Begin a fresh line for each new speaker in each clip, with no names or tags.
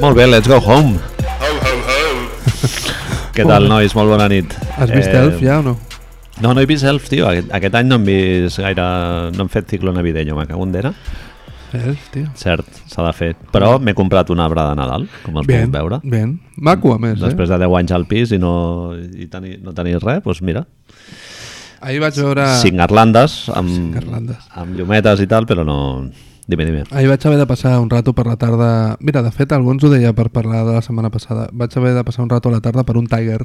Molt bé, let's go home.
Ho, ho, ho.
Què tal, nois? Molt bona nit.
Has vist
Eh,
Elf ja o no?
No, no he vist Elf, tio. Aquest, aquest any no hem vist gaire... No hem fet ciclo navideño, me cago en dera.
Elf, tio.
Cert, s'ha de fer. Però m'he comprat un arbre de Nadal, com els
Ben,
puc veure.
ben. Maco, a més, eh?
Després de 10 anys al pis i no, i teni, no tenir res, doncs mira,
eh? Ahir vaig veure...
cinc garlandes amb,
Cinc garlandes.
amb llumetes i tal, però no... Dime, dime.
Ahir vaig haver de passar un rato per la tarda... Mira, de fet, alguns ho deia per parlar de la setmana passada. Vaig haver de passar un rato a la tarda per un Tiger,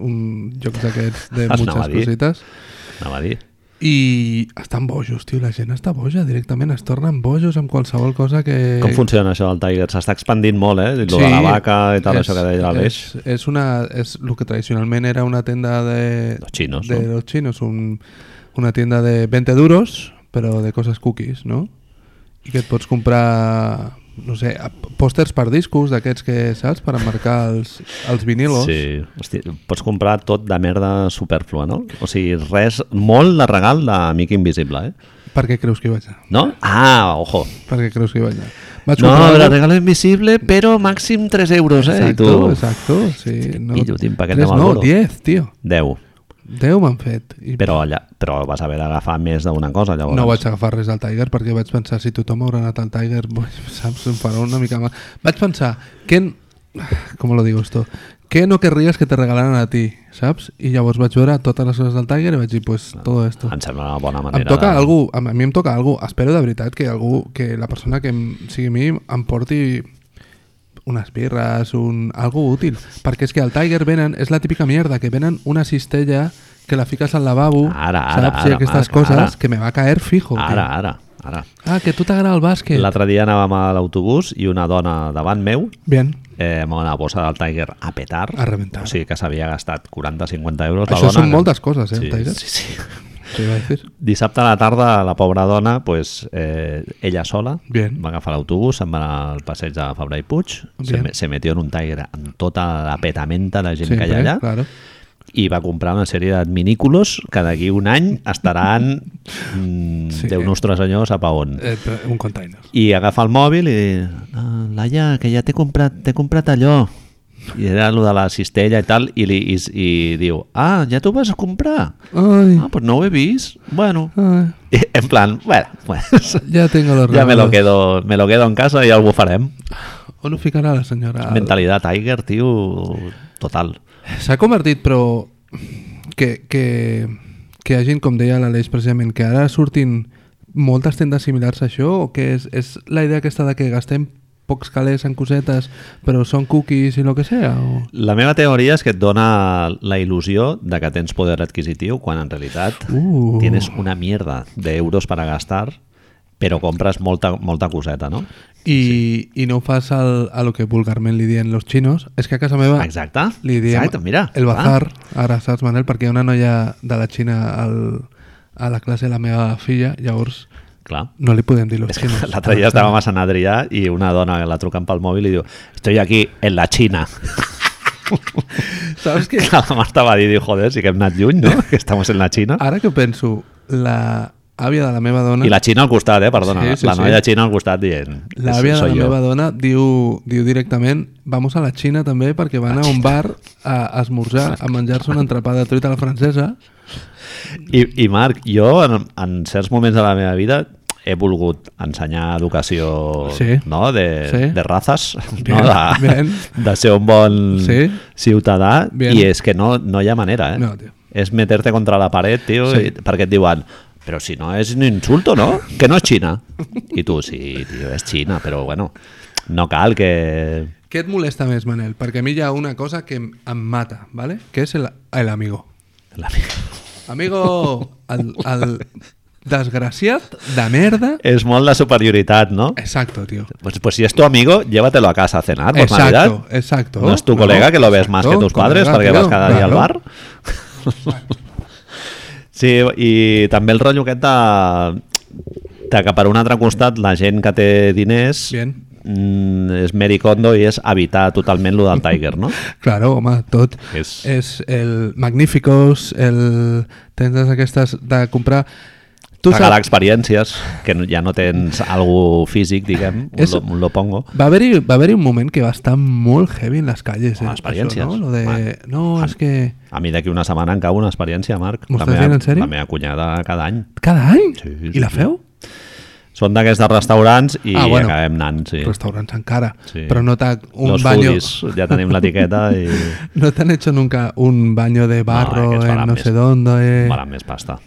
un joc d'aquests de
Anava a
moltes
dir.
cosites.
Anava a dir.
I estan bojos, tio, la gent està boja directament, es tornen bojos amb qualsevol cosa que...
Com funciona això del Tiger? S'està expandint molt, eh? Lo de la vaca i tal, això que deia l'Aleix.
És, és, una, és el que tradicionalment era una tienda de...
Los chinos,
De
¿no?
los chinos, un, una tienda de 20 duros, però de coses cookies, no? I que et pots comprar no sé, a- pòsters per discos d'aquests que saps per emmarcar els, els vinilos
Sí, hosti, pots comprar tot de merda superflua, no? O sigui, res, molt de regal d'amic invisible, eh?
per què creus que hi vaig anar?
No? Ah, ojo.
Per què creus que hi vaig anar? Vaig
No,
comprar-
el regalo invisible, però màxim 3 euros, eh?
Exacto,
I tu...
exacto, sí. No,
pillo, tio, un paquet
tres,
de
no,
Marlboro.
10, tio.
10.
10 m'han fet. I
Però, allà, però vas haver d'agafar més d'una cosa, llavors.
No vaig agafar res del Tiger perquè vaig pensar si tothom haurà anat al Tiger, boi, saps, em farà una mica mal. Vaig pensar, que... n- Com lo digo esto? Que no querries que te regalaran a ti, saps? I llavors vaig veure totes les hores del Tiger i vaig dir, pues, todo esto.
Em sembla una bona manera.
Em toca
de-
algú, a mi em toca algú. Espero de veritat que algú, que la persona que em, sigui a mi em porti unes birres, un... algo útil. Perquè és que al Tiger venen, és la típica mierda, que venen una cistella que la fiques al lavabo,
Ara, ara,
saps? I
ara,
aquestes
Marc,
coses,
ara.
que me va a caer fijo. que-
Ara, ara, ara.
Ah, que a tu t'agrada el bàsquet.
L'altre dia anàvem a l'autobús i una dona davant meu
Bien.
eh, amb una bossa del Tiger a petar.
A reventar.
O sigui que s'havia gastat 40-50 euros la
Això
dona.
són moltes coses, eh,
sí,
el Tiger.
Sí, sí.
Te iba a decir.
Dissabte a la tarda la pobra dona, pues, eh, ella sola,
Bien.
va agafar l'autobús, se'n va anar al passeig de Fabra i Puig, se,
Bien.
me- se metió en un Tiger amb tota la petamenta de gent que hi ha
Sempre,
allà.
Claro.
i va comprar una sèrie d'adminículos que d'aquí un any estaran mm,
Sí.
sí. Déu nostre senyor sap a on
Eh, però un container.
i agafa el mòbil i ah, Laia, que ja t'he comprat, t'he comprat allò i era allò de la cistella i tal i, li, i, i diu, ah, ja t'ho vas a comprar
Ai,
ah, doncs no ho he vist bueno,
ai.
I, en plan, bueno, pues,
Ya tengo los
ja me lo,
regalos.
quedo, me lo quedo en casa i ja ho farem
On ho ficarà la senyora? al-
mentalitat Tiger, tio, total
S'ha convertit, però, que, que, que hi ha gent, com deia l'Aleix precisament, que ara surtin moltes tendes similars a això, o que és, és la idea aquesta de que gastem pocs calés en cosetes, però són cookies i lo que sea? O...
La meva teoria és que et dona la il·lusió de que tens poder adquisitiu quan en realitat
Uh.
tienes una mierda d'euros per a gastar però compres molta, molta coseta, no?
I, sí. i no ho fas al, a lo que vulgarment li diuen los chinos. És que a casa meva
Exacte.
Ah, li diem
Exacte, mira.
el
clar.
bazar, ara saps Manel, perquè hi ha una noia de la Xina al, a la classe de la meva filla, llavors
Clar.
no li podem dir los chinos.
L'altre dia estàvem a Sant Adrià i una dona la truquen pel mòbil i diu «Estoy aquí, en la Xina».
Saps que
Que la Marta va dir, diu, joder, sí que hem anat lluny, no? Que estamos en la Xina.
Ara que ho penso, la àvia de la meva dona...
Ah. I la Xina al costat, eh? Perdona,
Sí, sí,
la
sí.
noia xina al costat dient
L'àvia de
«Soy
la
yo».
meva dona diu, diu directament vamos a la Xina també perquè van a un bar a esmorzar, a menjar-se una entrapada de truita a la francesa.
I, i Marc, jo en, en certs moments de la meva vida he volgut ensenyar educació
Sí.
no? de,
Sí.
de razes,
Bien,
no? de,
bien.
de ser un bon
Sí.
ciutadà,
Bien.
i és que no, no hi ha manera. Eh?
No, tio.
és meterte contra la paret, tio,
Sí.
sí. i, perquè et diuen però si no és un insulto, no? Que no és Xina. I tu, sí, tio, és Xina, però bueno, no cal que...
Què et molesta més, Manel? Perquè a mi hi ha una cosa que em, em mata, ¿vale? que és el, el amigo. Amigo, el, el desgraciat de merda.
És molt la superioritat, no?
Exacto, tío.
Pues, pues si es tu amigo, llévatelo a casa a cenar, por Navidad.
Exacto, exacto.
No es tu colega que lo ves más que
exacto,
tus padres
colega,
perquè
tío,
vas cada dia al
claro.
bar. Sí, i també el rotllo aquest de, de que per un altre costat la gent que té diners
Bien.
mm, és Mary Kondo i és evitar totalment lo del Tiger, no?
Claro, home, tot.
És-
És, és el Magníficos, el... tens aquestes de comprar...
Tu
Tu
Regalar
saps,
experiències, que no- ja no tens algú físic, diguem, un,
És-
lo, un lopongo.
va haver-hi va haver un moment que va estar molt heavy en les calles, eh?
Home, experiències.
Això, no? Lo de...
Home.
no, és que...
A mi d'aquí una setmana em cau una experiència, Marc.
M'ho
La
estàs
meva-
dient en sèrio?
La meva cunyada cada any.
Cada any?
Sí, sí,
I la
sí.
feu?
Són d'aquests de restaurants i
Ah, bueno.
acabem anant, sí.
Restaurants encara,
Sí.
però no t'ha... Un
Los
baño...
foodies, ja tenim l'etiqueta i...
No te han hecho nunca un baño de barro
eh, que es
en
farà
no
més.
sé dónde. eh?
Valen més pasta.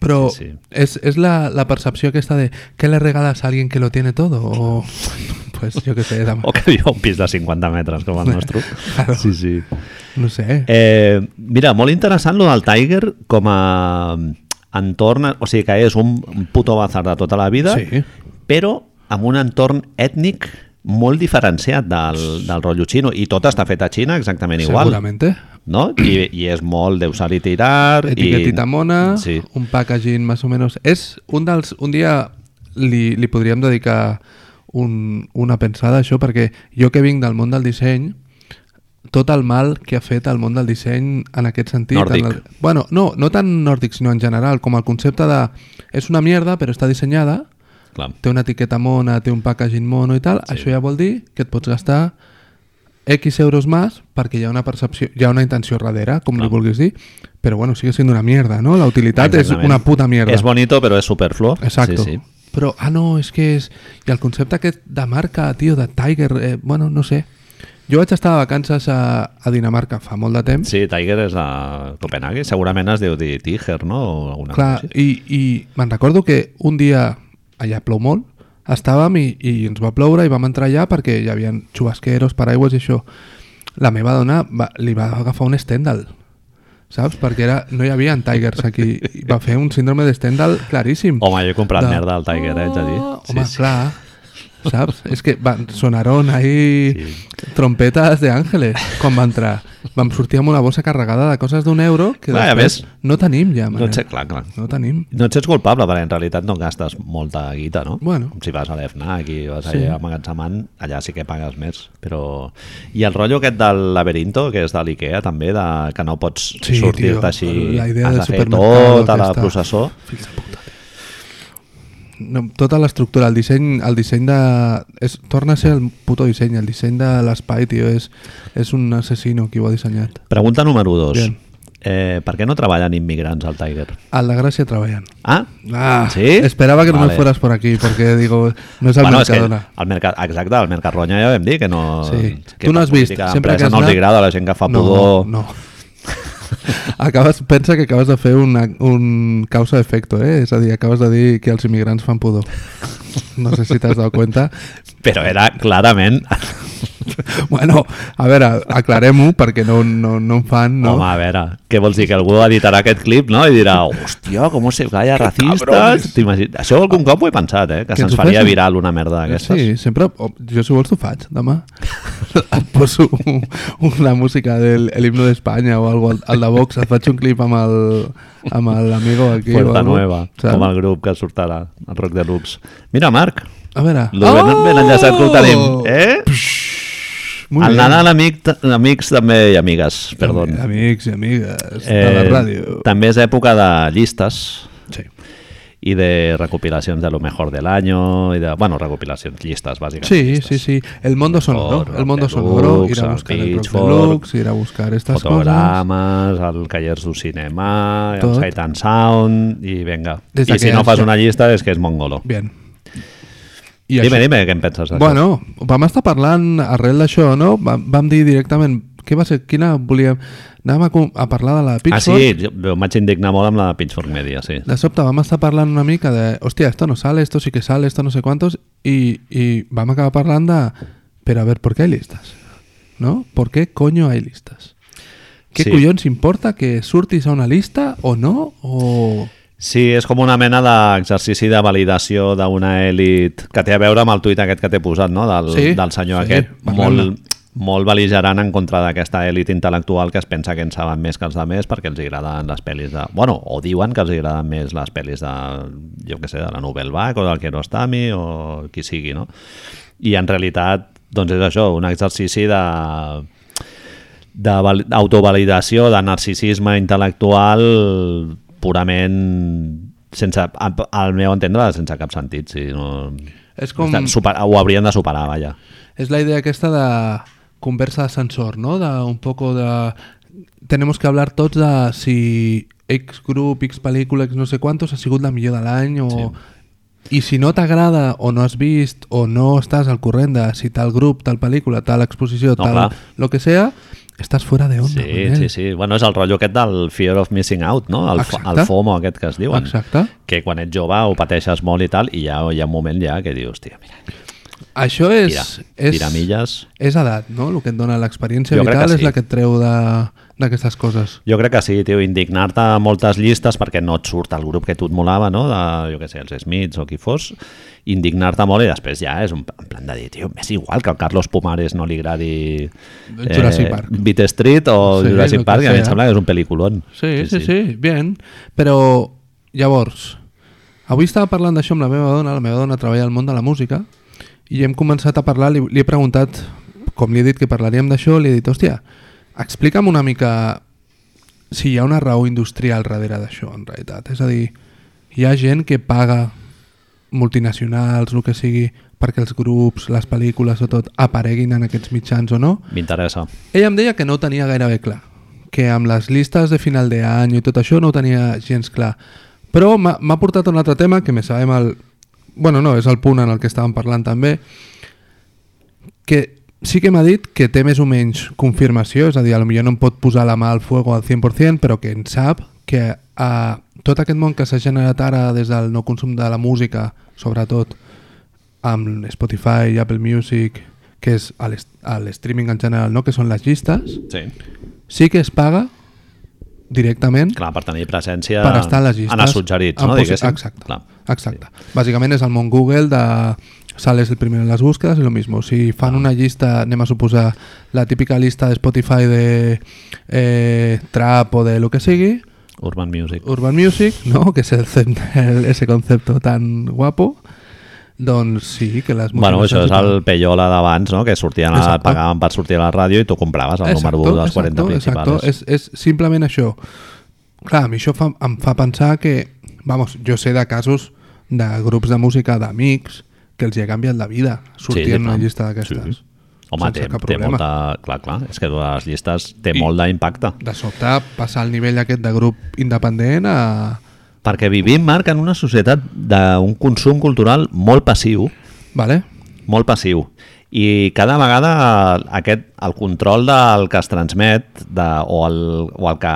Pero
Sí, sí.
es, es la, la percepción que está de ¿qué le regalas a alguien que lo tiene todo? O pues yo qué sé, dama.
O que viu a un pis de 50 metres, com el nostre.
Claro.
Sí, sí.
no sé.
Eh, mira, molt interessant lo del Tiger com a entorn, o sigui que és un puto bazar de tota la vida,
Sí.
però amb un entorn ètnic molt diferenciat del, del rotllo xino i tot està fet a Xina exactament igual
Seguramente.
no? I, i és molt deu salir i tirar
Etiquetita
i...
mona,
sí.
un packaging más o menos. Es un dels, un dia li, li podríem dedicar un, una pensada a això perquè jo que vinc del món del disseny tot el mal que ha fet el món del disseny en aquest sentit.
Nòrdic.
En el, bueno, no, no tan nòrdic, sinó en general, com el concepte de és una mierda però està dissenyada
Clar.
té una etiqueta mona, té un packaging mono i tal, sí. això ja vol dir que et pots gastar X euros més perquè hi ha una percepció, hi ha una intenció darrere, com li vulguis dir, però bueno, sigue sent una mierda, no? La utilitat és
Exactament.
una puta mierda.
és bonito però és superfluo
Exacto.
sí, sí.
Però, ah, no, és que és... I el concepte aquest de marca, tio, de Tiger, eh, bueno, no sé. Jo vaig estar de vacances a, a Dinamarca fa molt de temps
Sí, Tiger és de Copenhague, segurament es deu dir Tiger, no? O alguna
Clar,
cosa així.
i, i me'n recordo que un dia allà plou molt, estàvem i, i ens va ploure i vam entrar allà perquè hi havia xubasqueros, paraigües i això. La meva dona va, li va agafar un Stendhal, saps? Perquè era, no hi havia en Tigers aquí. I va fer un síndrome de Stendhal claríssim.
Home, jo he comprat
De-
merda al Tiger, eh, haig de dir.
Oh, Home, sí, clar. Saps? És que van, sonaron ahí sí. trompetes de Ángeles quan va entrar. Vam sortir amb una bossa carregada de coses d'un euro que
Clar, i a
després
més,
no tenim ja,
No
Manel.
et sé, clar, clar.
No tenim.
No et sents culpable, perquè en realitat no gastes molta guita, no?
Bueno.
Si vas a l'EFNAC i vas
Sí.
sí. allà amagatzemant, allà sí que pagues més. Però... I el rotllo aquest del laberinto, que és de l'IKEA també, de... que no pots
Sí, tio,
sortir-te així,
la idea
has
del
de fer
supermercado
tota la
aquesta.
processó.
Fills de puta, tio. No, tota l'estructura, el disseny, el disseny de... És, torna a ser el puto disseny, el disseny de l'espai, tio, és, és un assassino qui ho ha dissenyat.
Pregunta número 2.
Bien.
Eh, per què no treballen immigrants al Tiger?
El de Gràcia treballant.
Ah,
Ah,
¿Sí?
Esperaba que no
Vale.
me fueras por aquí, porque digo, no es el
bueno, és que
Mercadona.
el mercat, exacte, el Mercarronya ja vam dir que no...
Sí.
Que
tu no
la
has vist,
política
sempre que
d'empresa
has
no els
anat-
agrada a la gent que fa
no,
pudor.
No, acabes, pensa que acabes de fer una, un causa efecto, eh? És a dir, acabes de dir que els immigrants fan pudor. No sé si t'has dado cuenta.
Però era clarament...
Bueno, a veure, aclarem-ho perquè no, no, no en fan,
No?
no?
Home, a veure, què vols dir? Que algú editarà aquest clip no? i dirà hòstia, com se calla racistes... T'imagines? Això algun cop ho he pensat, eh? Que,
Que ens
se'ns
ho
faria
facin.
viral una merda d'aquestes.
Sí, sempre... o- Jo si vols t'ho faig, demà. Et poso un- una música del el himno d'Espanya o algo al, al de Vox, et faig un clip amb el amb l'amigo aquí. o
Puerta
algo,
Nueva,
saps?
com el grup que sortarà, el Rock Deluxe. Mira, Marc,
A veure...
lo ben,
Oh.
ben enllaçat que ho tenim. Eh?
Molt
Al
bé.
Nadal amic, amics també i amigues, perdó.
Amics i amigues eh, de la ràdio.
també és època de llistes
Sí.
i de recopilacions de lo mejor del año i de, bueno, recopilacions, llistes, bàsicament.
Sí,
llistes.
sí, sí. El mundo sonoro.
Rock
El mundo
Deluxe,
sonoro. Ir a buscar el rock
Pitchfork,
deluxe, ir a buscar estas cosas.
fotogrames, el Callers du Cinema, Tot.
Tot.
el Sight and Sound, i vinga.
Des
I si
d'aquells
no fas
ja.
una llista és que és mongolo.
Bien. I
Dime,
això-
dime, què en penses d'això?
Bueno, vam estar parlant arrel d'això, no? Vam, vam dir directament què va ser, quina volíem... Anàvem a, com- a parlar de la
ah,
Pitchfork.
sí, jo jo m'haig indignar molt amb la Pitchfork Media, sí.
De sobte vam estar parlant una mica de hòstia, esto no sale, esto sí que sale, esto no sé cuántos i, i vam acabar parlant de però a ver, ¿por qué hay listas? ¿No? ¿Por qué coño hay listas? ¿Qué
Sí.
collons importa que surtis a una lista o no? O...
Sí, és com una mena d'exercici de validació d'una elit que té a veure amb el tuit aquest que t'he posat, no? Del,
Sí,
del senyor
sí,
aquest,
parlem-ne.
molt, molt beligerant en contra d'aquesta elit intel·lectual que es pensa que en saben més que els altres perquè els agraden les pel·lis de... Bueno, o diuen que els agraden més les pel·lis de, jo què sé, de la Nouvelle Vague o del Kiarostami o qui sigui, no? I en realitat, doncs és això, un exercici de d'autovalidació, de narcisisme intel·lectual purament sense, a- al meu entendre, sense cap sentit. Sí, no...
És com-
Està- Super, ho haurien de superar, vaja.
Es la idea aquesta de conversa de ascensor, no? De un poco de... Tenemos que hablar tots de si X grup, X pel·lícula, X no sé quantos ha sigut la millor de l'any o...
Sí.
I si no t'agrada o no has vist o no estàs al corrent de si tal grup, tal pel·lícula, tal exposició,
No,
tal
clar.
lo que sea, estàs fora de onda.
Sí, sí, sí. Bueno, és el rotllo aquest del fear of missing out, no? El, fo-
Exacte.
el FOMO aquest que es diuen.
Exacte.
Que quan ets jove ho pateixes molt i tal, i ja hi ha un moment ja que dius, hòstia, mira,
Això és...
tira,
és...
tira milles...
És edat, no? El que et dona l'experiència
Jo crec
vital
que
és
sí.
la que et treu de- d'aquestes coses.
Jo crec que sí, tio, indignar-te a moltes llistes perquè no et surt el grup que tu et molava, no? De, jo què sé, els Smiths o qui fos, indignar-te molt i després ja és un en plan de dir, tio, m'és igual que al Carlos Pumares no li agradi eh,
Jurassic Park.
Beat Street o sí,
Sí, el
Jurassic
que
Park, que a mi em
sea.
sembla que és un pel·liculon.
Sí, sí, sí, sí, bien. Però, llavors, avui estava parlant d'això amb la meva dona, la meva dona treballa al món de la música, i hem començat a parlar, li, li he preguntat, com li he dit que parlaríem d'això, li he dit, hòstia, explica'm una mica si hi ha una raó industrial darrere d'això, en realitat. És a dir, hi ha gent que paga multinacionals, el que sigui, perquè els grups, les pel·lícules o tot apareguin en aquests mitjans o no,
M'interessa.
ella em deia que no ho tenia gairebé clar, que amb les llistes de final d'any i tot això no ho tenia gens clar. Però m'ha m'ha portat a un altre tema que me sabem el... Bueno, no, és el punt en el que estàvem parlant també, que sí que m'ha dit que té més o menys confirmació, és a dir, potser no em pot posar la mà al fuego al 100%, però que en sap que a tot aquest món que s'ha generat ara des del no consum de la música, sobretot amb Spotify i Apple Music, que és el est- el streaming en general, no? que són les llistes,
Sí.
sí que es paga directament
Clar, per tenir presència
per estar a les llistes.
en els suggerits,
en
no?
posi-
Diguéssim.
Exacte.
Clar.
exacte. Bàsicament és el món Google de sales el primero en las búsquedas y lo mismo. Si
Ah.
fan una lista, anem a suposar la típica lista de Spotify de eh, trap o de lo que sigui,
Urban Music.
Urban Music, no? que és el, cep- el, ese concepto tan guapo, doncs sí, que les
Bueno, això és
multinacionals-
el Peyola d'abans, no? Que sortien a,
Exacte.
pagaven per sortir a la ràdio i tu compraves el número 1 dels 40 principals.
Exacto, és, és simplement això. Clar, a mi això fa, em fa pensar que... Vamos, jo sé de casos de grups de música d'amics que els hi ha canviat la vida sortir
Sí, sí,
en una
clar.
llista d'aquestes.
Sí. Home,
Sense
té,
cap
té
problema.
molta... Clar, clar, és que les llistes té molt d'impacte.
De sobte, passar el nivell aquest de grup independent a...
Perquè vivim, Marc, en una societat d'un consum cultural molt passiu,
Vale?
molt passiu. I cada vegada aquest, el control del que es transmet de, o, el, o el que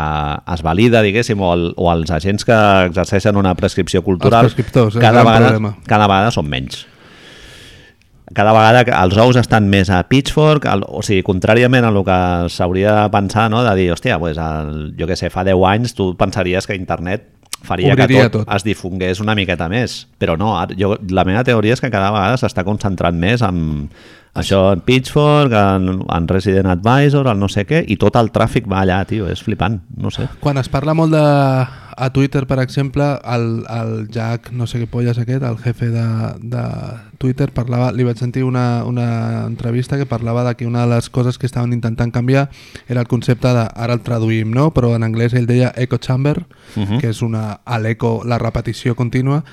es valida, diguéssim, o, el, o els agents que exerceixen una prescripció cultural,
Els prescriptors, el
cada,
gran
vegada,
problema.
cada vegada són menys. cada vegada que els ous estan més a Pitchfork, el, o sigui, contràriament a el que s'hauria de pensar, no? de dir, hòstia, pues el, jo que sé, fa 10 anys tu pensaries que internet faria
Obriria
que tot,
tot.
es difongués una miqueta més, però no, ara- jo, la meva teoria és que cada vegada s'està concentrant més en això, en Pitchfork, en, en Resident Advisor, el no sé què, i tot el tràfic va allà, tio, és flipant, no sé.
Quan es parla molt de... a Twitter, per exemple, el, el Jack, no sé què polles aquest, el jefe de, de Twitter, parlava, li vaig sentir una, una entrevista que parlava de que una de les coses que estaven intentant canviar era el concepte de, ara el traduïm, no? però en anglès ell deia echo chamber, uh -huh. que és una, l'eco, la repetició contínua,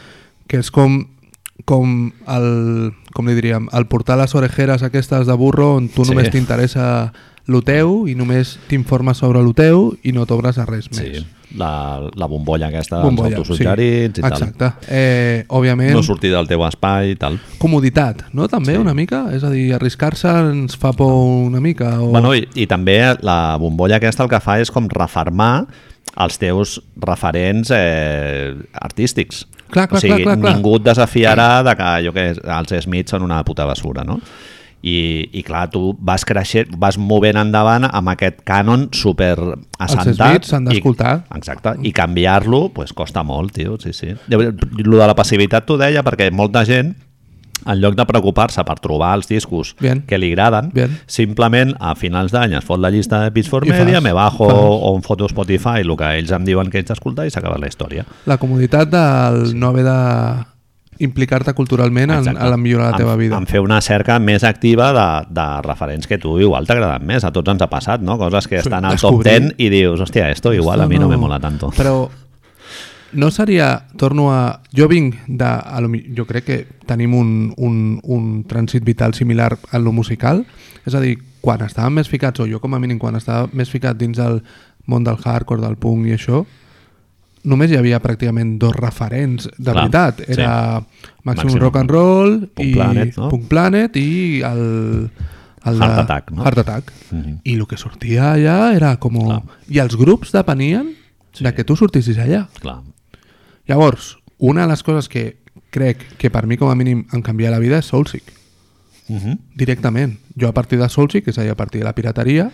que és com com el, com li diríem, el portar les orejeres aquestes de burro on tu
Sí.
només t'interessa lo teu i només t'informes sobre lo teu i no t'obres a res més.
Sí, la, la bombolla aquesta
Bombolla,
dels autosuggerits
sí.
i tal.
Exacte. Eh, òbviament,
No
no
sortir del teu espai i tal.
comoditat, no? També,
Sí.
una mica? És a dir, arriscar-se ens fa por una mica? O...
Bueno, i, i també la bombolla aquesta el que fa és com refermar els teus referents eh, artístics.
Clar, clar,
o sigui,
clar, clar, clar.
ningú et desafiarà de que, jo que els Smiths són una puta basura, no? I, i clar, tu vas creixent, vas movent endavant amb aquest cànon super assentat.
Smiths s'han
i-
d'escoltar.
Exacte, i canviar-lo pues, costa molt, tio, sí, sí. Lo de la passivitat t'ho deia perquè molta gent en lloc de preocupar-se per trobar els discos
Bien.
que li agraden,
Bien.
simplement a finals d'any es fot la llista de Pitchfork
I fas,
Media, me bajo
fas.
on foto Spotify, el que ells em diuen que ells d'escoltar i s'acaba la història.
La comoditat del sí. no haver de implicar-te culturalment en,
Exacte.
en la millora de la teva
en,
vida.
En fer una cerca més activa de, de referents que tu igual t'agraden més. A tots ens ha passat, no? Coses que
Sí,
estan al top 10
descobrir-
i dius, hòstia, esto igual a mi no, me mola tanto.
Però No seria, torno a... Jo vinc de... A lo, mi- jo crec que tenim un, un, un trànsit vital similar a lo musical, és a dir, quan estàvem més ficats, o jo com a mínim quan estava més ficat dins del món del hardcore, del punk i això, només hi havia pràcticament dos referents, de
Clar,
veritat.
sí.
Era sí. Maximum,
Maximum
Rock and Roll
Punk
i
Planet, no?
Punk Planet i el... el
Heart
de-
Attack, no? Mhm.
Heart Attack. I el que sortia allà era com...
Clar.
I els grups depenien
Sí.
de que tu sortissis allà.
Clar.
Llavors, una de les coses que crec que per mi com a mínim em canvia la vida és Soulseek,
Uh
Mhm.
-huh.
directament. Jo a partir de Soulseek, és a dir, a partir de la pirateria,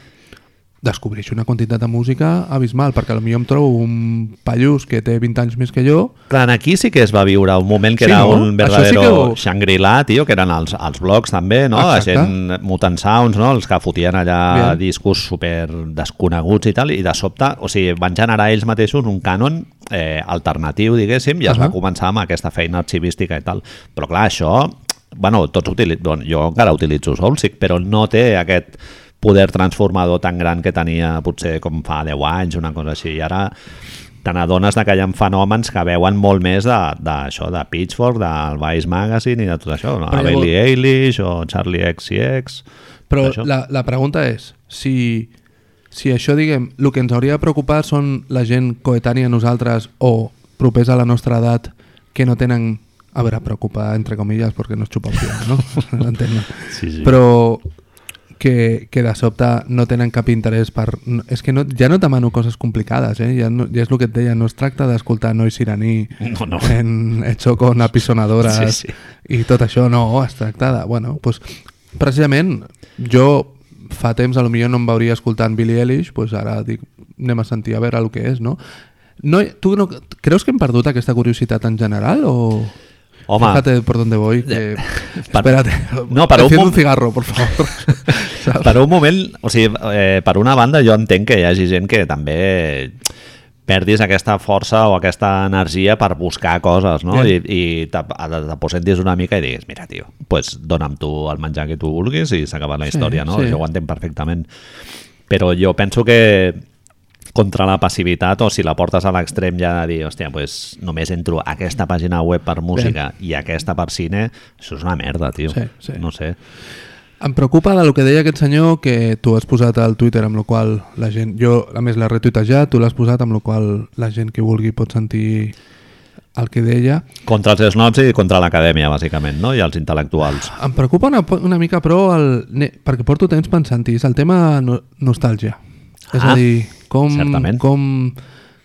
descobreixo una quantitat de música abismal, perquè potser em trobo un pallús que té 20 anys més que jo,
Clar, aquí sí que es va viure un moment que sí,
Sí,
era
no?
no? un
Això sí
verdadero sí
que ho-
que... Shangri-La, tio, que eren els, els blogs també, no?
Exacte.
La gent, Mutant Sounds, no? Els que fotien allà
Bien.
Bien. discos super desconeguts i tal, i de sobte, o sigui, van generar ells mateixos un cànon eh, alternatiu, diguéssim, i es uh -huh. va
Ahà.
començar amb aquesta feina arxivística i tal. Però clar, això, bueno, tots utilitzen, bueno, jo encara utilitzo Soulseek, però no té aquest poder transformador tan gran que tenia potser com fa 10 anys, una cosa així, i ara te n'adones de que hi ha fenòmens que veuen molt més de- d'això, de, de Pitchfork, del Vice Magazine i de tot això, no?
Però
a
llavors-
Bailey Eilish o Charlie XCX...
Però
Això.
la, la pregunta és, si, si això, diguem, el que ens hauria de preocupar són la gent coetània a nosaltres o propers a la nostra edat que no tenen... A veure, preocupar, entre comillas, perquè no es xupa el fil, no? L'entenc.
Sí, sí.
Però que, que de sobte no tenen cap interès per... no- És que no, ja no et demano coses complicades, eh? Ja, no, ja és el que et deia, no es tracta d'escoltar noi iraní
No, no.
en hecho con apisonadores
Sí, sí.
i tot això, no, es tracta de... Bueno, pues, precisament, jo fa temps a lo millor no em veuria escoltant Billie Eilish, pues ara dic, anem a sentir a veure el que és, no? no tu no, creus que hem perdut aquesta curiositat en general o...
Home, Eh,
Fíjate por dónde voy. Que...
Per-
Espérate.
No, para un
Enciende
mom-
un cigarro, por favor. Saps?
per un moment, o sigui, eh, per una banda jo entenc que hi hagi gent que també perdis aquesta força o aquesta energia per buscar coses, no?
Bien.
I, i te- te- t'aposentis una mica i diguis, mira, tio, pues dona'm tu el menjar que tu vulguis i s'ha acabat la
Sí,
història, no?
sí.
Jo ho entenc perfectament. Però jo penso que contra la passivitat o si la portes a l'extrem ja de dir, hòstia, pues, només entro a aquesta pàgina web per música i aquesta per cine, això és una merda, tio.
Sí, sí.
No sé.
Em preocupa del que deia aquest senyor que tu has posat al Twitter, amb la qual cosa la gent... Jo, a més, l'he retuitejat, tu l'has posat, amb la qual cosa la gent que vulgui pot sentir el que deia.
Contra els snobs i contra l'acadèmia, bàsicament, no? I els intel·lectuals.
Em preocupa una, una mica, però, el, ne- perquè porto temps pensant-hi, és el tema no, nostàlgia. És
Ah,
a dir, com,
certament.
com,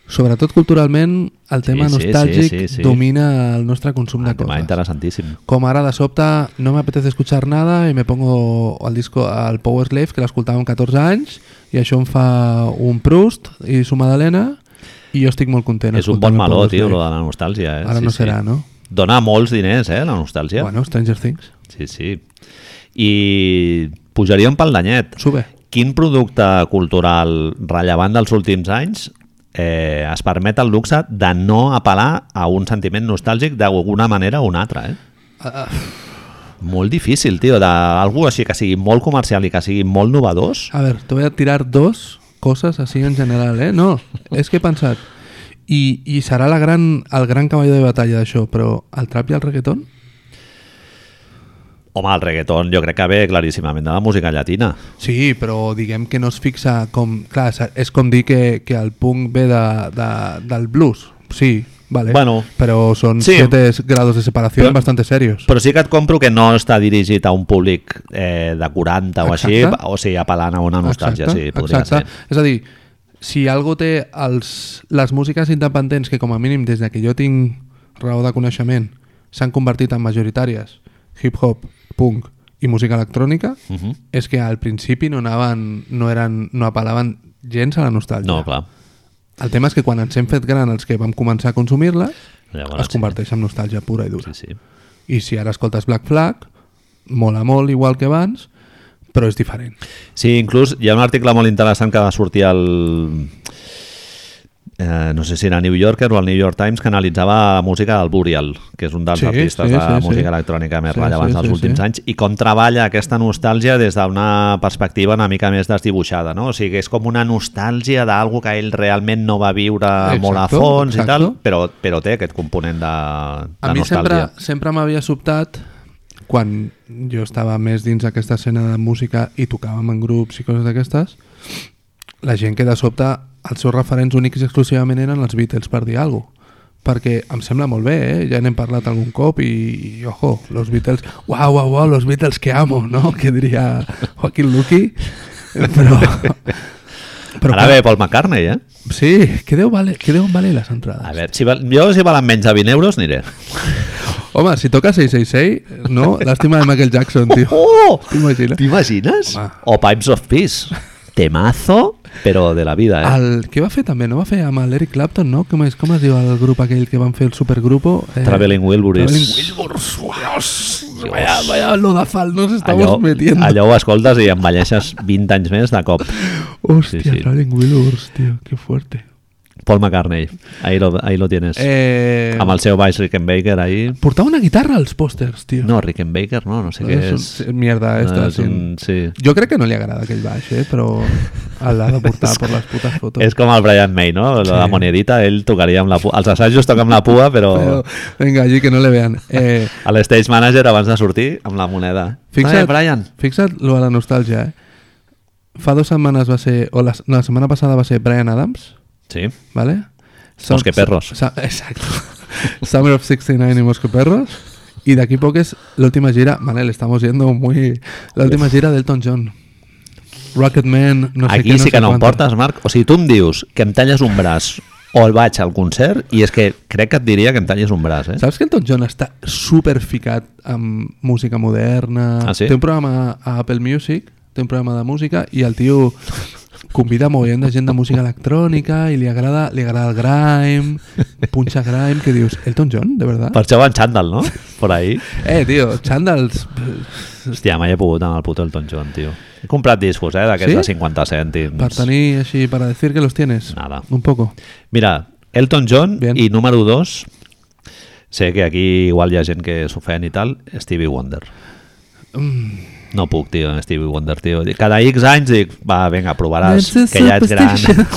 sobretot culturalment, el
Sí, sí,
tema
sí,
nostàlgic
sí, sí.
domina el nostre consum de
Un tema
coses.
interessantíssim.
Como ahora de sobte no me apetece escuchar nada y me pongo al disco al Power Slave que l'escoltava amb 14 anys i això em fa un Proust i su Madalena i jo estic molt content.
És un
escoltant
bon
el
meló,
Power
tio,
Slave.
lo de la nostàlgia, eh?
Ara no serà, no?
Dona molts diners, eh, la nostàlgia.
Bueno, Stranger Things.
Sí, sí. I pujaríem pel danyet.
Sube.
Quin producte cultural rellevant dels últims anys eh, es permet el luxe de no apel·lar a un sentiment nostàlgic d'alguna manera o una altra, eh?
Ah, ah,
Molt difícil, tio, d'algú així que sigui molt comercial i que sigui molt novedós.
A ver, te voy a tirar dos cosas así en general, eh? No, es que he pensat. I, i serà la gran, el gran cavall de batalla d'això, però el trap i el reggaeton?
Home, el reggaeton jo crec que ve claríssimament de la música llatina.
Sí, però diguem que no es fixa com... Clar, és- és com dir que, que el punk ve de, de, del blues. Sí, vale.
Bueno.
però són
Sí.
7 grados de separació
Però-
bastante serios.
Però sí que et compro que no està dirigit a un públic eh, de 40 o així,
Exacte.
o sigui, apel·lant a una nostàlgia, sí, podria
exacte. És a dir, si algo té els, les músiques independents que com a mínim des de que jo tinc raó de coneixement s'han convertit en majoritàries, hip-hop, punk i música electrònica,
ser. Uh -huh.
és que al principi no anaven, no, eren, no apel·laven gens a la nostàlgia.
No, clar.
El tema és que quan ens hem fet gran els que vam començar a consumir-la,
Llavors,
es converteix en nostàlgia pura i dura.
Sí, sí.
I si ara escoltes Black Flag, mola molt igual que abans, però és diferent.
Sí, inclús hi ha un article molt interessant que va sortir al... eh, no sé si era New Yorker o el New York Times, que analitzava música del Burial, que és un dels
Sí,
artistes
sí,
de
sí, sí.
música electrònica més
Sí,
rellevants
sí,
dels
sí,
últims
sí.
anys, i com treballa aquesta nostàlgia des d'una perspectiva una mica més desdibuixada, no? O sigui, és com una nostàlgia d'algo que ell realment no va viure
Exacto,
molt a fons i
exacto.
tal, però, però té aquest component de, de
A mi
nostàlgia.
sempre, sempre m'havia sobtat quan jo estava més dins aquesta escena de música i tocàvem en grups i coses d'aquestes, la gent que de sobte els seus referents únics i exclusivament eren els Beatles per dir alguna cosa. Perquè em sembla molt bé, eh? ja n'hem parlat algun cop i, i ojo, los Beatles, uau, uau, uau, los Beatles que amo, no? Que diria Joaquín Luqui, però...
Però Ara
clar,
ve Paul McCartney, eh?
Sí, que deu valer, que deu valer les entrades.
A veure, si val, jo si valen menys de 20 euros aniré.
Home, si toca 666, no? Lástima de Michael Jackson, tío. Ah.
Oh!
T'imagines?
T'imagines?
Home.
O Pipes of Peace. Temazo, però de la vida, eh?
El, què va fer també? No va fer amb l'Eric Clapton, no? Com es, com es diu el grup aquell que van fer el supergrupo? Eh,
Traveling Wilburys.
Traveling Wilburys. Dios, vaya, vaya lodazal nos estamos
allò,
metiendo.
allò ho escoltes i envelleixes 20 anys més de cop.
Hostia,
Sí, sí.
Traveling Wilburys, tío, qué fuerte.
Paul McCartney, ahí lo, ahí lo tienes. Eh,
Eh,
amb el seu baix Rickenbacker, ahí...
Portava una guitarra als pòsters, tio.
No, Rickenbacker, no, no sé què
és,
és.
un, eh, mierda, esta,
Ah, és un- sí.
Jo crec que no li agrada aquell baix, eh? però l'ha de portar per les putes fotos.
És com el Brian May, no? La
Sí.
monedita, ell tocaria amb la pua. Els assajos toca amb la pua, però...
Pero, venga, allí que no le vean. Eh,
A l'estage manager abans de sortir amb la moneda. Eh,
fixa't,
Brian,
fixa't lo de la nostàlgia, eh? Fa dues setmanes va ser, o la, no, la setmana passada va ser Brian Adams,
Sí.
¿vale?
Mosque Perros.
Sa- exacto. Summer of 69 y Mosque Perros. Y de aquí a poco es la última gira, Manel, estamos yendo muy... La última gira de Elton John. Rocketman, no sé
Aquí
qué,
sí que
sé
no em
cuánto.
portes, Marc. O sigui, tu em dius que em talles un braç o el vaig al concert i és que crec que et diria que em talles un braç, eh?
Saps que Elton John està super ficat amb música moderna?
Ah, sí?
Té un programa a Apple Music, té un programa de música i el tio convida moviment de gent de música electrònica i li agrada, li agrada el grime, punxa grime, que dius, Elton John, de verdad?
Per això va en xandall, no? Por ahí.
Eh, tio, xandals...
Hòstia, mai he pogut anar al puto Elton John, tio. He comprat discos, eh, d'aquests
Sí?
de 50 cèntims.
Per tenir així, para decir que los tienes.
Nada.
Un poco.
Mira, Elton John
Bien.
i número 2, sé que aquí igual hi ha gent que s'ofèn i tal, Stevie Wonder.
Mm.
No puc, tio, amb Stevie Wonder, tio. Cada X anys dic, va, vinga, provaràs,
That's a
que ja ets gran.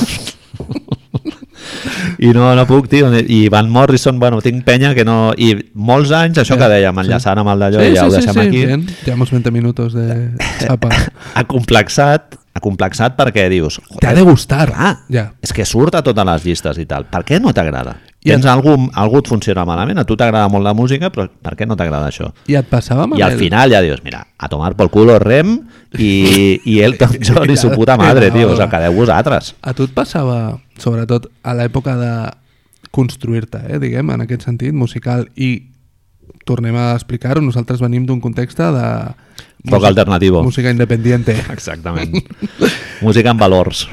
I no, no puc, tio. I Van Morrison, bueno, tinc penya que no... I molts anys, això que dèiem, enllaçant amb el d'allò,
Sí,
i ja
sí,
ho
sí,
deixem
sí,
aquí.
bien. Llevamos 20 minutos de chapa.
Acomplexat, acomplexat perquè dius...
Te ha de gustar.
Clar,
Ja.
és que surt a totes les llistes i tal. Per què no t'agrada?
I
Tens
en-
algú, algú et funciona malament, a tu t'agrada molt la música, però per què no t'agrada això?
I et passava,
I al
Manel?
final ja dius, mira, a tomar pel culo Rem i, i Elton John i su puta madre, tio, us el quedeu vosaltres.
A tu et passava, sobretot a l'època de construir-te, eh, diguem, en aquest sentit, musical, i tornem a explicar-ho, nosaltres venim d'un context de...
Poc alternativo.
Música independiente.
Exactament. Música amb valors.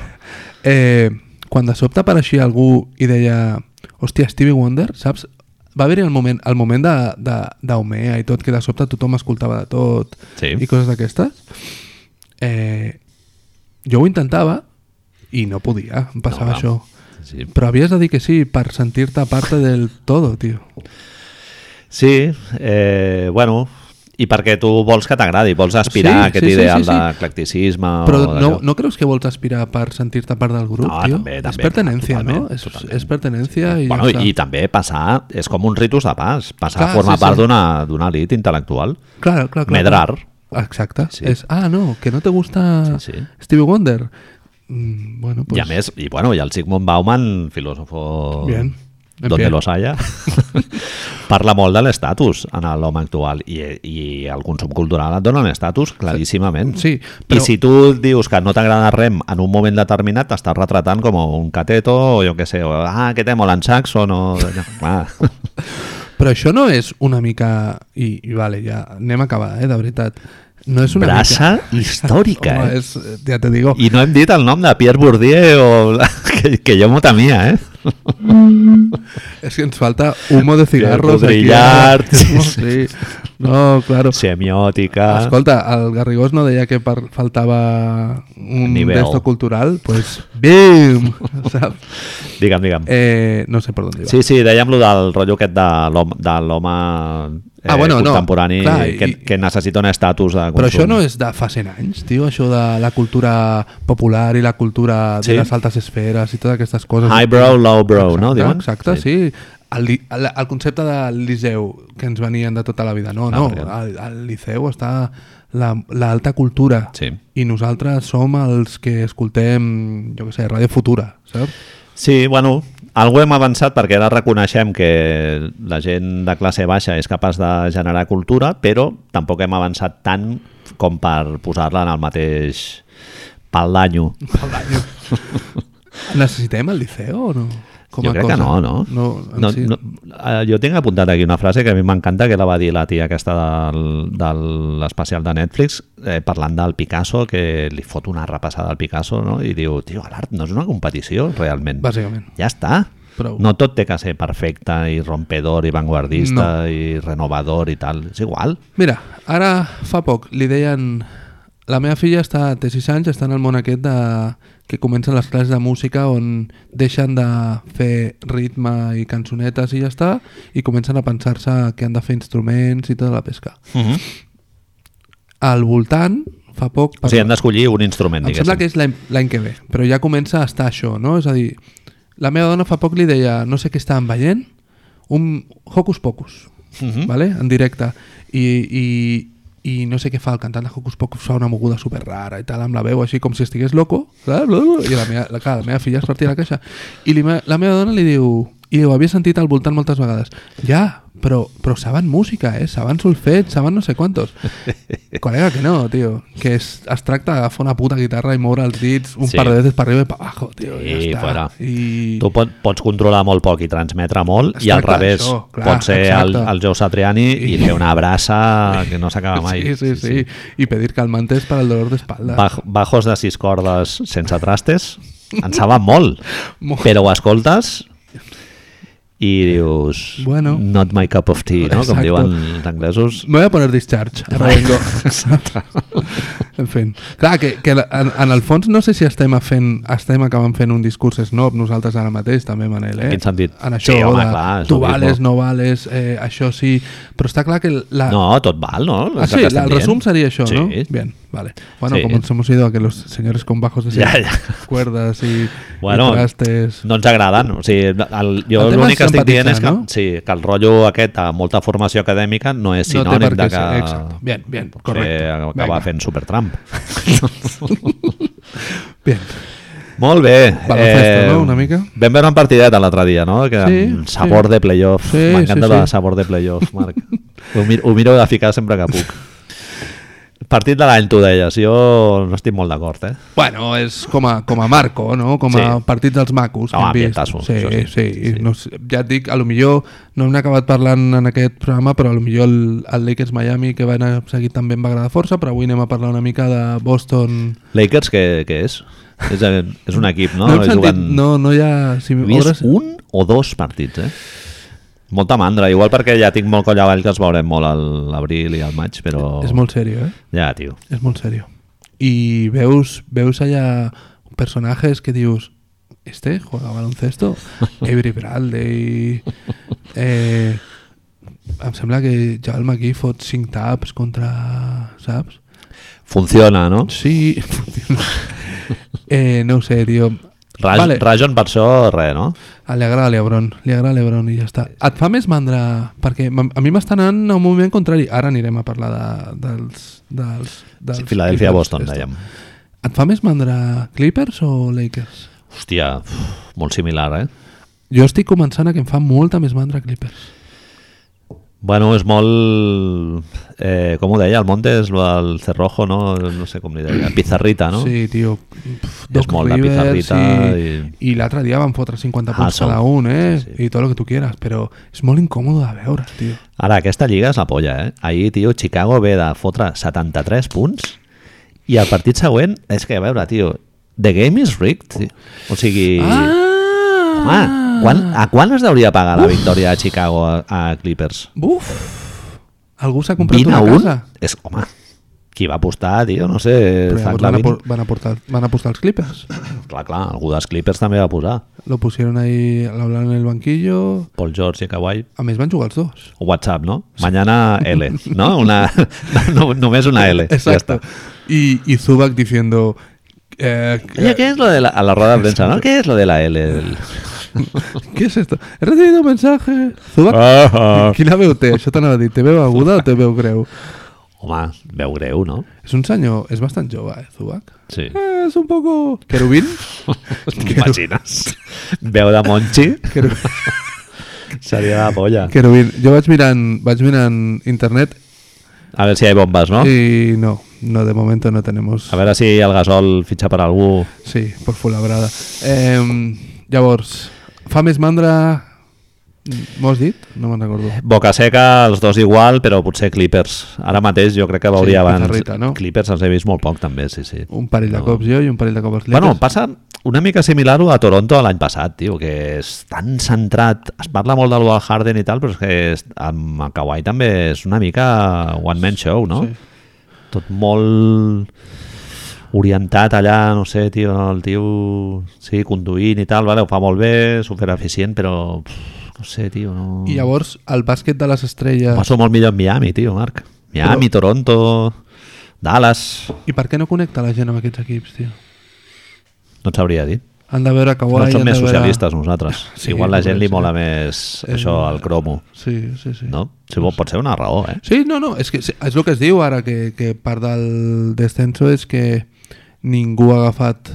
Eh, quan de sobte apareixia algú i deia hòstia, Stevie Wonder, saps? Va haver-hi el moment, el moment de- de- d'Omea i tot, que de sobte tothom escoltava de tot
Sí.
i coses d'aquestes. Eh, jo ho intentava i no podia, em passava
No, clar.
això.
Sí.
Però havies de dir que sí per sentir-te parte del todo, tio.
Sí, eh, bueno, i perquè tu vols que t'agradi, vols aspirar
Sí,
a aquest
sí, sí,
ideal
sí, sí.
d'eclecticisme o
Però no,
d'allò.
no creus que vols aspirar per sentir-te part del grup,
No,
tio?
també, també,
és pertenència,
clar,
no?
totalment,
És,
totalment.
és pertenència i
bueno,
ja està.
i també passar, és com un ritus de pas, passar
Clar,
a formar
sí,
part
sí.
d'una d'una elit intel·lectual.
Claro, claro, claro.
Medrar.
Exacte.
Sí.
És, ah, no, que no te gusta
Sí, sí.
Stevie Wonder. Mm, bueno, pues...
I a més, i, bueno, i el Sigmund Bauman, filòsofo
Bien. En
d'on
pie.
los haya, parla molt de l'estatus en l'home actual i, i el consum cultural et dona un estatus claríssimament.
Sí,
però...
però-
I si tu dius que no t'agrada rem en un moment determinat, t'estàs retratant com un cateto o jo què sé, o, ah, que té molt en saxo, no... no clar.
Però això no és una mica... I, i vale, ja anem a acabar, eh, de veritat. No és una
Brasa històrica,
Home,
eh?
és, ja te digo.
I no hem dit el nom de Pierre Bourdieu, o... que, que jo m'ho temia, eh?
Es que ens falta humo de cigarros aquí. eh?
Podrillar, sí,
sí. No, claro.
Semiòtica...
Escolta, el Garrigós no deia que par- faltava un
Nivell.
desto cultural, pues bim! Saps?
Digue'm, digue'm.
Eh, no sé per on iba.
Sí, sí, dèiem lo del rotllo aquest de l'home de l'home eh,
Ah, bueno, no,
contemporani
clar, i-
que, que necessita un estatus de consum.
Però això no és de fa 100 anys, tio, això de la cultura popular i la cultura
Sí.
de les altes esferes i totes aquestes coses.
Highbrow, lowbrow,
exacte,
no? Diuen?
Exacte, sí. El, li- el, el concepte de liceu que ens venien de tota la vida. No,
Ah,
no,
perquè-
al, al liceu està l'alta la, alta cultura
Sí.
i nosaltres som els que escoltem, jo què sé, Ràdio Futura, saps?
Sí, bueno, algú hem avançat perquè ara reconeixem que la gent de classe baixa és capaç de generar cultura, però tampoc hem avançat tant com per posar-la en el mateix pal d'anyo.
Necessitem el liceu o no?
Jo crec que no, no?
no, en
no,
si-
no eh, jo tinc apuntat aquí una frase que a mi m'encanta, que la va dir la tia aquesta del, de l'especial de Netflix, eh, parlant del Picasso, que li fot una repassada al Picasso, no? i diu, tio, l'art no és una competició, realment.
Bàsicament.
Ja està.
Prou.
No tot té que ser perfecte i rompedor i vanguardista
No.
i renovador i tal. És igual.
Mira, ara fa poc li deien... La meva filla està, té 6 anys, està en el món aquest de, que comencen les classes de música on deixen de fer ritme i cançonetes i ja està i comencen a pensar-se que han de fer instruments i tota la pesca.
Uh -huh.
Al voltant, fa poc...
O sigui, hem d'escollir un instrument,
Em
diguéssim.
sembla que és l'any l'any que ve, però ja comença a estar això, no? És a dir, la meva dona fa poc li deia, no sé què estàvem veient, un Hocus Pocus,
Mhm.
vale? en directe, i, i, i no sé què fa, el cantant de Hocus Pocus fa una moguda super rara i tal, amb la veu així com si estigués loco, bla, bla, bla, i la meva, la, clar, la meva filla es partia la caixa, i li, me- la meva dona li diu, i ho havia sentit al voltant moltes vegades, ja, però, però saben música, eh? saben solfeig, saben no sé quantos. Colega, que no, tio. Que es, es tracta d'agafar una puta guitarra i moure els dits un
Sí.
sí. par de veces per arriba i per abajo, tio.
Sí,
I ja està.
fora.
I...
Tu pot, pots controlar molt poc i transmetre molt
Es
i al
tracta
revés
d'això, clar,
pots ser el,
exacte.
el Joe Satriani i fer una brassa que no s'acaba mai.
Sí, sí, sí, sí. I pedir calmantes per al dolor d'espalda.
Baj, bajos de sis cordes sense trastes en saben molt,
Molt.
però ho escoltes i dius
Bueno.
not my cup of tea, no? com
Exacto.
diuen els anglesos.
Me voy a poner discharge. Ara vengo. en fin. Clar, que, que la- en, en el fons no sé si estem, a fent, estem acabant fent un discurs snob nosaltres ara mateix, també, Manel, eh?
En quin sentit?
En això,
Sí, home,
de,
clar, és
tu
lo mismo.
vales, no vales, eh, això sí... Però està clar que la,
No, tot val, no?
Ah,
És
sí,
el que
la-
estem
el
dient.
resumen sería yo,
Sí.
¿no? Bien, vale. Bueno,
Sí.
como nos hemos ido a que los señores con bajos de
Ya,
sillas,
ya.
cuerdas y,
Bueno,
y trastes...
no ens agraden. O sigui, el, jo
El tema
l'únic
és
que estic dient és que,
empatitzar, no?
sí, que el rotllo aquest de molta formació acadèmica no és
no te
sinònim de
parques,
que...
exacto. Bien, bien,
que
correcto.
acaba
Venga.
fent Supertramp.
Bien.
Molt bé. eh,
Baloncesto, no? Una mica.
Vam veure un partidet l'altre dia, no? Que
Sí,
amb sabor
sí.
de playoff.
Sí,
M'encanta
sí, sí.
el sabor de playoff, Marc. ho, miro, ho miro de ficar sempre que puc. Partit de l'any, tu deies. Jo no estic molt d'acord, eh?
Bueno, és com a, com a Marco, no? com a
Sí.
sí. partit dels macos. que
No,
hem vist.
ambientazo,
Sí,
això
sí,
sí.
sí. sí. No, sé, ja et dic, a lo millor no hem acabat parlant en aquest programa, però a lo millor el, el Lakers Miami que va anar seguit també em va agradar força, però avui anem a parlar una mica de Boston.
Lakers, què, què és? És, eh, és un equip, no?
no hem sentit,
Juguen-
no, no hi ha... Si
He vist
obres-
un o dos partits, eh? Molta mandra, igual perquè ja tinc molt coll avall que els veurem molt a l'abril i al maig, però...
És molt seriós, eh?
Ja, tio.
És molt seriós. I veus, veus allà personatges que dius este juega baloncesto? Avery Bradley... Eh, em sembla que Joel McGee fot 5 taps contra... saps?
Funciona, no?
Sí, eh, no ho sé, tio.
Raj, vale.
Vale.
Rajon per això, res, no?
Ah, Li agrada l'Ebron, li agrada l'Ebron i ja està. Et fa més mandra, perquè m- a mi m'està anant a un moviment contrari. Ara anirem a parlar de, dels... dels, dels
Sí, Filadèlfia-Boston,
Clippers,
dèiem.
Et fa més mandra Clippers o Lakers?
Hòstia, uf, molt similar, eh?
Jo estic començant a que em fa molta més mandra Clippers.
Bueno, és molt... Eh, com ho deia, el Monte és lo del Cerrojo, no? No sé com li deia. Pizarrita, Ah, no?
Sí, tio. Pff, Doc
molt la
Rivers
pizarrita
i, i... l'altre dia van fotre 50 punts
Hustle.
cada un, eh?
Sí,
Sí,
sí.
sí. I tot el que tu quieras, però és molt incòmode de veure, tio.
Ara, aquesta lliga és la polla, eh? Ahir, tio, Chicago ve de fotre 73 punts i el partit següent, és que, a veure, tio, the game is rigged, tio. O sigui...
Ah!
Home, quan, a quan es deuria pagar la victòria de Chicago a, a Clippers?
Buf! Algú s'ha comprat
20
una
a 1?
casa?
És, home, qui va apostar, tio, no sé,
Però
Zach
llavors van,
Lavin.
apor- van, aportar, van apostar els Clippers.
Clar, clar, algú dels Clippers també va posar.
Lo pusieron ahí, lo hablaron en el banquillo.
Paul George i Kawhi.
A més, van jugar els dos.
WhatsApp, no? Mañana L, no? Una, no només una L. ja
Exacto.
està.
Y, y Zubac diciendo... eh,
Oye, ¿qué es lo de la, a la rueda de prensa, no? ¿Qué es lo de la L? El-
¿Qué es esto? He recibido un mensaje. Zubac,
Ah.
quina veu té? Això t'anava a dir, te veu aguda o te veu greu?
Home, veu greu, no?
És un senyor, és bastant jove, eh, Zubac?
Sí.
Eh, és un poco... Querubín?
T'imagines? Veu de Monchi
Queru...
seria la polla.
Querubín. Jo vaig mirant, vaig mirant internet
A veure si hi ha bombes, no?
y no, no, de momento no tenemos...
Ah. A veure si el Gasol fitxa per algú.
Sí, por fulabrada. Eh, llavors, fa més mandra... M'ho has dit? No me'n recordo.
Boca seca, els dos igual, però potser Clippers. Ara mateix jo crec que veuria
Sí,
abans.
Pizarrita, no?
Clippers els he vist molt poc, també, sí, sí.
Un parell de
No.
cops jo i un parell de cops l'Etes.
Bueno, passa una mica similar a Toronto l'any passat, tio, que és tan centrat, es parla molt del Wall Harden i tal, però és que és, amb el Kawhi també és una mica one-man show, no?
Sí.
Sí. Tot molt orientat allà, no sé, tio, el tio, sí, conduint i tal, vale, ho fa molt bé, supereficient, però pff, no sé, tio, no...
I llavors, el bàsquet de les
Ho
estrelles...
Passo molt millor en Miami, tio, Marc. Miami, però... Toronto, Dallas,
I per què no connecta la gent amb aquests equips, tio?
no et sabria dir.
Han de veure Kawhi...
no som
han
més
de veure...
socialistes nosaltres.
Sí, Eh,
Igual la gent li
correcte.
mola més això, el cromo.
Sí, sí, sí.
No? Si vol, pot ser una raó, eh?
Sí, no, no, és, que, sí, és el que es diu ara, que, que part del descenso és que ningú ha agafat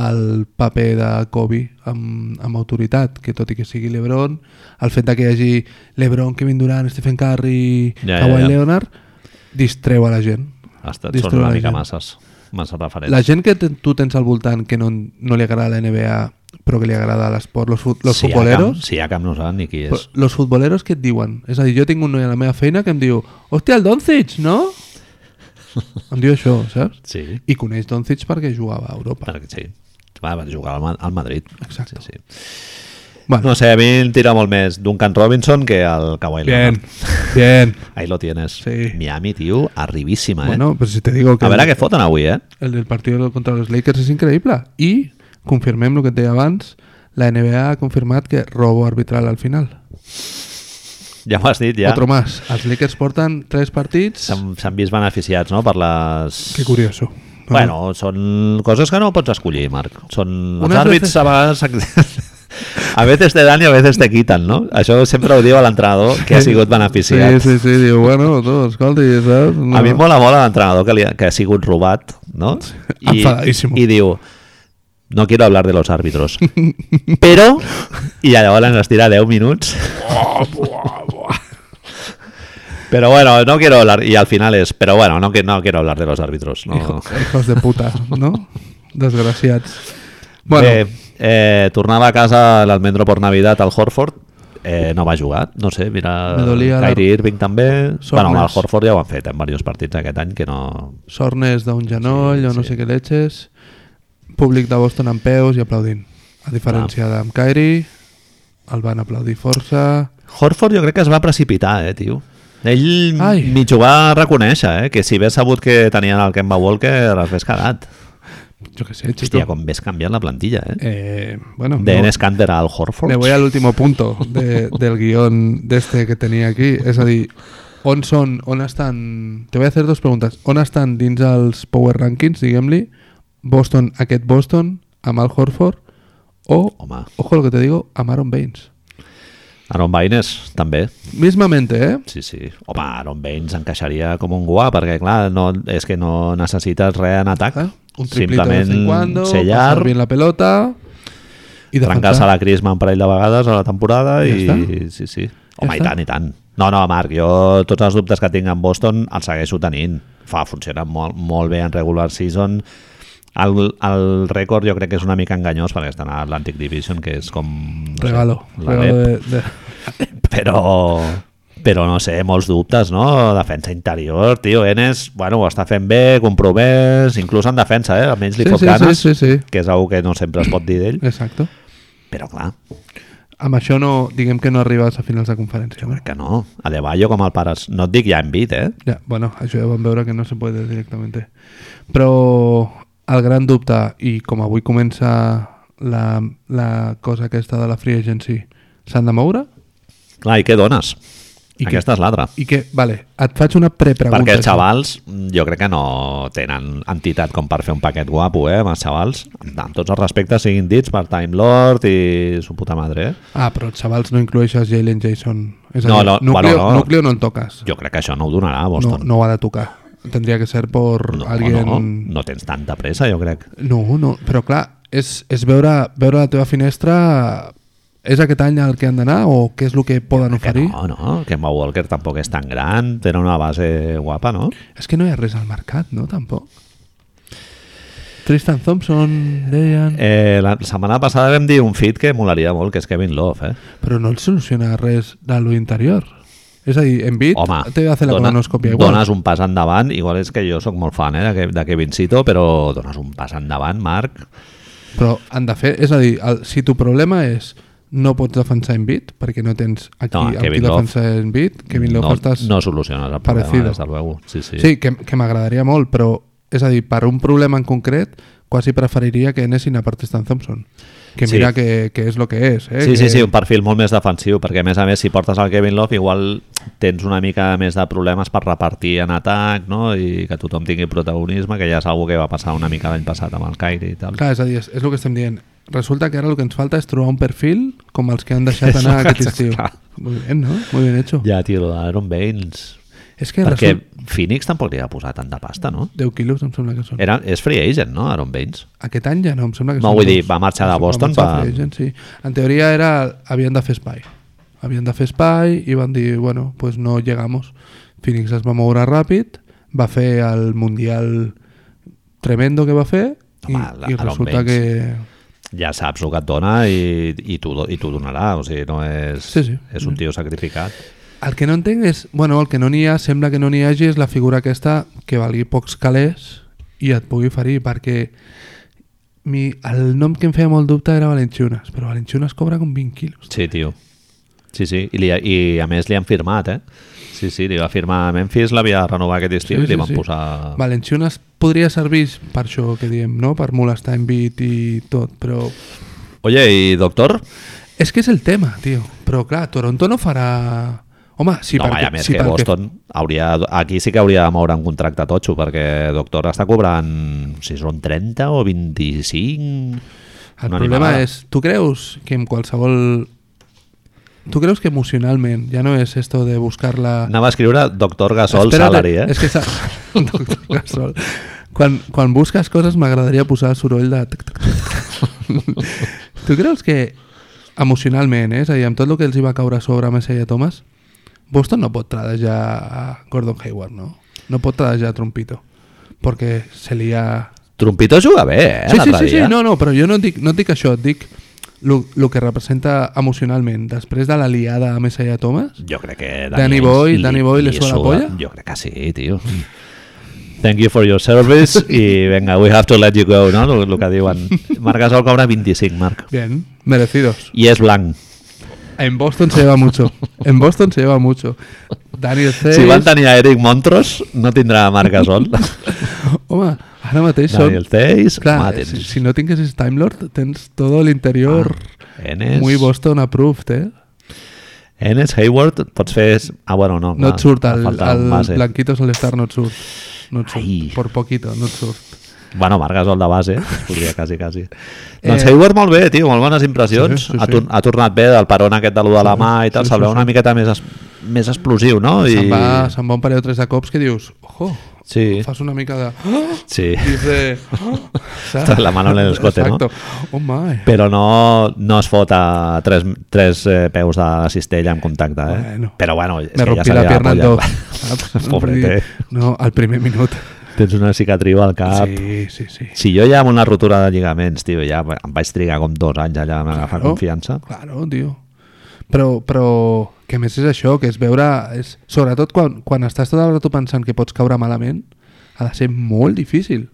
el paper de Kobe amb, amb autoritat, que tot i que sigui Lebron, el fet de que hi hagi Lebron, Kevin Durant, Stephen Curry,
Ja,
ja,
ja,
Kawhi
ja.
Leonard, distreu a la gent.
Ha estat
Distreu
són una
la
mica
gent.
masses, massa referents.
La gent que te- tu tens al voltant que no, no li agrada la NBA però que li agrada l'esport, los, fut- los futboleros...
Si hi ha camp, no saben ni qui és.
Però los futboleros què et diuen? És a dir, jo tinc un noi a la meva feina que em diu Hòstia, el Doncic, no? Em diu això, saps?
Sí,
I coneix Doncic perquè jugava a Europa.
perquè sí. Va, va jugar al, Ma- al Madrid.
Exacte.
Sí, sí.
Bueno,
No sé, a mi em tira molt més Duncan Robinson que el Kawhi
bien,
Leonard.
bien.
Ahí lo tienes.
Sí.
Miami, tio, arribíssima, eh?
Bueno, pues si te digo que
a veure què foten avui, eh?
el del partit contra els Lakers és increïble. I confirmem el que et deia abans, la NBA ha confirmat que robo arbitral al final.
Ja ho has dit, ja.
Otro más. Els Lakers porten tres partits.
S'han s'han vist beneficiats, no?, per les...
Que curioso. No,
Bueno, són coses que no pots escollir, Marc. Són els
Unes
àrbits
veces-
a vegades... A veces te dan i a veces te quitan, no? Això sempre ho diu a l'entrenador que ha sigut beneficiat.
Sí, sí, sí, diu, bueno, tu, escolta, i saps? No.
A mi em mola molt l'entrenador que, li ha- que ha sigut robat, no?
Enfadadísimo.
I diu, no quiero hablar de los árbitros, pero... I llavors ens tira 10 minuts. Pero bueno, no quiero hablar... I al final és, pero bueno, no, que- no quiero hablar de los árbitros. No.
Hijo- hijos de puta, ¿no? Desgraciats. Bueno,
Bé, eh, tornava a casa l'Almendro per Navidad al Horford. Eh, no va jugar, no sé, mira...
Me dolia la-
Kyrie Irving també.
Sort
bueno, el
més.
Horford ja ho han fet en diversos partits aquest any, que no...
sornes d'un genoll
Sí,
o no
sí.
sé què leches, públic de Boston amb peus i aplaudint. A
Ah.
diferència d'amb Kyrie, el van aplaudir força...
Horford jo crec que es va precipitar, eh, tio. Ell
Ai.
mig ho va reconèixer, eh, que si hagués sabut que tenien el Kemba Walker els hagués quedat.
Jo què sé, xico.
Hòstia, com ves canviant la plantilla, eh?
Eh, bueno,
De
me-
Enes Kanter al Horford.
me voy al último punto de, del guión de este que tenía aquí. És a dir, on són, on estan... Te voy a hacer dos preguntes. On estan dins els power rankings, diguem-li, Boston, aquest Boston, amb el Horford, o
Home,
Ojo lo que te digo, amaron Baines.
Aaron Baines també.
Mismamente, ¿eh?
Sí, sí. Home, Aaron Baines encaixaria com un guà, perquè clar, no, és que no necessites res en atac.
Ah, Un triplito de vez en cuando,
ser
pasar bien
llarg,
la pelota y defensar.
trencar-se la Crisma un parell de vegades a la temporada
Ja
i...
està.
Sí, sí. Home, i
està?
tant, i tant. No, no, Marc, jo tots els dubtes que tinc en Boston els segueixo tenint. Fa, funciona molt, molt bé en regular season. El, el rècord jo crec que és una mica enganyós perquè estan a Atlantic Division, que és com... No
Regalo.
Sé, la
regalo
LEP,
de, de-
Però, però no sé, molts dubtes, no? Defensa interior, tio, Enes, bueno, ho està fent bé, comprovés, inclús en defensa, eh? Almenys li
Sí,
fot
sí,
ganes,
sí, sí, sí.
que és algo que no sempre es pot dir d'ell.
Exacte.
Però clar,
Amb això no, diguem que no arribes a finals de conferència.
jo
No?
crec que no. A De Bayo com el pare... es- No et dic ja en bit, eh?
Ja, bueno, això ja vam veure que no se puede directament. Però el gran dubte, i com avui comença la, la cosa aquesta de la free agency, s'han de moure?
Clar, i què dones?
I
I
què-
Aquesta és l'altra.
I que, vale, et faig una prepregunta.
Perquè els xavals, jo crec que no tenen entitat com per fer un paquet guapo, eh, amb els xavals. Amb, amb tots els respectes siguin dits per Time Lord i su puta madre, eh?
Ah, però els xavals no inclueixes Jalen Jason. És a
No,
dir,
no,
núcleo,
bueno, no.
núcleo no en toques.
Jo crec que això no ho donarà a
no,
Boston.
no ho ha de tocar. Tendria que ser per
no,
alguien...
no, no tens tanta pressa, jo crec.
No, no, però clar, és, és veure, veure la teva finestra... És aquest any el que han d'anar o què és el que poden
Que
oferir?
no, no, que Kemba Walker tampoc és tan gran, té una base guapa, no?
És que no hi ha res al mercat, no? Tampoc. Tristan Thompson, deien... Eh.
Eh, la setmana passada vam dir un fit que molaria molt, que és Kevin Love, eh?
Però no els soluciona res de lo interior. És a dir, en bit,
Home,
Ah, te va fer la
dona-
colonoscòpia igual.
dones un pas endavant, igual és que jo sóc molt fan eh, de, Ke- de Kevin Cito, però dones un pas endavant, Marc,
Però han de fer... És a dir, el, si tu problema és no pots defensar en bit, perquè no tens aquí
No,
no, amb qui
Kevin Love.
defensar en bit, Kevin Love
no,
estàs...
no soluciones el
parecido.
problema, des de luego. Sí, sí.
Sí, que, que m'agradaria molt, però és a dir, per un problema en concret, quasi preferiria que anessin a per Tristan Thompson. Que
Sí.
mira que, que és el que és, eh?
Sí,
que...
sí, sí, un perfil molt més defensiu, perquè a més a més si portes el Kevin Love igual tens una mica més de problemes per repartir en atac no? i que tothom tingui protagonisme, que ja és algo que va passar una mica l'any passat amb el Kyrie i tal.
Clar, és a dir, és, és el que estem dient. Resulta que ara el que ens falta és trobar un perfil com els que han deixat
És
anar
el que
aquest
ens
estiu.
fa.
Muy bien, no? Muy bien hecho.
Ja, tio, lo d'Aaron Baines.
És que
Perquè
result...
Phoenix tampoc li va posar tanta pasta, no?
10 quilos em sembla que són.
Era, és free agent, no, Aaron Baines?
Aquest any ja no, em sembla que
Eh, No,
són
vull
dos.
dir, va marxar de
Va
Boston
marxar
per-
free agent, sí. En teoria era, havien de fer espai. Havien de fer espai i van dir, bueno, pues no llegamos. Phoenix es va moure ràpid, va fer el Mundial tremendo que va fer i,
Home, la-
i
ara on
resulta
vens.
que...
Ja saps el que et dona i, i t'ho i t'ho donarà, o sigui, no és,
Sí, sí.
és un tio sacrificat.
El que no entenc és, bueno, el que no n'hi ha, sembla que no n'hi hagi, és la figura aquesta que valgui pocs calés i et pugui ferir, perquè mi, el nom que em feia molt dubte era Valenciunas, però Valenciunas cobra com 20 quilos.
Sí, tio. Sí, sí, I, li, i a més li han firmat, eh? Sí, sí, li va firmar a Memphis, l'havia de renovar aquest estiu sí,
Sí,
i li
sí,
van
sí.
sí. posar...
Valenciunas podria servir per això que diem, no? Per molestar en bit i tot, però...
Oye, i doctor?
És que és el tema, tio. Però clar, Toronto no farà... Home, sí,
no,
perquè...
vaja, més
sí,
que
perquè-
Boston hauria, aquí sí que hauria de moure un contracte totxo perquè doctor està cobrant si són 30 o 25
El
una
problema
animalada.
és, tu creus que en qualsevol... Tu creus que emocionalment ja no és esto de buscar la...
Anava a escriure doctor Gasol
Espérate,
salary, eh?
És que sa... Doctor Gasol. Quan, quan busques coses m'agradaria posar el soroll de... tic, tic, tic. tu creus que emocionalment, eh? és a dir, amb tot el que els hi va caure a sobre a Messiah Thomas, Boston no pot tradejar a Gordon Hayward, no? No pot tradejar a Trumpito, perquè se li ha...
Trumpito juga bé, eh?
Sí, sí,
l'altre
sí, sí,
dia.
no, no, però jo no et dic, no et dic això, et dic el que representa emocionalment després de la liada a Messiah Thomas.
Jo crec que...
Danny
Ainge
Boy- Danny Boy li suda la polla?
Jo crec que sí, tio. Thank you for your service i venga, we have to let you go, no? El que diuen. Marc Gasol cobra 25, Marc.
Bien, merecidos.
I és blanc.
En Boston se lleva mucho. En Boston se lleva mucho. Daniel Zeiss...
Si van tenir a Eric Montrose, no tindrà Marc Gasol.
Home, ara mateix són...
Daniel Teis,
Clar,
Matens,
si, si no tinguessis Time Lord, tens todo el interior
Enes,
muy Boston approved, eh?
Enes, Hayward, pots fer... Ah, bueno, no.
No et surt el,
falta eh. un
el
base.
Blanquito Solestar, no et surt. No et surt,
Ai.
por poquito, no et surt.
Bueno, Marc Gasol de base, es podria quasi, quasi.
Eh,
Doncs Hayward molt bé, tio, molt bones impressions.
Sí, sí,
ha,
sí.
tor ha tornat bé del peron aquest de l'1 de la mà i tal,
sí,
se'l
sí,
veu
sí.
una miqueta més, es més explosiu, no? I...
Se'n va, se'n va un parell o tres de cops que dius, ojo,
Sí,
fas una mica de... "Ah!"
sí.
I és de... "Ah!" saps?
La mano en el escote, no?
Exacto. Oh my.
Però no, no es fot a tres, tres eh, peus de la cistella en contacte, eh?
Bueno.
Però bueno, és
Me
que ja
rompí
se li
la
va
pierna en
la
dos.
polla.
saps?
Pobret,
Vull dir,
eh?
No, al primer minut.
Tens una cicatriu al cap.
Sí, sí, sí.
Si jo ja amb una rotura de lligaments, tio, ja em vaig trigar com dos anys allà a agafar
Claro.
confiança.
Claro, tio. Però, però que a més és això, que és veure... És, sobretot quan, quan estàs tota l'hora tu pensant que pots caure malament, ha de ser molt difícil.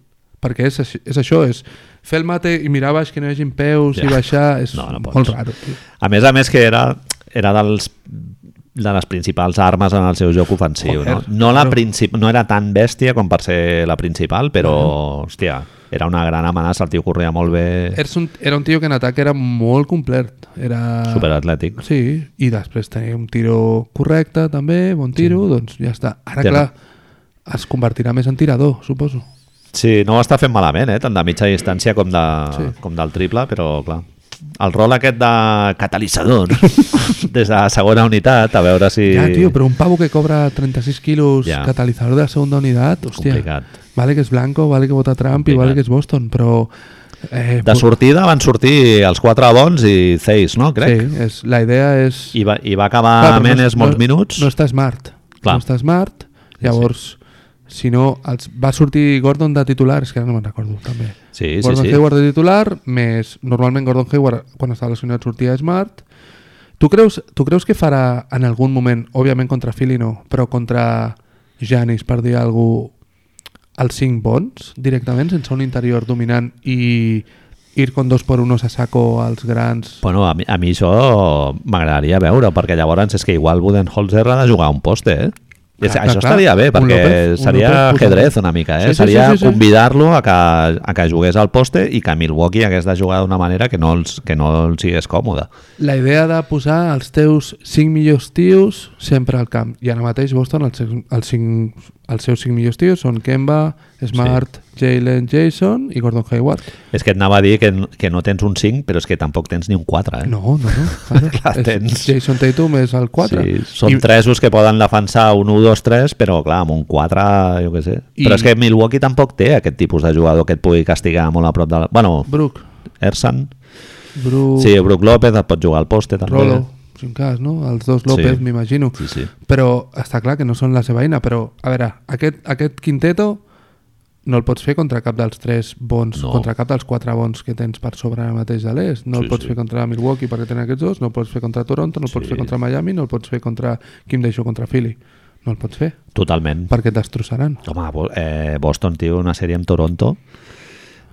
Perquè és, així- és això, és fer el mate i mirar baix que no hi hagi peus
Ja.
i baixar, és
No, no
molt
pots.
raro. Tio.
A més a més que era, era dels, de les principals armes en el seu joc ofensiu.
Joder,
no? No, la
claro.
princip no era tan bèstia com per ser la principal, però, hòstia, era una gran amenaça, el tio corria molt bé,
Era un, era un tio que en atac era molt complet. Era...
superatlètic.
Sí, i després tenia un tiro correcte també, bon tiro, doncs ja està. Ara,
Ja no.
clar, es convertirà més en tirador, suposo.
Sí, no ho està fent malament, eh? tant de mitja distància com, de, sí.
Sí.
com del triple, però clar. El rol aquest de catalitzador des de la segona unitat, a veure si...
Ja, tio, però un pavo que cobra 36 quilos
Ja.
yeah. catalitzador de la segona unitat, hòstia.
Complicat.
Vale que és blanco, vale que vota Trump i
Complicat.
vale que és Boston, però... Eh,
De
pu-
sortida van sortir els quatre bons i Zeis, no? Crec.
Sí, és, la idea és...
I, va, I va acabar
Clar, però no-
Menes molts
no,
minuts.
No està smart.
Clar.
No està smart, llavors... Si no, els, va sortir Gordon de titular, és que ara no me'n recordo, també.
Sí, sí,
Gordon
sí.
Hayward de titular, més... Normalment Gordon Hayward, quan estava lesionat, sortia Smart. Tu creus, tu creus que farà en algun moment, òbviament contra Philly no, però contra Janis, per dir alguna cosa, els 5 bons directament, sense un interior dominant i ir con dos por unos a saco als grans?
Bueno, a mi, a mi això m'agradaria veure, perquè llavors és que igual Budenholzer ha de jugar a un poste, eh? Clar,
Clar,
això
clar, clar.
estaria bé,
Un
perquè
López, un
seria
López, puta
ajedrez
López.
una mica, eh?
Sí, sí,
seria
sí, sí, sí.
convidar-lo a, que, a que jugués al poste i que Milwaukee hagués de jugar d'una manera que no, els, que no els hi és còmoda.
La idea de posar els teus 5 millors tios sempre al camp. I ara mateix Boston, els, seus- els, 5, els seus 5 millors tios són Kemba, Smart, Jalen, Jason i Gordon Hayward.
És que et anava a dir que, n- que no tens un 5, però és que tampoc tens ni un 4, eh?
No, no, no. Claro.
La
És-
tens.
Jason Tatum és el 4.
Sí, són I...
I,
tresos que poden defensar un 1, 2, 3, però clar, amb un 4, jo què sé. I...
I-
Però és que Milwaukee tampoc té aquest tipus de jugador que et pugui castigar molt a prop de la... Bueno,
Brook.
Ersan,
Brook.
Sí, Brook López et pot jugar al poste també.
Rolo, si en cas, no? Els dos López,
Sí.
m'imagino.
Sí, sí.
Però està clar que no són la seva eina, però, a veure, aquest, aquest quinteto no el pots fer contra cap dels tres bons,
No.
no. contra cap dels quatre bons que tens per sobre ara mateix de l'est. No
Sí,
el pots
sí.
fer contra Milwaukee perquè tenen aquests dos, no el pots fer contra Toronto, no el pots
Sí.
fer contra Miami, no el pots fer contra Kim Deixó contra Philly. No el pots fer,
Totalment.
perquè et destrossaran.
Home, Bo- eh, Boston, tio, una sèrie amb Toronto.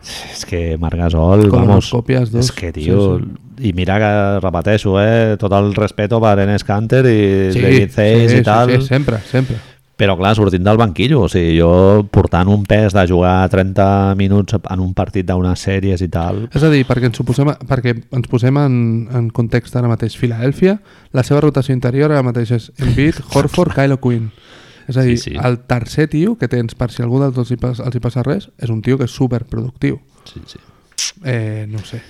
És que Marc Gasol, vamos...
Colonoscòpies, dos.
És que, tio...
Sí,
Sí, sí. I mira que, repeteixo, eh, tot el respeto per Enes Kanter i David Hayes i tal,
sí, sí, sempre, sempre.
però clar, sortint del banquillo, o sigui, jo portant un pes de jugar 30 minuts en un partit d'unes sèries i tal,
És a dir, perquè ens, ho posem, a- perquè ens posem en, en context ara mateix Filadèlfia, la seva rotació interior ara mateix és Embiid, Horford, Kylo Quinn. És a dir,
Sí,
sí,
sí.
sí. el tercer tio que tens per si algú dels dos hi pas, els hi passa res és un tio que és superproductiu.
sí, sí.
Eh, no ho sé.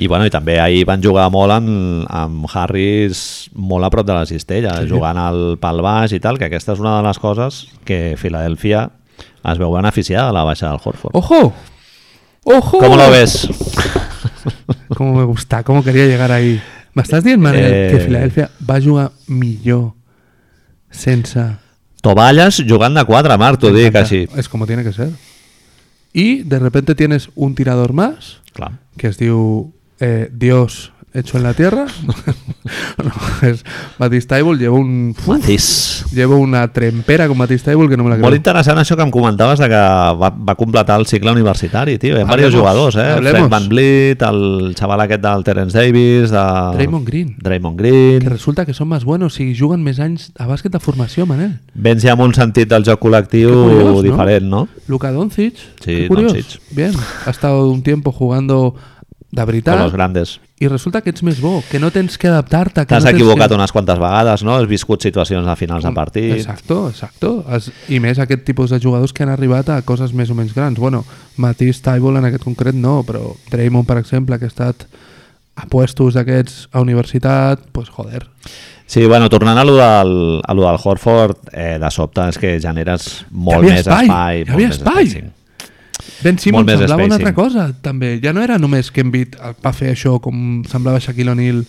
I, bueno, i també ahir van jugar molt amb, amb Harris molt a prop de la cistella, sí. jugant al pal baix i tal, que aquesta és una de les coses que Filadèlfia es veu beneficiada de la baixa del Horford.
¡Ojo! ¡Ojo!
¿Cómo lo ves?
Cómo me gusta, cómo quería llegar ahí. M'estàs dient, Manel,
Eh.
eh... que Filadèlfia va jugar millor sense
Tovalles jugant de 4, Marc, t'ho dic
Encanta.
així.
Es como tiene que ser. Y de repente tienes un tirador más
Clar.
que es diu eh, Dios hecho en la tierra. no, es Matisse Thybulle lleva un...
Matís.
Llevo una trempera con Matisse Thybulle Ah, que no me la creo.
Molt interessant això que em comentaves de que va, va completar el cicle universitari, tio. Hi ha diversos
Hablemos,
jugadors, eh? Fred
hablemos.
Van Vliet, el xaval aquest del Terence Davis, de...
Draymond Green.
Draymond
Que
Green.
resulta que son más buenos y juegan més anys a bàsquet de formació, Manel.
Vens ja amb un sentit del joc col·lectiu
Que curiós, no?
diferent, no?
Luka Doncic,
Sí,
qué curiós.
Doncic.
Bien, ha estado un tiempo jugando de
Con los
veritat
grandes.
i resulta que ets més bo, que no tens que adaptar-te. que
T'has
no tens
equivocat
que... Mm,
unes quantes vegades, no? Has viscut situacions a finals de partit.
Exacto, exacto. Es, I més aquest tipus de jugadors que han arribat a coses més o menys grans. Bueno, Matís Taibol en aquest concret no, però Draymond, per exemple, que ha estat a puestos d'aquests a universitat, doncs pues, joder.
Sí, bueno, tornant a lo del, a lo del Horford, eh, de sobte és que generes molt
havia
més
espai,
espai.
hi
molt
havia
més
espai.
spacing.
Ben Simmons
més
semblava una altra
spacing.
cosa, també. Ja no era només que Embiid va fer això com semblava Shaquille O'Neal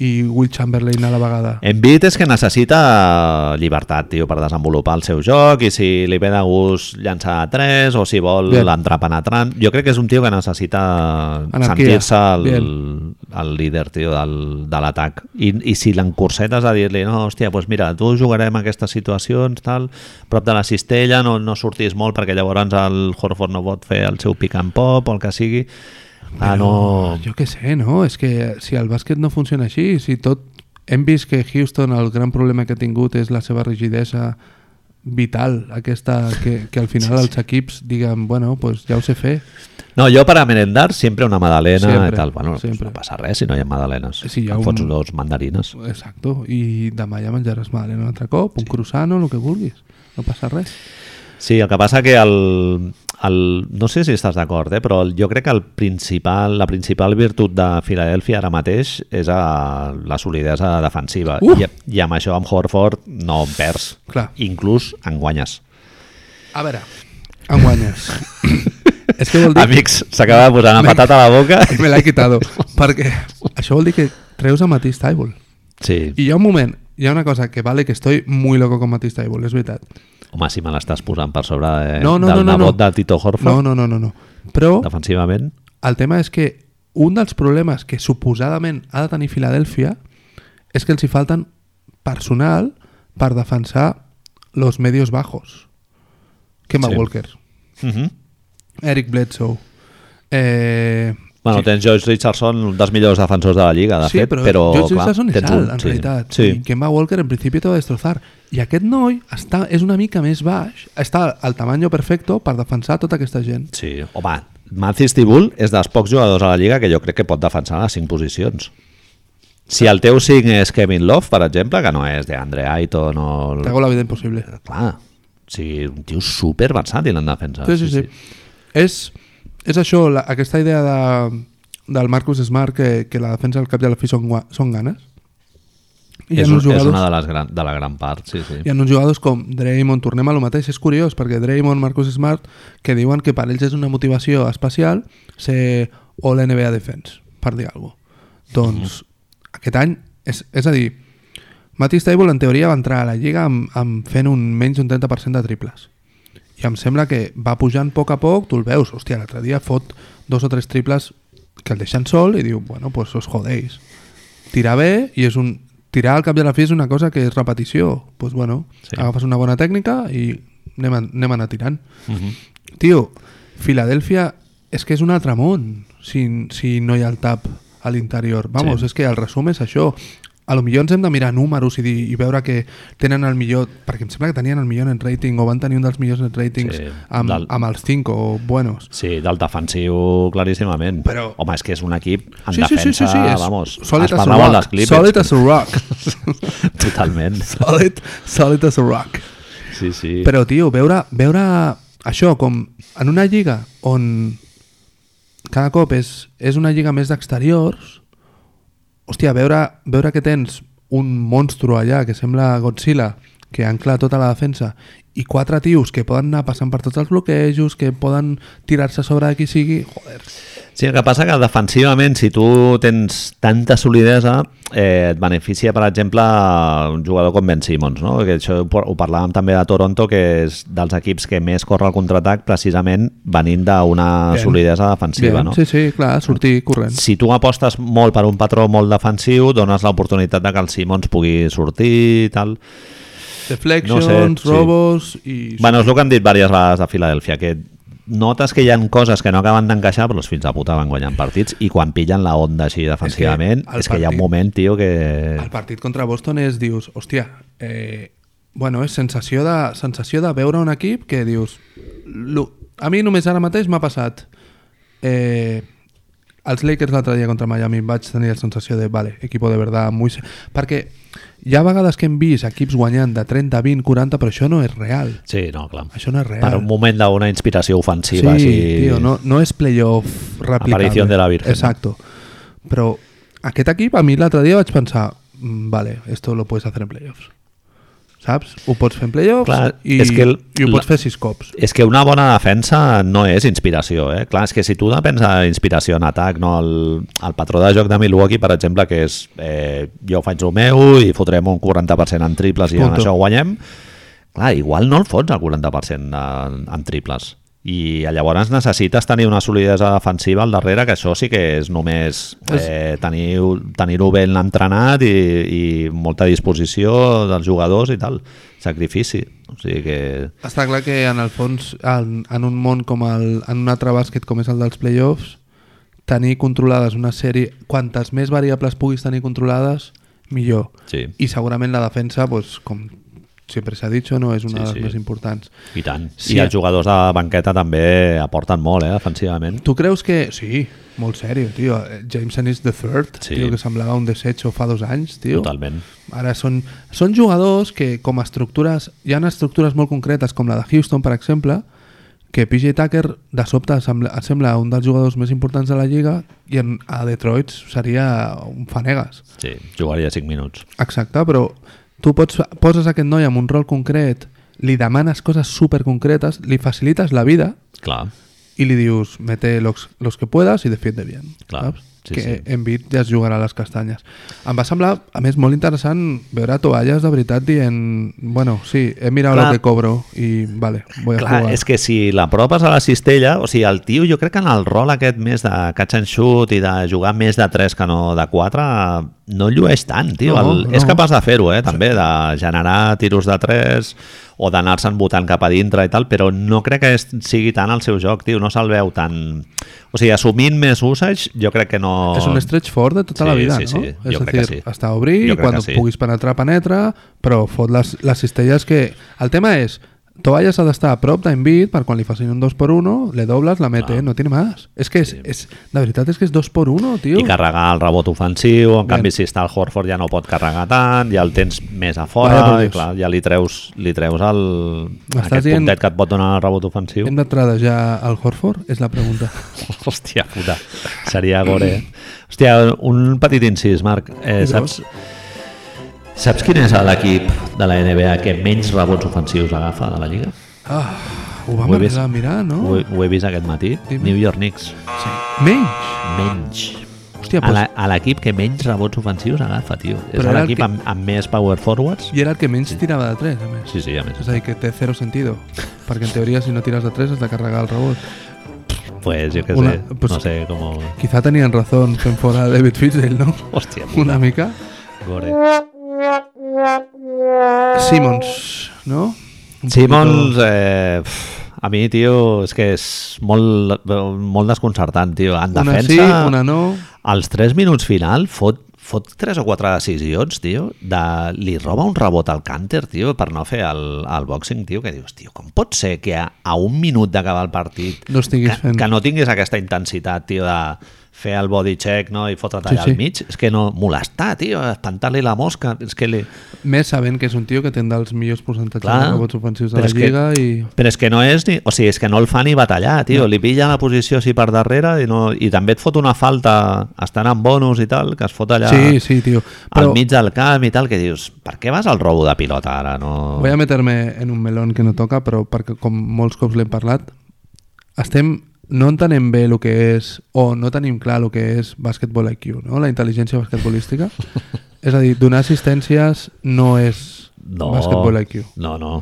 i Will Chamberlain a la vegada.
Embiid és que necessita llibertat, tio, per desenvolupar el seu joc i si li ve de gust llançar a tres o si vol
Bien.
entrar penetrant. Jo crec que és un tio que necessita
Anarquia.
sentir-se el,
Bien.
el líder, tio, del, de l'atac. I, I si l'encursetes a dir-li, no, hòstia, doncs mira, tu jugarem aquestes situacions, tal, prop de la cistella, no, no sortís molt perquè llavors el Horford no pot fer el seu pick and pop o el que sigui. Ah, no...
Jo què sé, no? És que si el bàsquet no funciona així, si tot... Hem vist que Houston el gran problema que ha tingut és la seva rigidesa vital, aquesta que, que al final els equips diguen, bueno, pues ja ho sé fer.
No, jo per a merendar sempre una magdalena
Sempre,
i tal. Bueno, pues
sempre.
no passa res si no hi ha magdalenes.
Sí, hi ha
Em
un-
fots dos mandarines.
Exacto, i demà ja menjaràs madalena un altre cop, un sí. croissant o el que vulguis. No passa res.
Sí, el que passa que el, el, no sé si estàs d'acord, eh, però el- jo crec que el principal, la principal virtut de Filadèlfia ara mateix és a la solidesa defensiva.
Uh!
I, I amb això, amb Horford, no en perds.
Clar.
Inclús en guanyes.
A veure, en guanyes. és que vol dir...
Amics, s'acaba posant la
M'he-
patata a la boca.
Me l'he quitado. perquè això vol dir que treus a Matisse Taibol.
Sí,
I hi ha un moment, hi ha una cosa que vale que estoy muy loco con Matisse Taibol, és veritat.
home, si me l'estàs posant per sobre de,
No, no,
Eh, del
no, no, no.
nebot de Tito Horford,
No, no, no, no, no. Però
defensivament.
el tema és que un dels problemes que suposadament ha de tenir Filadèlfia és que els hi falten personal per defensar los medios bajos. Kemba
Sí.
Walker,
Uh -huh.
Eric Bledsoe, eh,
Bueno, sí. tens George Richardson, un dels millors defensors de la Lliga, de
sí,
fet,
però,
però
George
clar,
Richardson és
tens
alt,
un,
en
sí.
realitat.
Sí.
I Kemba Walker, en principi, t'ha de destrossar. I aquest noi està, és una mica més baix, està al tamaño perfecto per defensar tota aquesta gent.
sí. Home, Mathis Tibul és dels pocs jugadors a la Lliga que jo crec que pot defensar les 5 posicions. Si el teu 5 és Kevin Love, per exemple, que no és de Andre Aiton o... el-
T'hago la vida impossible.
Clar, o sigui, un tio super versàtil en defensa.
Sí, sí, sí. És, és això, la, aquesta idea de, del Marcus Smart que, que la defensa al cap i a la fi són, gua- són ganes. I hi
És,
ha
un,
uns
és
jugadors,
una de, les gran, de la gran part, sí, sí.
hi ha uns jugadors com Draymond, tornem a lo mateix, és curiós, perquè Draymond, Marcus Smart, que diuen que per ells és una motivació especial ser All-NBA Defense, per dir alguna cosa. Doncs aquest any, és, és a dir, Matisse Table en teoria va entrar a la Lliga amb, amb fent un menys d'un 30% de triples i em sembla que va pujant a poc a poc, tu el veus, hòstia, l'altre dia fot dos o tres triples que el deixen sol i diu, bueno, pues os jodéis. Tirar bé i és un... Tirar al cap de la fi és una cosa que és repetició. pues bueno,
Sí.
sí. agafes una bona tècnica i anem, a, anem a anar tirant.
Uh -huh.
Tio, Filadèlfia és que és un altre món si, si no hi ha el tap a l'interior. Vamos,
Sí.
sí. és que el resum és això. A lo millor ens hem de mirar números i, dir, i veure que tenen el millor... Perquè em sembla que tenien el millor net rating o van tenir un dels millors net ratings
Sí,
sí, amb,
del-
amb els 5 o buenos.
Sí, del defensiu claríssimament.
Però-
Home, és que és un equip en defensa, vamos,
solid
es
as a
parlava en les
rock.
clips.
Solid as a rock.
Totalment.
solid, solid as a rock.
Sí, sí.
Però, tio, veure, veure això com en una lliga on cada cop és, és una lliga més d'exteriors, hòstia, veure, veure que tens un monstru allà que sembla Godzilla, que ancla tota la defensa, i quatre tios que poden anar passant per tots els bloquejos, que poden tirar-se a sobre de qui sigui, joder.
Sí, el que passa que defensivament, si tu tens tanta solidesa, eh, et beneficia, per exemple, un jugador com Ben Simmons, no? que això ho par- ho parlàvem també de Toronto, que és dels equips que més corre el contraatac precisament venint d'una
Bien.
solidesa defensiva.
Bien,
no?
Sí, sí, clar, sortir corrent.
Si tu apostes molt per un patró molt defensiu, dones l'oportunitat de que el Simmons pugui sortir i tal.
Deflections,
No sé, sí.
robos i...
Bueno, és el que han dit diverses vegades a Filadèlfia, que notes que hi han coses que no acaben d'encaixar, però els fills de puta van guanyant partits i quan pillen la onda així defensivament, és
el
que, hi ha un
partit-
moment, tio, que...
El partit contra Boston és, dius, hòstia, eh, bueno, és sensació de, sensació de veure un equip que dius, "Lo- a mi només ara mateix m'ha passat. Eh, els Lakers l'altre dia contra Miami vaig tenir la sensació de, vale, equipo de verdad, muy... se-". Perquè hi ha vegades que hem vist equips guanyant de 30, 20, 40, però això no és real.
Sí, no, clar.
Això no és real.
Per un moment d'una inspiració
Sí,
ofensiva.
sí,
així...
tio, no, no és playoff replicable.
Aparición de la Virgen.
Exacto. Però aquest equip, a mi l'altre dia vaig pensar "Mm, vale, esto lo puedes hacer en playoffs. Saps? Ho pots fer en playoffs
Clar,
i,
és que el-
i ho pots
la-
fer sis cops.
És que una bona defensa no és inspiració, eh? Clar, és que si tu depens de inspiració en atac, no? El, el patró de joc de Milwaukee, per exemple, que és eh, jo faig el meu i fotrem un 40% en triples i amb
Punto.
això guanyem, clar, igual no el fots el 40% en, en triples. I llavors necessites tenir una solidesa defensiva al darrere, que això sí que és només eh, tenir-ho tenir ben entrenat i, i molta disposició dels jugadors i tal, sacrifici. O sigui que...
Està clar que en el fons, en, en un món com el, en un altre bàsquet com és el dels playoffs, tenir controlades una sèrie, quantes més variables puguis tenir controlades, millor.
Sí.
I segurament la defensa, pues, com sempre s'ha dit, no és
Sí,
una sí, de les
sí.
sí. més importants.
I tant. Sí.
Sí.
I els jugadors de banqueta també aporten molt, eh, defensivament.
Tu creus que... Sí, molt sèrio, tio. Eh, Jameson is the third,
Sí.
sí. tio, que semblava un desecho fa dos anys, tio.
Totalment.
Ara són, són jugadors que com a estructures, hi ha estructures molt concretes com la de Houston, per exemple, que PJ Tucker de sobte sembla, sembla un dels jugadors més importants de la lliga i en, a Detroit seria un fanegas.
Sí, jugaria 5 minuts.
Exacte, però tu pots, poses aquest noi amb un rol concret, li demanes coses super concretes, li facilites la vida
Clar.
i li dius mete los, los que puedas i defiende bien
Clar,
saps?
sí,
que
sí.
Embiid ja es jugarà a les castanyes em va semblar, a més, molt interessant veure tovalles de veritat dient bueno, sí, he mirat
Clar.
lo que cobro i vale, voy a
Clar,
jugar
és que si l'apropes a la cistella, o sigui, el tio, jo crec que en el rol aquest més de catch and shoot i de jugar més de 3 que no de 4, no llueix tant, tio.
No,
el,
no.
És capaç de fer-ho, eh, també, de generar tiros de 3 o d'anar-se'n votant cap a dintre i tal, però no crec que és, sigui tant el seu joc, tio. No se'l veu tan... O sigui, assumint més usage, jo crec que no...
és un stretch fort de tota la
Sí,
vida,
sí, sí,
no?
jo crec
És a
que
dir,
sí.
hasta obrir
Jo
i
crec
quan
que sí.
puguis penetrar, penetra, però fot les, les cistelles que... El tema és, Tovalles ha d'estar a prop d'Envid per quan li facin un 2x1, le dobles, la mete,
Clar.
no tiene más. És que és, és, la veritat és que és 2x1, tio.
i carregar el rebot ofensiu, en
Bien.
canvi si està el Horford ja no pot carregar tant, ja el tens més a fora,
Vaya por
i
Dios.
clar, ja li treus, li treus el,
M'estàs
aquest
dient-
puntet que et pot donar el rebot ofensiu.
Hem de tradejar el Horford? És la pregunta.
Hòstia puta, seria gore. eh? Hòstia, un petit incís, Marc. Eh,
I
saps, saps quin és l'equip de la NBA que menys rebots ofensius agafa de la Lliga?
Ho vam
Ho he vist.
arribar a mirar, no?
Ho, he, ho he vist aquest matí.
Oh. Dime.
New York Knicks.
Sí. Menys!
Menys.
Hòstia,
A
pues,
la- A l'equip que menys rebots ofensius agafa, tio. És
Però era el
l'equip
que-
amb, amb més power forwards.
i era el que menys tirava de 3, a més.
Sí, sí, a més.
És a dir, que té zero sentido. Perquè en teoria, si no tires de 3, has de carregar el rebot.
Pues jo què
Una-
sé,
pues-
no sé com...
Quizá tenien raó fent fora David Fitzgerald, no?
Hòstia,
Una mica.
gore.
Simmons, no? Un
Simons, eh, pf, a mi, tio, és que és molt, molt desconcertant, tio. En
Una
defensa,
sí, una no.
als 3 minuts final fot, fot 3 o 4 decisions, tio. De, li roba un rebot al Canter, tio, per no fer el, el boxing, tio, que dius, tio, com pot ser que a, a un minut d'acabar el partit
No estiguis
que,
fent.
que no tinguis aquesta intensitat, tio, de fer el body check no? i fotre't allà
Sí,
al
sí.
mig, és que no, molestar, tio, espantar-li la mosca, és que li...
Més sabent que és un tio que tindrà els millors percentatges
Clar,
de rebots ofensius de
però
la
és que-
Lliga i...
Però és que no és ni... O sigui, és que no el fa ni batallar, tio. Li pilla la posició així per darrere i, no, i també et fot una falta estant en bonus i tal, que es fot allà
Sí, sí, tio.
al
Però
mig del camp i tal, que dius, per què vas al robo de pilota ara? No...
Voy a meterme en un melón que no toca, però perquè com molts cops l'hem parlat, estem no entenem bé el que és o no tenim clar el que és basketball IQ, no? la intel·ligència basquetbolística. és a dir, donar assistències no és
No,
basketball IQ.
no, no.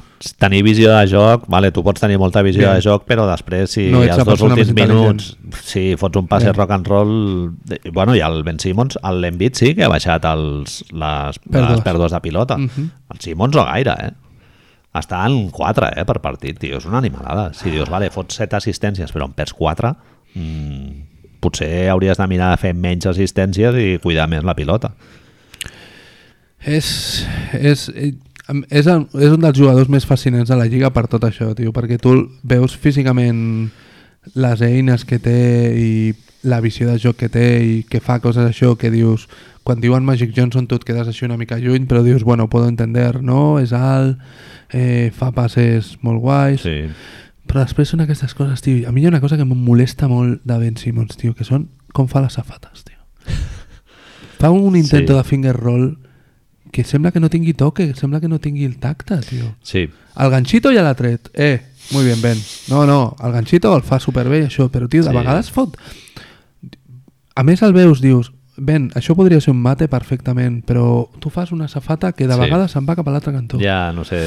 Tenir visió de joc, vale, tu pots tenir molta visió
Bien.
de joc, però després, si
No ets
els
la
dos
persona més
últims minuts, si fots un passe
Bien.
rock and roll... de- Bueno, i el Ben Simmons, l'Envit sí que ha baixat els, les, les
Pèrdues.
pèrdues de pilota.
Mhm.
El Simmons no gaire, eh? Està en 4 eh, per partit, tio. És una animalada.
Ah.
Si dius, vale, fots 7 assistències, però en perds 4, mm, potser hauries de mirar de fer menys assistències i cuidar més la pilota.
És, és, és, el- és un dels jugadors més fascinants de la Lliga per tot això, tio, perquè tu el veus físicament les eines que té i la visió de joc que té i que fa coses això que dius quan diuen Magic Johnson tu et quedes així una mica lluny però dius, bueno, puedo entender, no? És alt, eh, fa passes molt guais sí.
Sí.
però després són aquestes coses, tio a mi hi ha una cosa que em molesta molt de Ben Simmons, tio, que són com fa les safates, tio Fa un intent
Sí.
de finger roll que sembla que no tingui toque, sembla que no tingui el tacte, tio.
Sí,
El ganxito ja l'ha tret. Eh, muy bien, Ben. No, no, el ganxito el fa superbé, i això, però, tio, de
Sí.
vegades fot... A més, el veus, dius, Ben, això podria ser un mate perfectament, però tu fas una safata que de
Sí.
vegades se'n va cap a l'altre cantó.
ja no sé...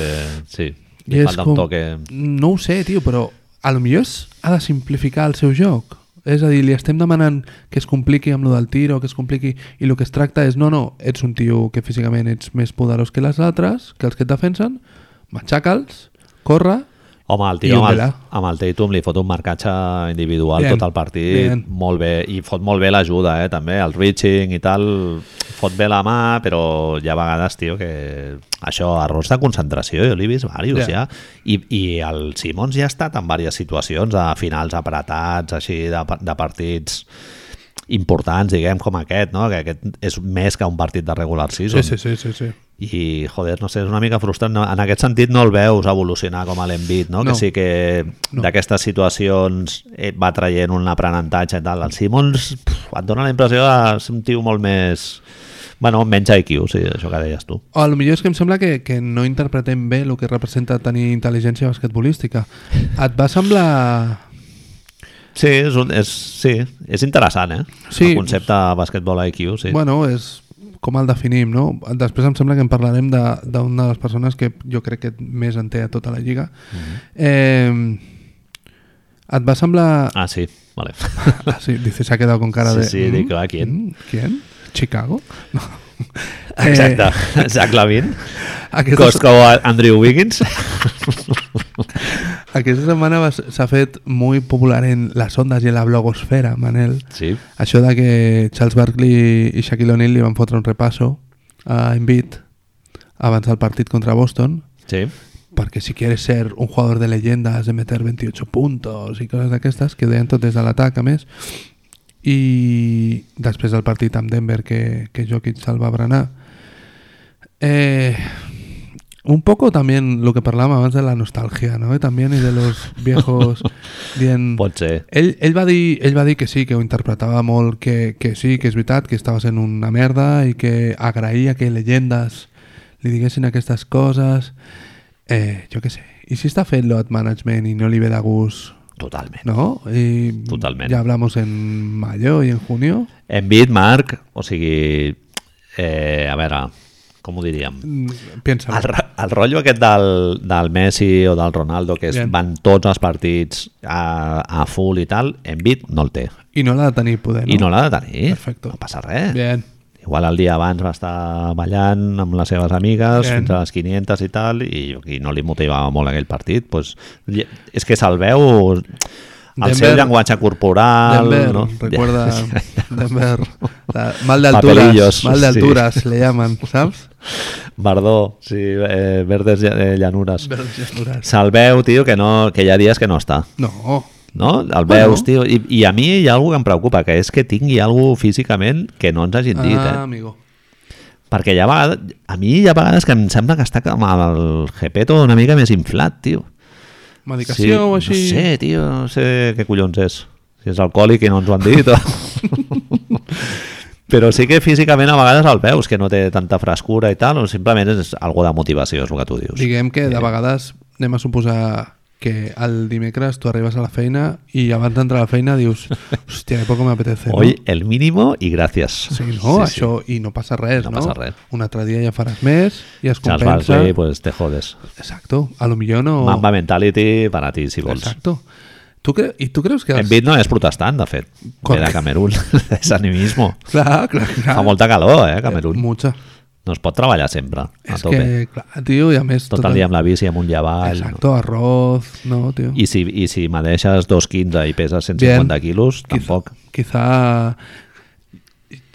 Sí,
I
li
és
falta un toque...
No ho sé, tio, però a lo millor és, ha de simplificar el seu joc. És a dir, li estem demanant que es compliqui amb lo del tir o que es compliqui... I el que es tracta és, no, no, ets un tio que físicament ets més poderós que les altres, que els que et defensen, matxaca'ls, corre...
Home, el
I
tio
un
amb el,
Vela.
amb el Tatum li fot un marcatge individual
Bien,
tot el partit,
bien.
molt bé, i fot molt bé l'ajuda, eh, també, el reaching i tal, fot bé la mà, però hi ha vegades, tio, que això, errors de concentració, jo l'he vist diversos, ja,
Ja.
i, i el Simons ja ha estat en diverses situacions, a finals apretats, així, de, pa- de partits importants, diguem, com aquest, no? que aquest és més que un partit de regular season.
sí, sí, sí.
I, joder, no sé, és una mica frustrant. No, en aquest sentit no el veus evolucionar com a l'envit, no?
No.
Que sí que
No.
d'aquestes situacions et va traient un aprenentatge i tal. El Simons pff, et dona la impressió de ser un tio molt més... Bueno, menys IQ, sí, això que deies tu.
O a lo millor és que em sembla que, que no interpretem bé el que representa tenir intel·ligència basquetbolística. Et va semblar...
Sí, és, un, és, sí, és interessant, eh?
Sí.
El concepte basquetbol IQ, sí.
Bueno, és com el definim, no? Després em sembla que en parlarem de- d'una de, les persones que jo crec que més en té a tota la lliga.
Mm-hmm.
eh, et va semblar...
Ah, sí, vale.
Ah, sí, dice, s'ha quedat con cara
Sí,
de...
sí, dic, ah, ¿quién?
Mm, ¿Quién? ¿Chicago? No.
Exacte,
Eh,
Zach Lavin,
aquesta,
Costco Andrew Wiggins.
aquesta setmana va s- s'ha fet molt popular en les ondes i en la blogosfera, Manel.
Sí,
Això de que Charles Barkley i Shaquille O'Neal li van fotre un repasso a Embiid abans del partit contra Boston
sí.
perquè si quieres ser un jugador de leyenda has de meter 28 puntos i coses d'aquestes que deien tot des de l'atac a més i després del partit amb Denver que, que Jokic se'l va berenar eh, un poco también lo que parlàvem abans de la nostalgia ¿no? también y de los viejos bien...
Pot ser.
Ell, ell, va dir, ell va dir que sí, que ho interpretava molt, que, que sí, que és veritat, que estava sent una merda i que agraïa que llegendes li diguessin aquestes coses. Eh, jo què sé. I si està fent load management i no li ve de gust,
Totalment.
no? I
Totalment.
Ja hablamos en mayo y en junio.
Envid, Marc, o sigui... Eh, a veure, com ho diríem?
Mm,
El,
Piensa.
ro- el rotllo aquest del, del Messi o del Ronaldo, que es
Bien.
van tots els partits a, a full i tal, Envid no el té.
I no l'ha de tenir poder, no?
I no l'ha de tenir.
Perfecto.
No passa res.
Bien.
Igual el dia abans va estar ballant amb les seves amigues
Bien.
fins a les 500 i tal i, i no li motivava molt aquell partit pues, li- és que se'l veu el seu
Denver-
llenguatge corporal
Denver,
no?
recuerda Denver. La- mal de
Papelillos,
alturas, mal de
sí.
alturas le llaman, ¿sabes?
Verdó, sí, eh, verdes lla- eh, llanures.
Verdes.
Se'l veu, tio, que, no, que hi ha dies que no està.
No,
No? El
Bueno.
veus, tio. I, I a mi hi ha alguna que em preocupa, que és que tingui alguna físicament que no ens hagin dit,
ah,
eh?
amigo.
Perquè hi ha vegades, a mi hi ha vegades que em sembla que està amb el Gepeto una mica més inflat, tio.
Medicació o així.
No sé, tio, no sé què collons és. Si és alcohòlic i no ens ho han dit. O... Però sí que físicament a vegades el veus, que no té tanta frescura i tal, o simplement és algo de motivació, és el que tu dius.
Diguem que
eh.
de vegades anem a suposar que el dimecres tu arribes a la feina i abans d'entrar a la feina dius hòstia, que poco m'apetece, no?
Hoy el mínimo y gracias.
Sí, no? Sí, Això, I no passa res,
No
no?
passa res.
Un altre dia ja faràs més i es
Charles
compensa.
Barkley, pues te jodes.
Exacto. A lo millor no...
Mamba Mentality para ti, si vols.
Exacto. Tu cre... I tu creus que... Els...
Envid no és protestant, de fet. Ve
Correcte.
de Camerún. és animismo.
Clar, clar, clar.
Fa molta calor, eh, Camerún.
Mucha.
No es pot treballar sempre, a
És
tope.
que, clar, tio, i a més... tota-
Tot el dia amb la bici, amunt i avall.
Exacto, arroz, no, tio.
I si, I si medeixes 2,15 i peses 150 quilos, tampoc.
Quizá...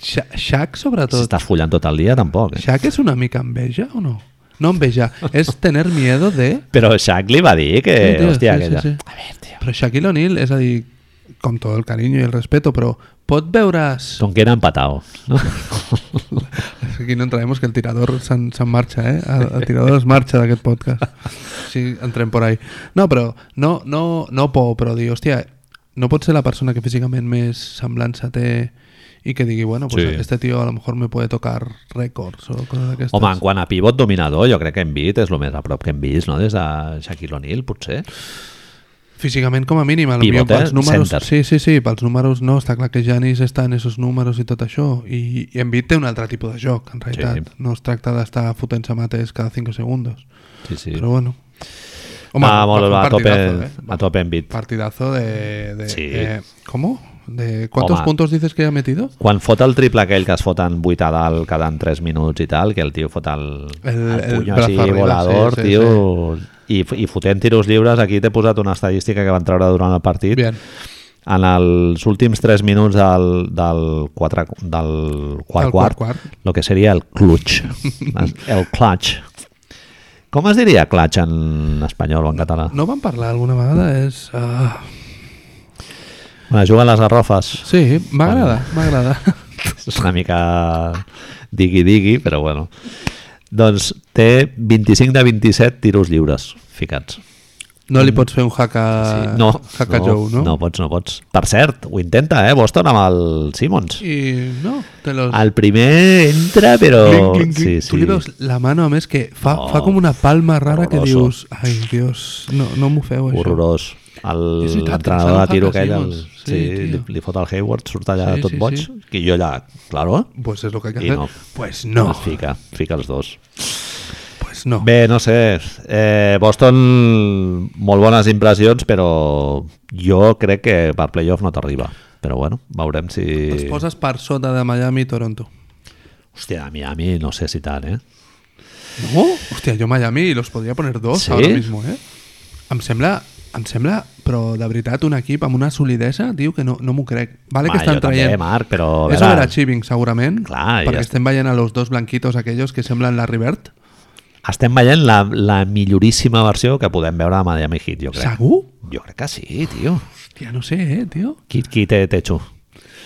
Sha- Shaq,
Si
sobretot.
estàs follant tot el dia, tampoc. Eh?
Shaq es una mica enveja o no? No enveja, es tener miedo de...
Però Shaq li va dir que...
Sí, tio,
hòstia,
sí, sí,
aquella...
sí.
A ver, tio.
Pero Shaquille O'Neal, es a dir, con todo el cariño y el respeto, pero pot veure's...
Son que era empatado. No?
Aquí no entraremos que el tirador se'n se marxa, eh? El, el tirador es marxa d'aquest podcast. Sí, entrem por ahí. No, però no, no, no por, però dir, hòstia, no pot ser la persona que físicament més semblança té y que digui, bueno, pues
Sí.
este tío a lo mejor me puede tocar récords o coses d'aquestes.
Home, en quant a pivot dominador, jo crec que hem vist, és el més a prop que hem vist, no? Des de Shaquille O'Neal, potser.
Físicament com a mínim, a lo millor
Pivot, eh?
pels números...
Center.
Sí, sí, sí, pels números no, està clar que Janis està en esos números i tot això, i, i Embiid té un altre tipus de joc, en realitat.
Sí.
No es tracta d'estar fotent-se mates cada 5 segundos,
Sí, sí.
però bueno.
ah,
va
molt,
fer un
va, a tope,
partidazo, eh?
a tope en bit.
Partidazo de... de
Sí.
eh, ¿Cómo? ¿De ¿Cuántos
Home.
puntos dices que ha metido?
Quan fot el triple aquell que es foten 8 a dalt cada 3 minuts i tal, que el tio fot el,
El-
el,
el
puny
brazo
així
arriba,
volador,
sí, sí,
tio... I, f- I fotent tiros lliures, aquí t'he posat una estadística que van treure durant el partit.
Bien.
En els últims 3 minuts del, del, quatre, del quart,
Del
quart,
quart
quart,
quart.
lo que seria el clutch. el clutch. Com es diria clutch en espanyol o en català? No.
No van parlar alguna vegada? És... ah,
Bueno, juga a les garrofes.
Sí, m'agrada, m'agrada.
És una mica digui-digui, però bueno. Doncs té 25 de 27 tiros lliures ficats.
No li pots fer un hack a,
no,
hack a Ah, Joe, no?
No pots, no pots. Per cert, ho intenta, eh? Boston amb el Simmons.
I no, te los...
El primer entra, però...
Clink, clink,
Sí,
clink.
sí.
Tu li veus la mano, a més, que fa,
Oh,
fa com una palma rara que dius...
horroroso.
Ai, Dios, no, no m'ho feu, això.
horrorós. El-
És veritat,
L'entrenador de
que
tiro
em sembla
aquell, el,
Simmons.
sí,
Sí, tio.
li, li fot el Hayward, surt allà
Sí,
tot
sí,
boig,
sí.
que jo allà, claro,
Pues és el que hay que
I
hacer.
no.
Pues no,
es fica, fica els dos.
pues no.
Bé, no sé, eh, Boston, molt bones impressions, però jo crec que per playoff no t'arriba. Però bueno, veurem si...
Els poses per sota de Miami i Toronto.
Hòstia, a Miami no sé si tant, eh?
No? Hòstia, jo Miami los podria poner dos
Sí?
ara mismo, eh? Em sembla, em sembla, però de veritat, un equip amb una solidesa, diu que no, no m'ho crec. Vale
Home,
que estan
jo també,
traient...
Marc, però, a
És
veure-
overachieving, segurament,
Clar, i
perquè
ja-
estem veient a los dos blanquitos aquells que semblen la Rivert.
Estem veient la, la milloríssima versió que podem veure a Miami Heat, jo crec.
Segur?
Jo crec que sí, tio.
Hòstia, no sé, eh, tio?
Qui, qui té techo?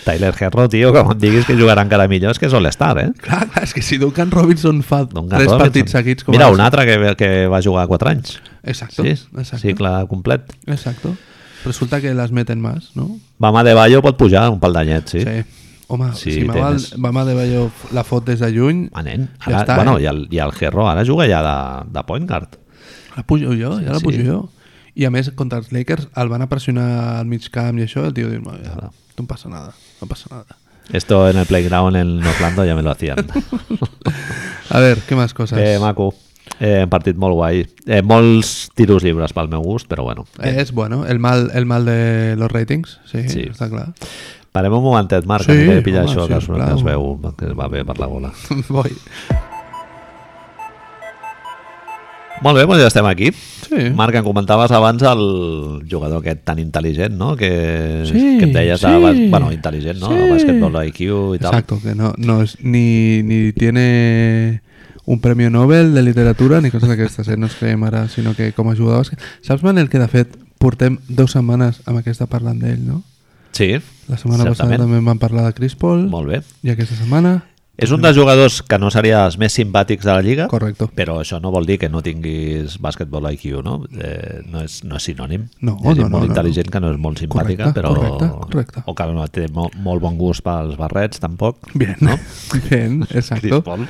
Tyler Herro, tio, que em diguis que jugarà encara millor, és que és all-star, eh?
Clar, clar, és que si Duncan Robinson fa
Duncan
tres
Robinson.
partits seguits... Com
Mira,
ara-
un altre que, que va jugar 4 anys.
Exacto,
Sí,
exacto.
cicle complet.
Exacto. Resulta que les meten més, no?
Bama de Bayo pot pujar un pal d'anyet, sí. sí.
Home,
Sí,
si Mamal,
tens.
Mamal de Bayo la fot des de lluny,
Ah, nen. Ara,
Ja
ja
està,
està, bueno,
eh?
i, el, I el Herro ara juga ja de, de point guard.
La pujo jo, ja la
sí.
pujo jo. I a més, contra els Lakers, el van a pressionar al mig camp i això, el tio diu, no, ja,
Claro.
no em passa nada, no passa nada.
Esto en el playground en Orlando ja me lo hacían.
A veure, què més coses?
eh, maco. Eh, partit molt guai. Eh, molts tiros lliures pel meu gust, però bueno.
Eh, és bueno, el mal, el mal de los ratings, sí,
Sí.
sí. està clar.
Parem un momentet, Marc,
Sí,
sí, que pillar
home,
això, que, es, que
sisplau.
es veu, que va bé per la bola.
Voi.
Molt bé, doncs ja estem aquí.
Sí.
Marc, em comentaves abans el jugador aquest tan intel·ligent, no? Que,
Sí,
que et deies, de,
sí.
bas- bueno, intel·ligent, no? Sí.
Sí.
Bàsquetbol IQ i tal.
Exacto, que no, no es, ni, ni tiene un premio Nobel de literatura ni coses d'aquestes, eh? no es creiem ara, sinó que com a jugador de bàsquet. Saps, Manel, que de fet portem dues setmanes amb aquesta parlant d'ell, no?
Sí,
La setmana
certament.
passada també en vam parlar de Chris Paul
Molt bé.
i aquesta setmana,
És un dels jugadors que no seria els més simpàtics de la Lliga,
correcto.
però això no vol dir que no tinguis bàsquetbol IQ, no? Eh, no, és, no és sinònim.
No,
és
no, no,
molt
no,
intel·ligent que no és molt simpàtica,
Correcte,
però...
correcte, correcte.
O que no té mo, molt bon gust pels barrets, tampoc.
Bien,
No?
Bien, exacto.
Chris Paul.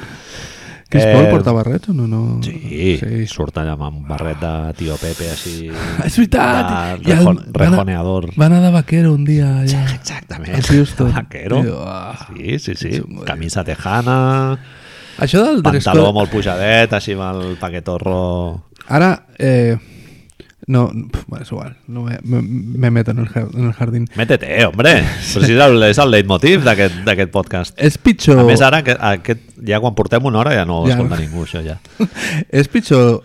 Chris Paul
Eh,
porta barrets o no? no?
Sí, sí,
sí.
surt allà amb un barret de tio Pepe així...
És veritat!
de
I el-
rejo-
van a-
rejoneador.
Va anar de vaquero un dia allà.
Exactament.
A Houston.
Vaquero.
Tio, ah.
Sí, sí, sí.
Madre.
Camisa tejana,
Això del dress
pantaló
code...
molt pujadet, així amb el paquetorro...
Ara, eh, no, pf, bueno, és igual, no me, me, me meto en el, jar- en el jardín.
Métete, eh, hombre! Però si és el, és el leitmotiv d'aquest d'aquest podcast.
És
A
pitjor,
més, ara, que- aquest, ja quan portem una hora ja no ho
Ja no.
escolta ningú, això ja.
és pitjor,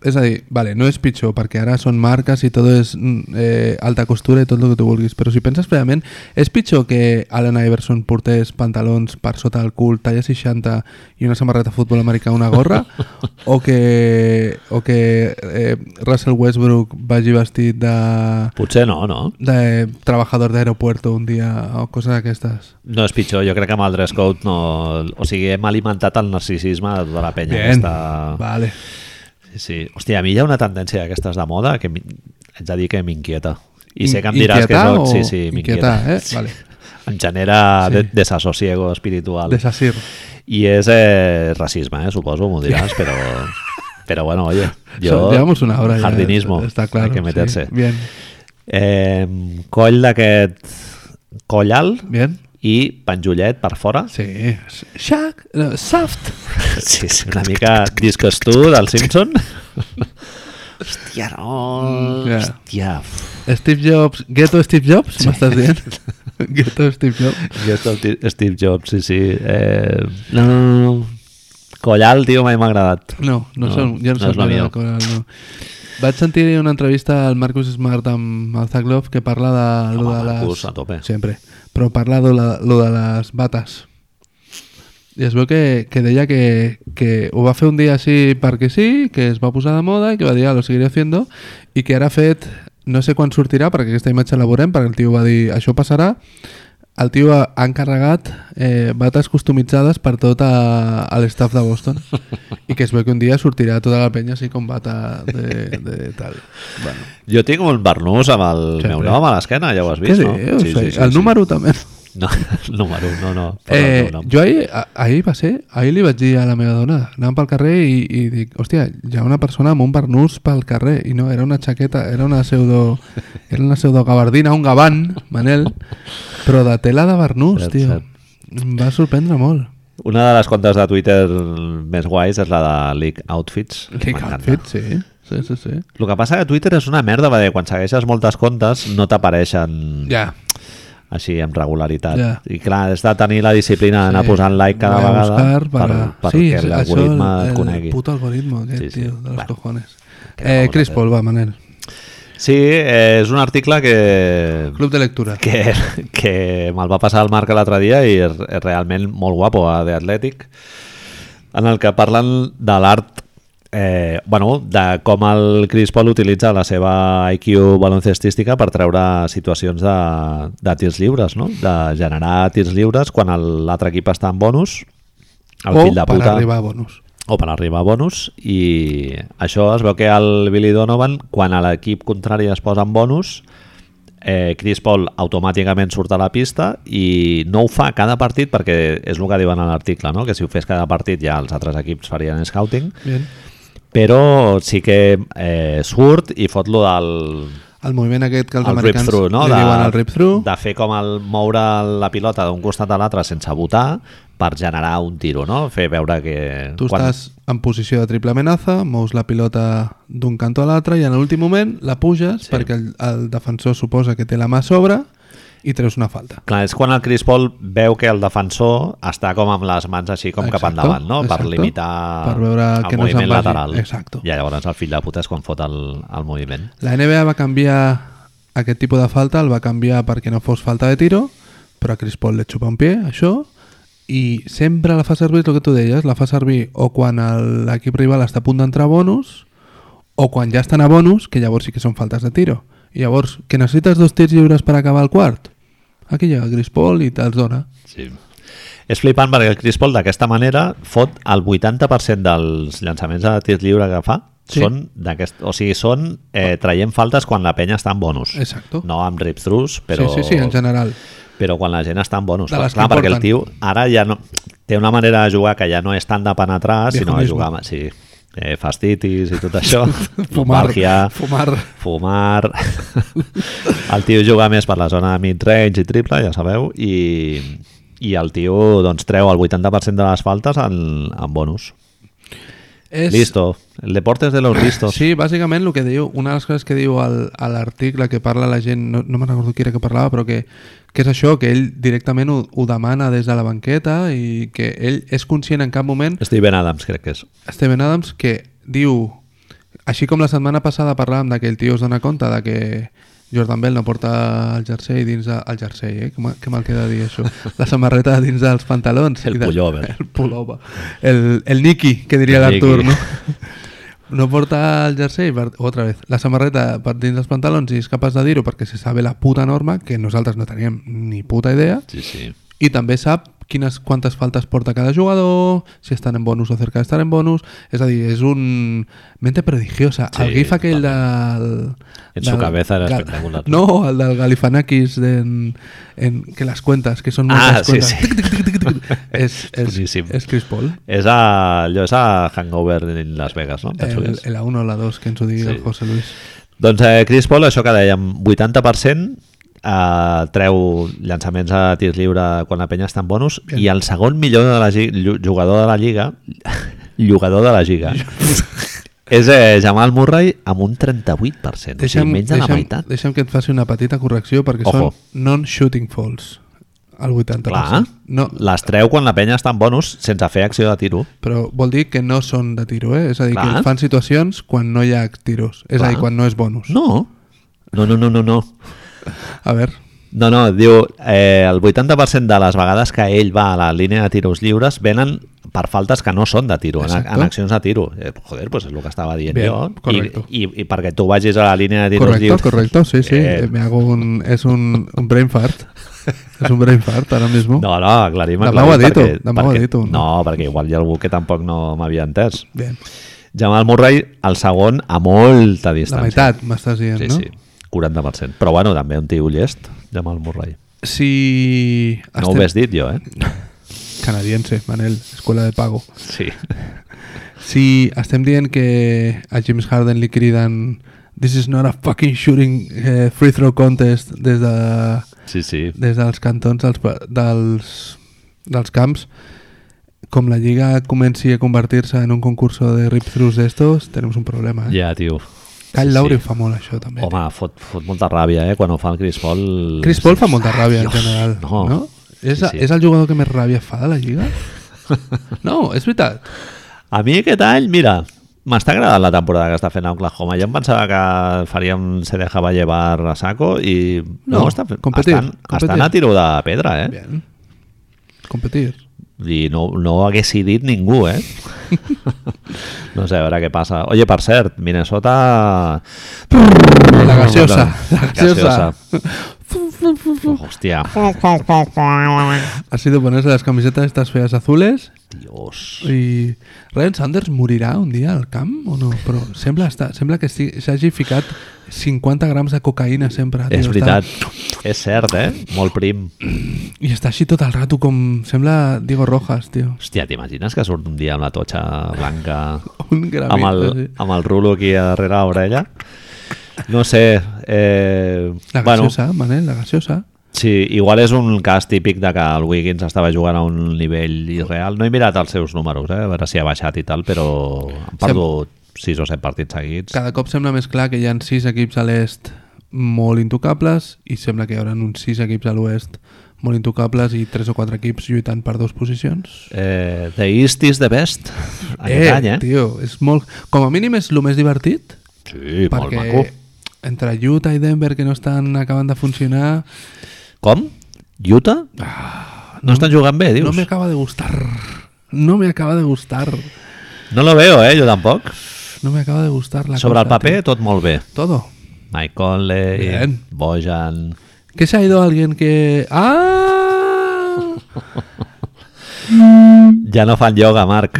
és a dir, vale, no és pitjor, perquè ara són marques i tot és mm, eh, alta costura i tot el que tu vulguis, però si penses previament, és pitjor que Allen Iverson portés pantalons per sota del cul, talla 60 i una samarreta de futbol americà, una gorra, o que, o que eh, Russell Westbrook vagi vestit de
Potser no, no?
de trabajador de aeropuerto un dia o coses d'aquestes.
No és pitjor, jo crec que amb el dress code no... O sigui, hem alimentat el narcisisme de tota la penya.
Bien.
Aquesta...
Vale.
Sí, sí. Hòstia, a mi hi ha una tendència d'aquestes de moda que mi- haig de dir que m'inquieta. I sé que em
In-
diràs que
inquieta
no...
o
Sí, sí, m'inquieta.
inquietar, eh? Vale.
em genera
Sí.
de desassosiego espiritual.
de Sassir.
Y es eh, racismo, eh, supongo, me dirás, pero, pero bueno, oye, yo...
So- Llevamos una hora ya, eh,
Jardinismo,
está claro.
hay que meterse.
sí. Bien,
Eh, coll d'aquest collal
bien.
i penjollet per fora.
Sí. Shack, no, Saft.
Sí, sí una mica discos tu del Simpson. Hòstia, no.
Mm, ja.
Hòstia.
Steve Jobs, Ghetto Steve Jobs, m'estàs dient? Ghetto Steve Jobs.
Jo el Ti- Steve Jobs, sí, sí. Eh, no, no, no, no. Collal, tio, mai m'ha agradat.
No, no,
No,
són, ja no,
no és
són
la
res de
millor.
Coral, no. Vaig sentir una entrevista al Marcus Smart amb el Zaglov que parla de... lo
Home,
de
Marcus, a tope.
Sempre. Però parla de la, lo de les bates. I es veu que, que deia que, que ho va fer un dia així perquè sí, que es va posar de moda i que va dir, "Ah, lo seguiré haciendo, i que ara ha fet, no sé quan sortirà, perquè aquesta imatge la veurem, perquè el tio va dir, això passarà, el tio ha, ha encarregat eh, bates customitzades per tot a, a l'estaf de Boston i que es veu que un dia sortirà tota la penya així com bata de, de tal. Bueno,
Jo tinc un barnús amb el
Sempre.
meu nom a l'esquena, ja ho has
què
vist, no?
dius? el número també.
No, el número, no, no. però el
Eh,
meu nom.
jo ahir, a- ahir va ser, ahir li vaig dir a la meva dona, anàvem pel carrer i, i dic, hòstia, hi ha una persona amb un barnús pel carrer, i no, era una xaqueta, era una pseudo, era una pseudo gabardina, un gavant, Manel, però de tela de barnús,
Cert,
tio.
cert.
Em va sorprendre molt.
Una de les comptes de Twitter més guais és la de Leak Outfits.
Dic,
M'encanta.
outfit, sí, sí, sí, sí.
El que passa que Twitter és una merda, perquè quan segueixes moltes comptes no t'apareixen
Ja,
així amb regularitat.
Ja.
I clar, has de tenir la disciplina d'anar
Sí.
posant like cada
Voy Eh, a
vegada
buscar
per,
para-
perquè
Sí, sí,
l'algoritme
això, eh,
et conegui.
El puto algoritmo, aquest,
Sí, sí.
tio, de los
Bueno.
cojones.
Què
Eh,
vamos a
Chris
hacer?
Paul, va, Manel.
Sí, eh, és un article que...
Club de lectura.
que, que me'l va passar al Marc l'altre dia i és, és realment molt guapo eh, de Atlètic en el que parlen de l'art eh, bueno, de com el Chris Paul utilitza la seva IQ baloncestística per treure situacions de, de tirs lliures, no? de generar tirs lliures quan el- l'altre equip està en bonus el
o
fill de
per
puta
arribar a bonus.
o per arribar a bonus i això es veu que el Billy Donovan quan a l'equip contrari es posa en bonus eh, Chris Paul automàticament surt a la pista i no ho fa cada partit perquè és el que diuen a l'article, no? que si ho fes cada partit ja els altres equips farien scouting
Bien.
però sí que eh, surt i fot lo del
El moviment aquest que els
el
americans
rip-through, no?
li diuen el rip-through.
de fer com el moure la pilota d'un costat a l'altre sense votar per generar un tiro, no? Fer veure que...
Tu estàs en posició de triple amenaça, mous la pilota d'un cantó a l'altre i en l'últim moment la puges
Sí.
perquè el, el defensor suposa que té la mà a sobre i treus una falta.
Clar, és quan el Chris Paul veu que el defensor està com amb les mans així com cap
Exacto,
endavant, no?
exacto.
Per limitar
Per veure
el
que no se'n
moviment
vagi.
lateral.
Exacto.
I llavors el fill de puta és quan fot el, el moviment.
La NBA va canviar aquest tipus de falta, el va canviar perquè no fos falta de tiro, però a Chris Paul li xupa un pie, això, i sempre la fa servir, el que tu deies, la fa servir o quan el- l'equip rival està a punt d'entrar a bonus, o quan ja estan a bonus, que llavors sí que són faltes de tiro. I llavors, que necessites dos tirs lliures per acabar el quart? Aquí llega Chris Paul i te'ls dona.
Sí. És flipant perquè el Chris Paul d'aquesta manera fot el 80% dels llançaments de tir lliure que fa
Sí.
són d'aquest... O sigui, són eh, traient faltes quan la penya està en bonus.
Exacto.
No amb rip-throughs, però...
Sí, sí, sí, en general.
però quan la gent està en bonus.
De
Clar,
les que
clar, perquè el tio
porten.
ara ja no, té una manera de jugar que ja no és tant de penetrar, sinó de
Viejonisme.
jugar amb sí, eh, fastitis i tot això,
Fumar,
lumbalgia,
fumar.
fumar... el tio juga més per la zona de mid-range i triple, ja sabeu, i, i el tio doncs, treu el 80% de les faltes en, en bonus.
És...
Listo. El deporte es de los listos.
Sí, bàsicament el que diu, una de les coses que diu al- a l'article que parla la gent, no, no me'n recordo qui era que parlava, però que, que és això, que ell directament ho, ho demana des de la banqueta i que ell és conscient en cap moment,
Steven Adams, crec que és.
Steven Adams, que diu, així com la setmana passada parlàvem de que el tio es dona compte de que Jordan Bell no porta el jersei dins de, el jersei, eh? Que, mal, que mal queda dir això. La samarreta dins dels pantalons.
El
I de-
pullover.
El pullover. El, el Niki, que diria
El
l'Artur,
Niki.
no? No porta el jersei, per, otra vez, la samarreta per dins dels pantalons i és capaç de dir-ho perquè se sabe la puta norma, que nosaltres no teníem ni puta idea,
Sí, sí.
i també sap quines, quantes faltes porta cada jugador, si estan en bonus o cerca d'estar en bonus, és a dir, és un... mente prodigiosa. Sí, el
Sí,
gif aquell del...
En su cabeza era espectacular.
No, el del Galifanakis de en, en, que les cuentes, que són
Ah,
moltes
sí, sí.
cuentes. Tic, tic, tic, tic, tic. És, és,
boníssim.
és Chris Paul.
És a, allò és a Hangover en Las Vegas, no? Penso que
El,
és.
el A1 o la 2, que ens ho digui
Sí.
el José Luis.
Doncs eh, Chris Paul, això que dèiem, 80% eh, treu llançaments a tir lliure quan la penya està en bonus
Bien.
i el segon millor de la lli- llu- jugador de la lliga, jugador de la lliga, és eh, Jamal Murray amb un 38%, o sigui, menys de la
deixa'm,
meitat.
deixa'm que et faci una petita correcció perquè
Ojo.
són non-shooting falls al 80%.
Clar,
No,
les treu quan la penya està en bonus sense fer acció de tiro.
però vol dir que no són de tiro, eh? És a dir,
Clar.
que fan situacions quan no hi ha tiros. És a
Clar.
dir, quan no és bonus.
No, no, no, no, no, no.
A veure,
No, no, diu, eh, el 80% de les vegades que ell va a la línia de tiros lliures venen per faltes que no són de tiro, en,
Exacto.
en accions de tiro. Eh, joder, pues és el que estava dient
Bien,
jo. I-
correcto.
I, i, perquè tu vagis a la línia de tiros
correcto,
lliures...
correcto, sí, sí.
Eh,
Eh, me hago un, és un, un brain fart. és un brain fart ara mismo.
no, no, aclarim,
Demà
aclarim.
ho ha dit,
perquè-
demà ho ha
perquè-
dit, no?
No, perquè igual hi ha algú que tampoc no m'havia entès.
Bien.
Jamal Murray, el segon, a molta
La
distància.
meitat, m'estàs dient,
Sí,
no?
sí, 40%. Però bueno, també un tio llest, Jamal Murray.
Si...
No ho
estem-
hubés dit jo, eh?
Canadiense, Manel, escuela de pago.
Sí.
Si estem dient que a James Harden li criden This is not a fucking shooting eh, free throw contest des, de,
Sí, sí.
des dels cantons dels, pa- dels, dels camps com la lliga comenci a convertir-se en un concurs de rip-throughs d'estos, tenim un problema. Eh?
Ja, tio.
Kyle
Sí,
Lowry
sí.
ho fa molt, això, també.
Home, fot, fot molta ràbia, eh? Quan ho fa el Chris Paul...
Chris Paul fa molta ràbia, en
Dios,
general.
no.
No? no? És,
Sí, sí.
és el jugador que més ràbia fa de la lliga? No, és veritat.
A mi aquest any, mira, m'està agradant la temporada que està fent a Oklahoma. Jo em pensava que faríem se dejava llevar a saco i...
No,
està fent...
competir,
estan,
competir.
estan a tiro de pedra, eh?
Bien. Competir.
I no, no ho hagués dit ningú, eh? no sé, a veure què passa. Oye, per cert, Minnesota...
La gaseosa. La gaseosa.
gaseosa. Hòstia,
Ha sido ponerse las camisetas estas feas azules
dios.
i Ryan Sanders morirà un dia al camp o no? Però sembla, estar, sembla que estigui- s'hagi ficat 50 grams de cocaïna sempre. tio,
És
està-
veritat, és cert, eh? Molt prim.
I està així tot el rato com... Sembla Diego Rojas, tio.
Hòstia, t'imagines que surt un dia amb la totxa blanca
Un gramito,
amb el,
sí.
amb el rulo aquí a darrere la orella? No sé, eh,
La
bueno,
gaseosa, Manel, la gaseosa.
sí, igual és un cas típic de que el Wiggins estava jugant a un nivell irreal. No he mirat els seus números, eh? a veure si ha baixat i tal, però han perdut 6 o 7 partits seguits.
Cada cop sembla més clar que hi ha sis equips a l'est molt intocables i sembla que hi haurà uns sis equips a l'oest molt intocables i tres o quatre equips lluitant per dues posicions.
Eh, the East is the best aquest
eh,
any, eh?
tio, és molt... Com a mínim és el més divertit,
Sí, molt
perquè
maco.
entre Utah i Denver, que no estan acabant de funcionar,
Com? Utah? no, estan jugant bé, dius?
Ah, no me acaba de gustar. No me acaba de gustar.
No lo veo, eh, jo tampoc.
No me acaba de gustar la
Sobre el
cosa,
paper, tot molt bé.
tío. Todo.
Mike Conley,
Bien.
Bojan...
Que se ha ido alguien que... ¡Ah!
Ja no fan yoga, Marc.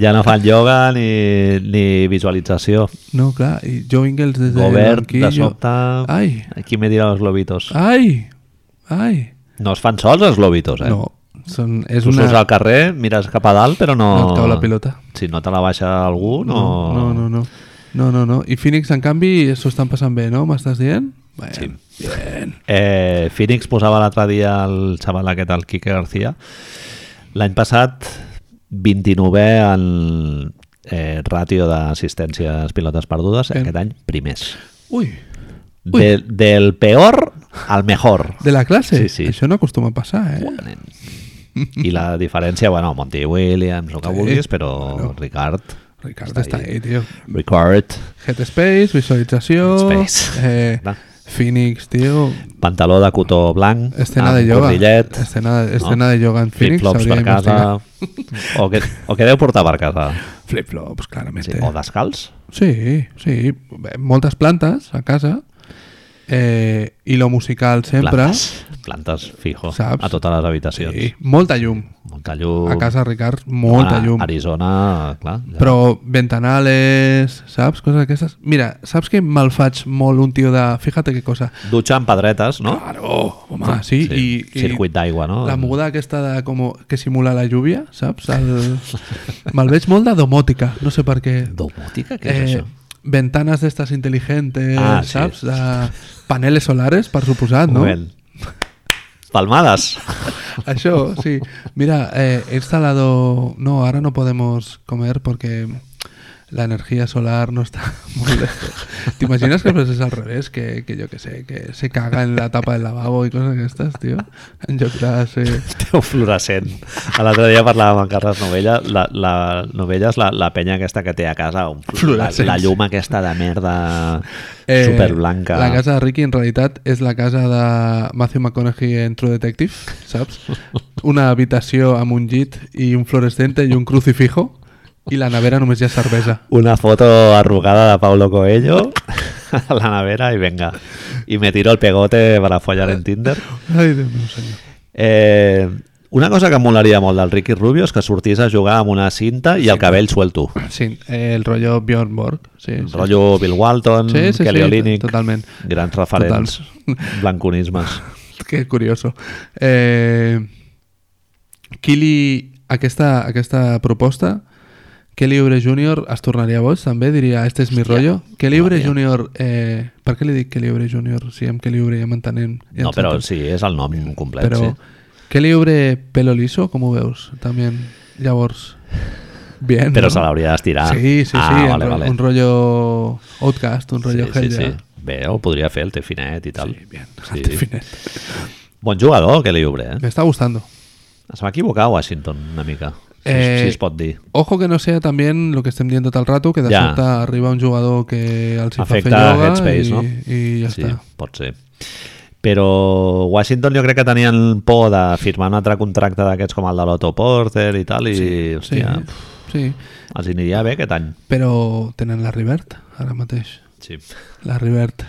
Ja no fan yoga ni, ni visualització.
No, clar, i Joe Ingles des de
Gobert, de
banquillo.
sobte...
Ai, Ah.
Aquí me dirà els globitos.
ai, ai.
No es fan sols, els globitos, eh?
No, són, és
Tu
una...
surts al carrer, mires cap a dalt, però no...
No et cau la pilota.
Si no te la baixa algú, no...
No, no, no. No, no, no. I Phoenix, en canvi, s'ho estan passant bé, no? M'estàs dient? Bueno, sí. Bien.
Eh, Phoenix posava l'altre dia el xaval aquest, el Quique García. L'any passat, 29è en eh, ràtio d'assistències pilotes perdudes,
Bien.
aquest any primers.
Ui, Ui.
De, del peor al mejor.
de la classe?
Sí, sí.
Això no acostuma a passar, eh?
I la diferència, bueno, Monty Williams, el que vulguis, però Ricard...
Ricard està,
ahí.
ahí, tio.
Ricard,
Headspace, visualització...
Headspace.
Eh,
Clar.
Phoenix, tio...
pantaló de cotó blanc,
Escena
amb
de yoga.
cordillet,
Escena, escena de yoga en Phoenix.
flip-flops
s'hauria
per casa,
d'investigar.
o que, o que deu portar per casa.
Flip-flops, clarament.
Sí, o descalç?
Sí, sí. Bé, Moltes plantes a casa. eh, i lo musical sempre.
Plantes, plantes fijo
Saps?
a totes les habitacions.
Sí, molta llum.
Molta llum. Ah,
A casa, Ricard, molta
a
llum.
Arizona, clar. Ja.
Però ventanales, saps? Coses d'aquestes. Mira, saps que me'l faig molt un tio de... Fíjate que cosa.
Dutxa amb pedretes, no?
Claro, home, sí. sí. I, i
Circuit d'aigua, no?
La moguda aquesta de, com, que simula la lluvia, saps? El... Me'l veig molt de domòtica, no sé per què.
Domòtica, què
Eh,
és això?
Ventanas d'estes intel·ligentes,
Ah,
ah,
sí.
saps? De paneles solares, per suposat, no?
Moment. Palmades.
Això, sí. Mira, eh, he instalado... No, ahora no podemos comer porque la energía solar no está muy lejos. ¿Te imaginas que pues, es al revés? Que, que yo qué sé, que se caga en la tapa del lavabo y cosas de estas, tío. Yo clase...
Teu fluorescent. L'altre dia parlàvem amb Carles Novella, la, la Novella és la, la penya aquesta que té a casa, un, la,
Fluorescents.
la llum aquesta de merda
Eh,
superblanca.
La casa de Ricky en realitat és la casa de Matthew McConaughey en True Detective, saps? Una habitació amb un llit i un fluorescente i un crucifijo i la nevera només hi ha cervesa.
Una foto arrugada de Paulo Coelho a la nevera i venga. I me tiro el pegote para follar en Tinder.
Ai, Déu meu senyor.
Eh, una cosa que em molaria molt del Ricky Rubio és que sortís a jugar amb una cinta i el cabell suelto.
Sí, eh, el rollo Bjorn Borg. Sí,
El
sí.
rotllo Bill Walton,
Sí, sí,
Kelly
sí,
Olynyk,
totalment.
grans referents, blanconismes.
Que curioso. Eh, Kili, aquesta, aquesta proposta, Kelly Oubre Jr. es tornaria boig, també, diria, este és mi rollo. Kelly Oubre Jr., eh, per què li dic Kelly Oubre Jr.? Si amb Kelly Oubre ja m'entenem. Ja
No,
ens
però
entenem.
sí, és el nom complet,
però
sí.
Kelly Oubre pelo liso, com ho veus? També, llavors... Bien,
Però
no?
se l'hauria d'estirar.
Sí, sí, sí,
Ah,
un
vale,
ro-
vale.
un rollo outcast, un rollo
Sí, sí, sí.
Hellja.
Bé, ho podria fer el Tefinet i tal.
Bien,
Sí.
Antefinet.
Bon jugador, que li obre. Eh?
Me está gustando.
Es va equivocar Washington una mica, si,
Eh,
si es pot dir.
Ojo que no sea también lo que estén viendo tal rato, que de
Ja.
sobte arriba un jugador que al si fa fer
Afecta
ioga
Headspace,
i,
no?
i ja
sí,
està.
pot ser. Però Washington jo crec que tenien por de firmar un altre contracte d'aquests com el de l'Otto Porter i tal, i
Sí,
hòstia,
sí.
els aniria bé aquest any.
Però tenen la Rivert ara mateix.
Sí.
La Rivert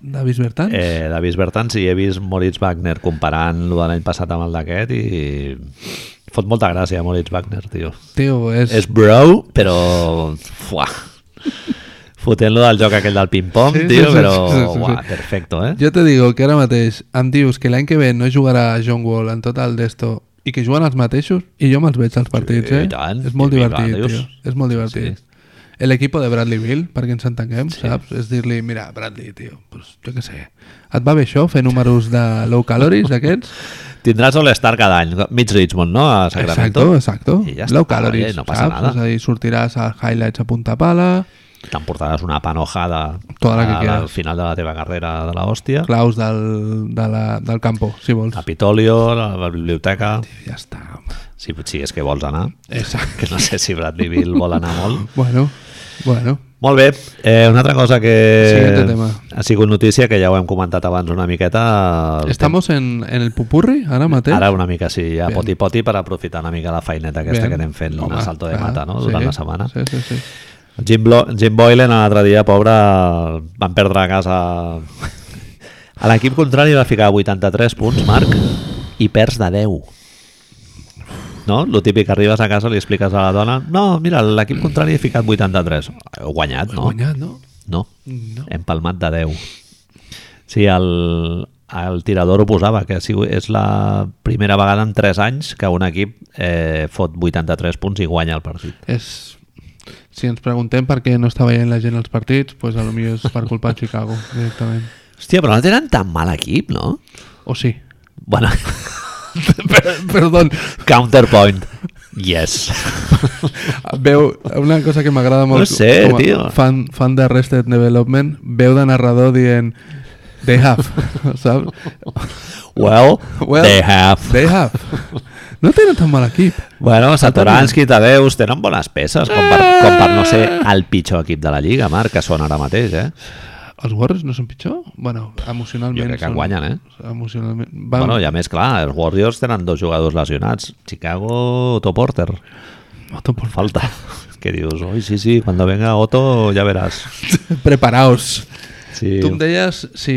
Davis Bertans.
Eh, Davis Bertans i he vist Moritz Wagner comparant lo de l'any passat amb el d'aquest i fot molta gràcia Moritz Wagner, tio.
Tio, és...
És bro, però... Fuà. Fotent-lo del joc aquell del ping-pong,
Sí, sí,
tio,
sí,
però...
sí, sí, sí.
Uà, perfecto, eh?
Jo te digo que ara mateix em dius que l'any que ve no jugarà John Wall en total d'esto i que juguen els mateixos i jo me'ls veig als partits,
Sí,
eh?
i tant.
És molt
I
divertit,
vinga,
tio.
adiós.
És molt divertit.
Sí.
El equipo de Bradley Bill, perquè ens entenguem, saps? És dir-li, mira, Bradley, tio, pues, jo què sé, et va bé això, fer números de low calories d'aquests?
Tindràs All-Star cada any, mig Richmond, no? A Sacramento.
Exacto, exacto.
I ja
low
està,
calories,
eh? no passa
saps?
nada.
És a dir, sortiràs a highlights a punta pala,
T'emportaràs una panojada
Tota la que
al-
quieras.
al final de la teva carrera de la hòstia.
claus del, de la, del campo, si vols.
Capitolio, la, la biblioteca...
Ja està, home.
Si, si és que vols anar.
Exacte.
Que no sé si Bradley Bill vol anar molt.
Bueno, bueno.
Molt bé, eh, una altra cosa que
Siguiente tema.
ha sigut notícia, que ja ho hem comentat abans una miqueta... el
Estamos en, en el pupurri ara mateix?
Ara una mica sí, a
Bien.
poti poti per aprofitar una mica la feineta aquesta
Bien.
que anem fent, un
Home,
salto de
clar,
mata no?
sí,
durant la setmana.
Sí, sí, sí.
Jim, Blo Jim Boylan l'altre dia, pobre, van perdre a casa... A l'equip contrari va ficar 83 punts, Marc, i perds de 10. No? Lo típic, arribes a casa, li expliques a la dona no, mira, l'equip contrari ha ficat 83. Heu guanyat,
No.
no? Em.
Guanyat, no?
No.
No.
Hem palmat de 10. Sí, el, el tirador ho posava, que ha sigut- és la primera vegada en 3 anys que un equip eh, fot 83 punts i guanya el partit.
És... Si ens preguntem per què no està veient la gent als partits, doncs a lo millor és per culpa de Chicago, directament.
Hòstia, però no tenen tan mal equip, no?
O sí.
Bueno,
Perdó.
counterpoint. Yes.
Veu, una cosa que m'agrada molt...
No sé,
a
tio.
Fan, fan de Arrested Development, veu de narrador dient... They have, saps?
Well,
Well,
they have.
They have. No tenen tan mal equip.
Bueno, Satoransky, Tadeus, tenen bones peces, com per, com per no ser el pitjor equip de la Lliga, Marc, que són ara mateix, eh?
Els Warriors no són pitjor? Bueno, emocionalment...
Jo crec que
són-
guanyen, eh?
Emocionalment... Van,
Bueno, i a més, clar, els Warriors tenen dos jugadors lesionats. Chicago, Otto Porter.
Otto, por favor.
Falta. Que dius, oi, sí, sí, cuando venga Otto ja veràs.
Preparaos.
Sí.
Tu em deies si,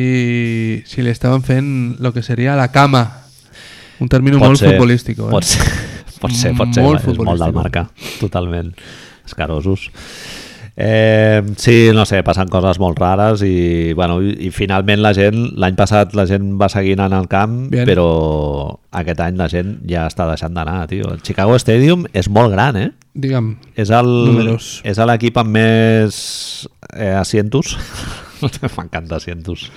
si li estaven fent el que seria la cama. Un termini molt futbolístic. Eh?
Pot ser, pot ser, pot ser és
Molt
molt del
futbolístic.
marca, totalment. Escarosos. Eh, sí, no sé, passen coses molt rares i, bueno, i, i finalment la gent, l'any passat la gent va seguint en el camp,
Bien.
però aquest any la gent ja està deixant d'anar, tio. El Chicago Stadium és molt gran, eh?
Digue'm,
És el
Números.
és a l'equip amb més eh, asientos. M'encanta asientos.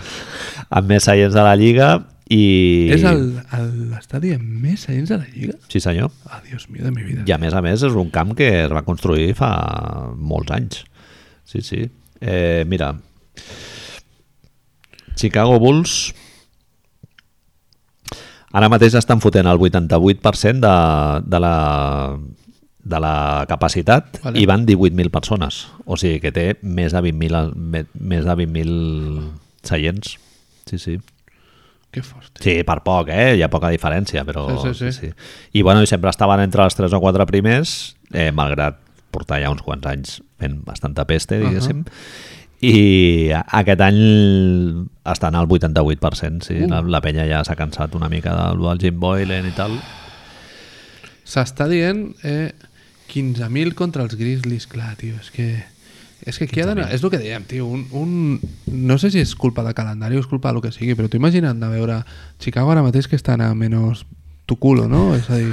Amb més seients de la lliga i...
és el- el- l'estadi amb més seients de la Lliga?
Sí, senyor.
Ah, Dios mío, de mi vida.
I a més a més és un camp que es va construir fa molts anys. Sí, sí. Eh, mira, Chicago Bulls ara mateix estan fotent el 88% de, de la de la capacitat
Vale.
vale. i van 18.000 persones. O sigui que té més de 20.000 al- me- més de 20.000 seients. Sí, sí.
Que fort.
Sí, per poc, eh? Hi ha poca diferència, però...
Sí, sí, sí.
I, bueno, i sempre estaven entre els 3 o 4 primers, eh, malgrat portar ja uns quants anys fent bastanta peste, diguéssim. I a- aquest any estan al 88%, sí.
Uh.
La, la penya ja s'ha cansat una mica del, del Jim Boylan i tal.
S'està dient eh, 15.000 contra els Grizzlies, clar, tio, és que... És que aquí ha d'anar... És el que dèiem, tio, un, un... No sé si és culpa de calendari o és culpa del que sigui, però t'ho imagina't de veure Chicago ara mateix que estan a menys tu culo, no? És a dir,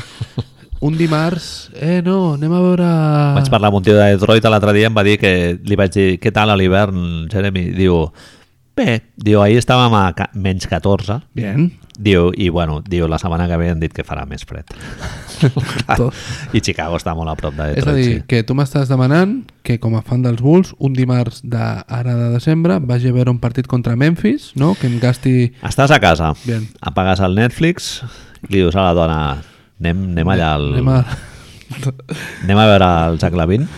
un dimarts... Eh, no, anem a veure...
Vaig parlar amb un tio de Detroit l'altre dia, em va dir que li vaig dir, què tal a l'hivern, Jeremy? Diu, bé, diu, ahir estàvem a ca- menys 14,
Bien.
Diu, i bueno, diu, la setmana que ve han dit que farà més fred.
Tot.
I Chicago està molt a prop de
És a
Detroit,
dir,
Eh, sí.
que tu m'estàs demanant que com a fan dels Bulls, un dimarts d'ara de desembre vagi a veure un partit contra Memphis, no? que em gasti...
Estàs a casa,
Bien.
apagues el Netflix, li dius a la dona, anem, anem allà al...
Anem a...
anem a veure el Jack Lavin.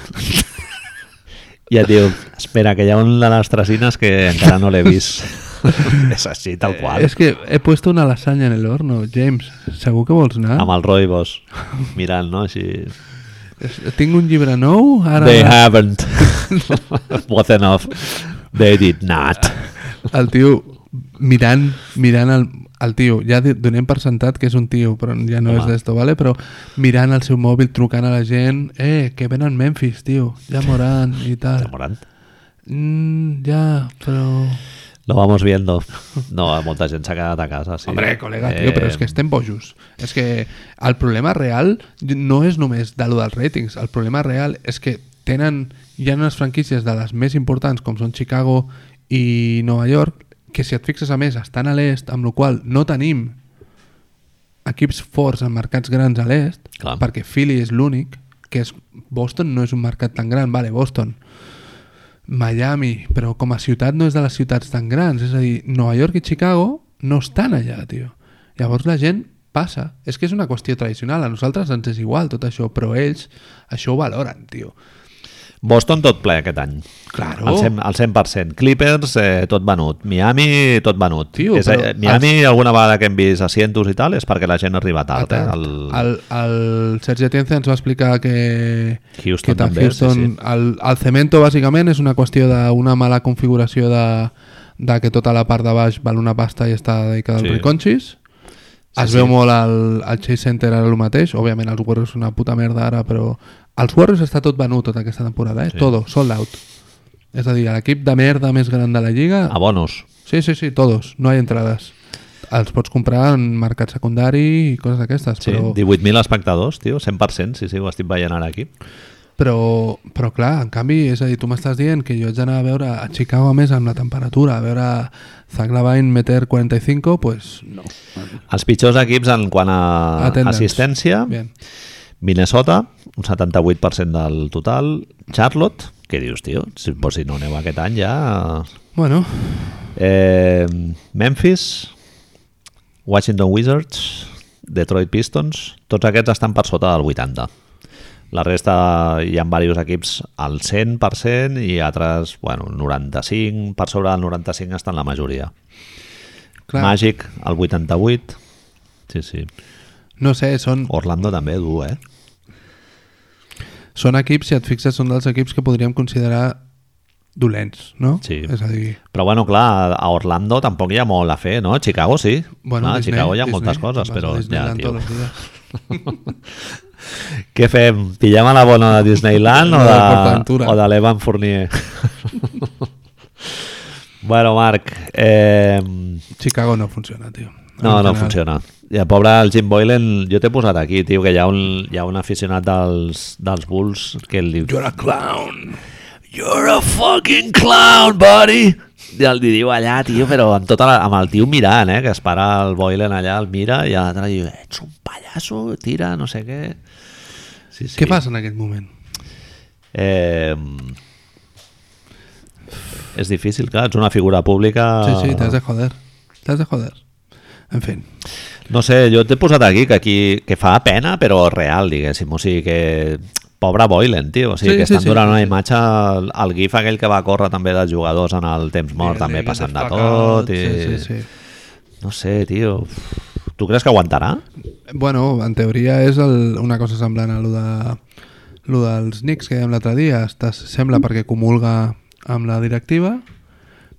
I et diu, espera, que hi ha un de les tresines que encara no l'he vist. és així, tal qual.
Eh, És que he puesto una lasanya en el horno, James. Segur que vols anar?
Amb el roibos, mirant, no? Així...
Es- Tinc un llibre nou, ara
They haven't. What enough. They did not.
el tio mirant, mirant el, el tio, ja di- donem per sentat que és un tio, però ja no
Home.
és d'esto, vale? però mirant el seu mòbil, trucant a la gent, eh, que venen Memphis, tio, ja moran i tal.
Enamorant.
Mm, ja, però...
Lo vamos viendo. No, molta gent s'ha quedat a casa, sí. Eh,
Hombre, col·lega, tio, però és que estem bojos. És que el problema real no és només de lo dels ratings, el problema real és que tenen, hi ha unes franquícies de les més importants com són Chicago i Nova York que si et fixes a més estan a l'est amb la qual cosa no tenim equips forts en mercats grans a l'est
Clar.
perquè Philly és l'únic que és Boston no és un mercat tan gran vale, Boston Miami, però com a ciutat no és de les ciutats tan grans, és a dir, Nova York i Chicago no estan allà, tio. Llavors la gent passa, és que és una qüestió tradicional, a nosaltres ens és igual tot això, però ells això ho valoren, tio.
Boston tot ple aquest any.
Claro.
Al 100%. Al 100%. Clippers, eh, tot venut. Miami, tot venut.
Tio,
és, eh,
però-
Miami, alguna vegada que hem vist asientos i tal, és perquè la gent arriba
A
tard.
Ah, tard.
Eh? El...
El, el Sergi Atienza ens va explicar que
Houston
que tant
també, sí,
Houston,
sí.
El, el cemento bàsicament és una qüestió d'una mala configuració de, de que tota la part de baix val una pasta i està dedicada als
Sí.
sí. reconxis es
sí.
veu molt el, el Chase Center ara el mateix, òbviament els Warriors són una puta merda ara, però els Warriors està tot venut tota aquesta temporada, eh? Sí. Todo, sold out. És a dir, l'equip de merda més gran de la Lliga
A bonus.
Sí, sí, sí, todos. No hay entradas. Els pots comprar en mercat secundari i coses d'aquestes,
Sí,
però,
18.000 espectadors, tio, 100%, sí, sí, ho estic veient ara aquí.
però, però clar, en canvi, és a dir, tu m'estàs dient que jo haig d'anar a veure a Chicago a més amb la temperatura, a veure Zach Lavine meter 45, pues no.
Els pitjors equips en quant a
Attendance.
assistència,
Bien.
Minnesota, un 78% del total. Charlotte, què dius, tio? Si, pues, si no aneu aquest any ja...
Bueno,
Eh, Memphis, Washington Wizards, Detroit Pistons, tots aquests estan per sota del 80. La resta hi ha diversos equips al 100% i altres, bueno, 95, per sobre del 95 estan la majoria.
clar,
Magic, el 88, sí, sí.
no sé, són,
Orlando també dur, eh?
són equips, si et fixes, són dels equips que podríem considerar dolents, no?
Sí.
És a dir,
Però bueno, clar, a Orlando tampoc hi ha molt a fer, no? A Chicago sí.
bueno,
clar, a
Disney,
Chicago hi ha
Disney,
moltes coses,
vas a
però ja,
Disneyland
tio.
tots els dies.
Què fem? Pillem a la bona de Disneyland o
No, de
de,
PortAventura.
o de l'Evan Fournier? bueno, Marc, eh,
Chicago no funciona, tio.
no,
En
no
general.
funciona. I el pobre el Jim Boylan, jo t'he posat aquí, tio, que hi ha un, hi ha un aficionat dels, dels Bulls que li diu
You're a clown.
You're a fucking clown, buddy! I el li diu allà, tio, però amb, tota la, amb el tio mirant, eh, que es para el Boylan allà, el mira, i l'altre li diu, ets un pallasso, tira, no sé què... Sí, sí.
Què passa en aquest moment?
Eh, és difícil, clar, ets una figura pública...
Sí, sí, t'has de joder. T'has de joder. En fi.
No sé, jo t'he posat aquí que, aquí que fa pena, però real, diguéssim. O sigui que... Pobre Boylan, tio. O sigui,
Sí,
que
sí,
estan
sí,
donant
sí,
una
sí.
imatge... al- al gif aquell que va córrer també dels jugadors en el temps mort, també
Get the
passant de
fuck out.
tot. I...
Sí, sí, sí.
No sé, tio. Tu creus que aguantarà?
Bueno, en teoria és el, una cosa semblant a lo, de, lo dels Knicks que dèiem l'altre dia. Estàs, sembla perquè comulga amb la directiva,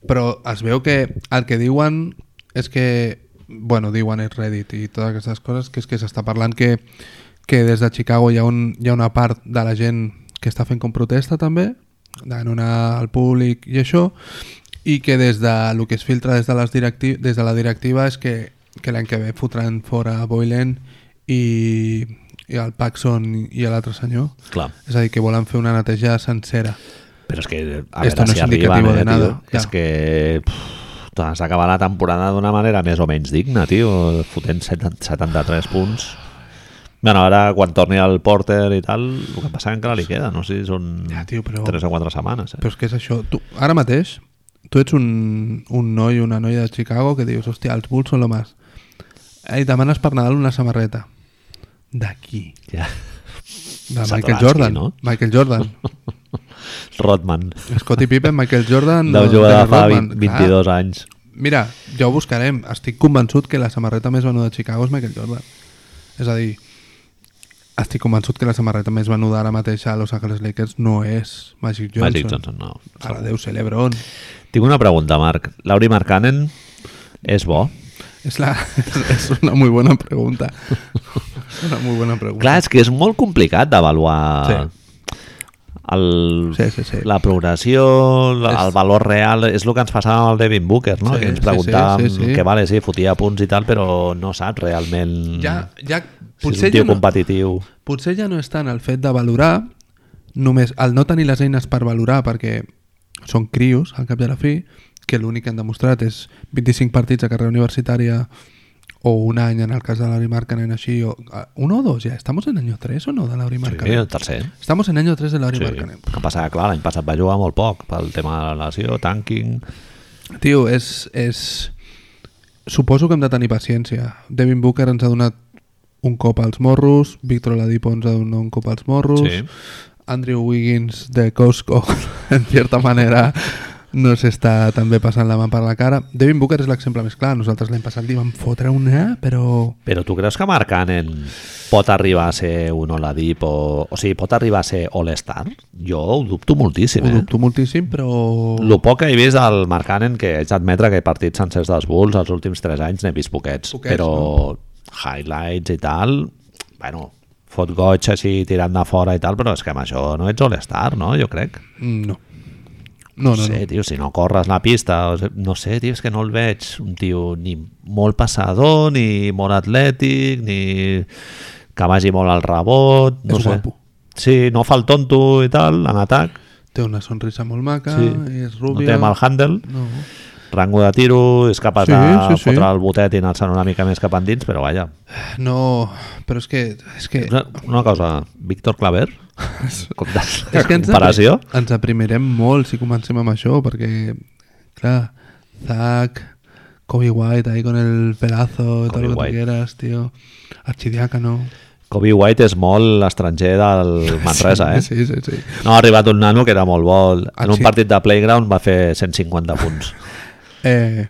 però es veu que el que diuen és que, bueno, diuen és Reddit i totes aquestes coses, que és que s'està parlant que, que des de Chicago hi ha, un, hi ha una part de la gent que està fent com protesta també, d'anar al públic i això, i que des de el que es filtra des de, les directi des de la directiva és que, que l'any que ve fotran fora Boylan i, i el Paxson i l'altre senyor.
Clar.
És a dir, que volen fer una neteja sencera.
Però és que, a veure
Esto no
si
es indicativo
arriben, eh,
de nada,
tio.
ja.
És que pff, has d'acabar la temporada d'una manera més o menys digna, tio, fotent 70 73 punts. Bueno, ara quan torni al Porter i tal, el que passa encara li queda, no sé si són
Ja, tio, però-
3 o 4 setmanes. Eh?
Però és que és això. Tu, ara mateix, tu ets un, un noi una noia de Chicago que dius, hòstia, els Bulls són lo más. Eh, I demanes per Nadal una samarreta. D'aquí.
Ja.
De
Satoransky,
Michael Jordan.
no?
Michael Jordan.
Rodman,
Scottie Pippen, Michael Jordan...
deu jugar
Dennis
fa
Rodman.
20, 22 anys.
Clar, mira, ja ho buscarem. Estic convençut que la samarreta més venuda de Chicago és Michael Jordan. És a dir, estic convençut que la samarreta més venuda ara mateix a Los Angeles Lakers no és Magic Johnson.
Magic Johnson, no.
Ara deu ser LeBron.
Tinc una pregunta, Marc. Lauri Markkanen és bo?
Es, la, es una muy buena pregunta. Es una muy buena pregunta.
Clar, és que és molt complicat d'avaluar el,
Sí, sí, sí.
la progressió, la,
És-
el valor real, és el que ens passava amb el Devin Booker, no?
Sí,
que ens
sí,
preguntàvem
sí, sí, sí.
que vale, sí, fotia punts i tal, però no saps realment
Ja, ja,
si Mm. és un
potser, ja
tio
no,
competitiu.
potser ja no és tant el fet de valorar, només el no tenir les eines per valorar, perquè són crios, al cap i a la fi, que l'únic que han demostrat és 25 partits a carrera universitària o un any en el cas de l'Auri Markkanen així, o, ah, un o dos ja, estamos en año 3 o no de l'Auri
Sí,
Markkanen?
el tercer.
Estamos en año 3 de l'Auri
Sí.
sí.
El que passa que, clar, l'any passat va jugar molt poc pel tema de la lesió, tanking...
Tio, és, és... Suposo que hem de tenir paciència. Devin Booker ens ha donat un cop als morros, Víctor Oladipo ens ha donat un cop als morros,
Sí.
Andrew Wiggins de Costco, en cierta manera, no s'està també passant la mà per la cara. Devin Booker és l'exemple més clar. Nosaltres l'any passat li vam fotre una, però...
Però tu creus que Markkanen pot arribar a ser un Oladipo... O sigui, pot arribar a ser All-Star? Jo ho dubto moltíssim,
Ho
eh?
dubto moltíssim, però...
El poc que he vist del Markkanen, que haig d'admetre que partits sencers dels Bulls els últims 3 anys n'he vist poquets,
Poquets,
però highlights i tal, bueno, fot goig així tirant de fora i tal, però és que amb això no ets all-star, no? Jo crec.
mm, No. No,
No,
no,
sé,
no.
tio, si no corres la pista, o si- no sé, tio, és que no el veig un tio ni molt passador, ni molt atlètic, ni que vagi molt al rebot, no
És
sé.
guapo.
Sí, no fa el tonto i tal, en atac.
Té una sonrisa molt maca,
Sí.
és
No
rubia...
té mal handle.
No.
rango de tiro, és capaç
Sí,
sí, de
sí,
sí,
sí.
fotre el botet i anar-se'n una mica més cap endins, però vaja.
no, però és que... És que...
Una, una cosa, Víctor Claver, com de,
És que ens,
comparació,
apri- ens aprimirem molt si comencem amb això, perquè, clar, Zach, Kobe White ahí con el pelazo,
Kobe
todo lo que
White.
tú quieras, tío. Archidiácano.
Kobe White és molt estranger del Manresa, eh?
Sí, sí, sí.
No, ha arribat un nano que era molt bo. En
Ah,
un
sí?
partit de playground va fer 150 punts.
Eh,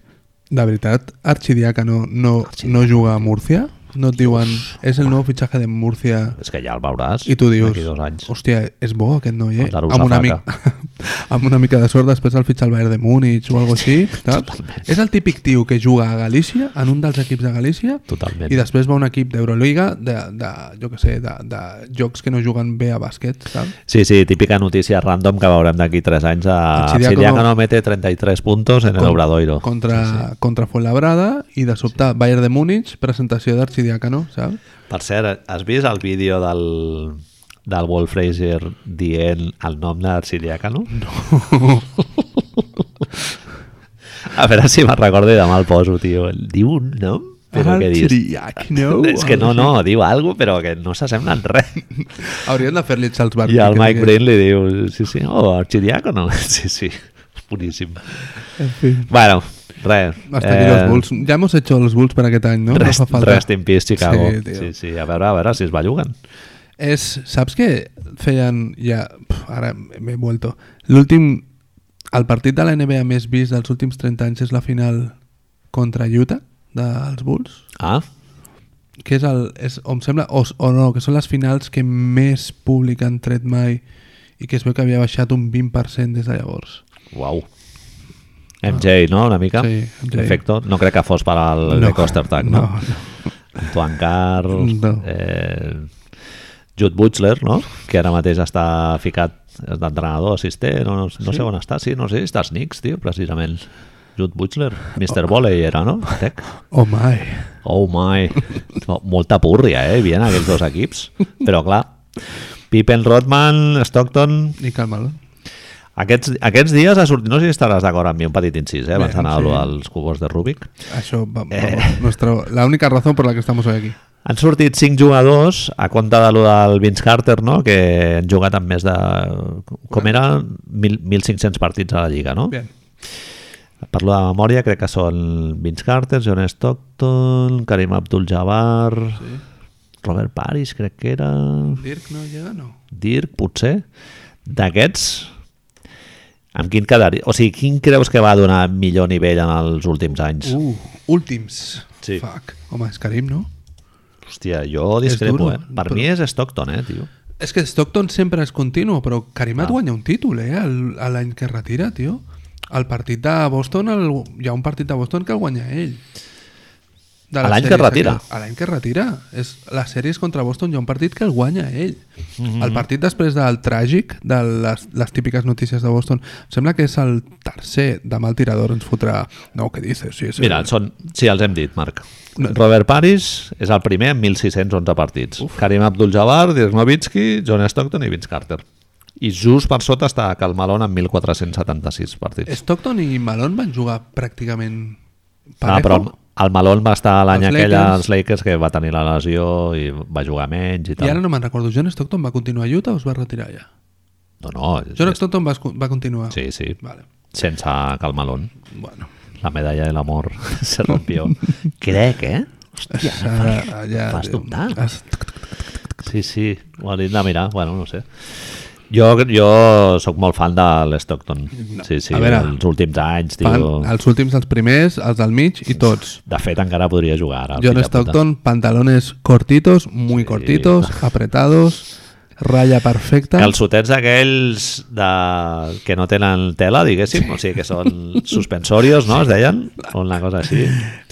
de veritat, Archidiácano no, no juga a Múrcia? No et diuen, és el nou fitxatge de Múrcia
és que ja el veuràs
i tu dius,
d'aquí dos anys.
hòstia, és bo aquest noi, eh?
El Darussafaka.
Amb un amic, amb una mica de sort després el fitxa al Bayern de Múnich o algo així saps? és el típic tio que juga a Galícia en un dels equips de Galícia
Totalment.
i després va a un equip d'Euroliga de, de, jo que sé, de, de jocs que no juguen bé a bàsquet saps?
Sí, sí, típica notícia random que veurem d'aquí 3 anys a
El Chidiaco
Chidiaco
no-
no mete 33 puntos en el
Con-
Obradoiro.
contra, contra Fuenlabrada i de sobte Bayern de Múnich presentació d'Arxidiacano saps?
Per cert, has vist el vídeo del, del Wolf Fraser dient el nom d'Arciliacano? No. A veure si me'n recordo i demà el poso, tio. Diu un nom? Però què dius?
Arcidiacano,
És que no,
algo
no, diu alguna cosa, però que no s'assembla en res.
així. haurien de fer-li eh? Charles Barkley
I el
que
Mike
digués.
Breen li diu, sí, sí, oh, Arciliacano. Sí, sí, boníssim.
en fi.
Bueno, res.
Hasta aquí los Bulls. Ya hemos hecho los Bulls para aquest any, no?
Eh, Rest,
no fa falta.
rest in peace, Chicago.
Sí,
Sí,
tio.
sí, sí, a veure, a veure si es belluguen.
És, saps què feien ja... Pf, ara m'he vuelto. L'últim... El partit de la NBA més vist dels últims 30 anys és la final contra Utah dels Bulls,
Ah,
que és el... És, o em sembla... O, o no, que són les finals que més públic han tret mai i que es veu que havia baixat un 20% des de llavors.
Wow. MJ, no? Una mica?
Sí, MJ.
Perfecto. No crec que fos per al no. Coaster Tag, no? no? Antoine Carr,
No.
eh, Jude Butler, no? Que ara mateix està ficat d'entrenador, assistent, o no, no sé on està, sí, no sé, està als Knicks, tio, precisament. Jude Butler, Mr. Oh. Volley era, no? Tec.
Oh my.
Oh my. Mo- Molta púrria, eh? Bien, aquests dos equips. Però, clar, Pippen, Rodman, Stockton,
I calma-lo.
aquests, aquests dies ha sortit, no sé si estaràs d'acord amb mi, un petit incís, eh, abans
Bé,
d'anar
sí.
sí. als cubos de Rubik.
Això, va, va,
Eh.
nuestra, la única razón por la que estamos hoy aquí.
Han sortit cinc jugadors a compte de lo del Vince Carter, no? que han jugat amb més de... Com era? Mil- 1.500 partits a la Lliga, no?
Bien.
Parlo de memòria, crec que són Vince Carter, John Stockton, Karim Abdul-Jabbar, sí. Robert Parrish, crec que era...
Dirk no llega, no.
Dirk, potser, d'aquests, amb quin quedaria? O sigui, quin creus que va donar millor nivell en els últims anys? Uh.
Uh, últims.
Sí.
Fuck. Home, és Karim, no?
Hòstia, jo
És
discrepo,
duro,
eh? Per
però-
mi és Stockton, eh, tio?
És que Stockton sempre és continu, però Karim et guanya un títol, eh? el- a L'any que es retira, tio. Al partit de Boston, el, hi ha un partit de Boston que el guanya ell. De
A
les
l'any que
sèries
retira.
aquelles- A l'any que es retira. És, les sèries contra Boston hi ha un partit que el guanya ell.
Mm-hmm.
El partit després del tràgic, de les, les típiques notícies de Boston, em sembla que és el tercer de mal tirador ens fotrà... No, què dices? Sí, sí.
Mira, són... sí, els hem dit, Marc. Robert Parrish és el primer amb 1.611 partits. Uf. Karim Abdul-Jabbar, Dirk Nowitzki, John Stockton i Vince Carter. I just per sota està Cal Malone amb 1.476 partits.
Stockton i Malone van jugar pràcticament
Ah, però el, el Malone va estar l'any
Els
aquell
Lakers.
als Lakers que va tenir la lesió i va jugar menys i
I
tal.
ara no me'n recordo, John Stockton va continuar a Utah o es va retirar ja?
No, no,
John Stockton va, es- va continuar.
sí, sí,
Vale.
sense calmalón.
Bueno,
La medalla de l'amor se rompió. Crec, eh? Hòstia,
Ara, ja,
fas
diu,
dubtar.
es-
Sí, sí, ho hauríem de mirar, bueno, no ho sé. Jo, jo sóc molt fan de l'Stockton. Sí, sí,
a veure,
els últims anys,
fan
tio.
els últims, els primers, els del mig i tots.
De fet, encara podria jugar ara. el
John
fill de Ah, puta.
Stockton, pantalones cortitos, muy cortitos, apretados, raya perfecta.
Calçotets aquells de... que no tenen tela, diguéssim, o sigui que són suspensorios, no? Es deien? O una cosa així.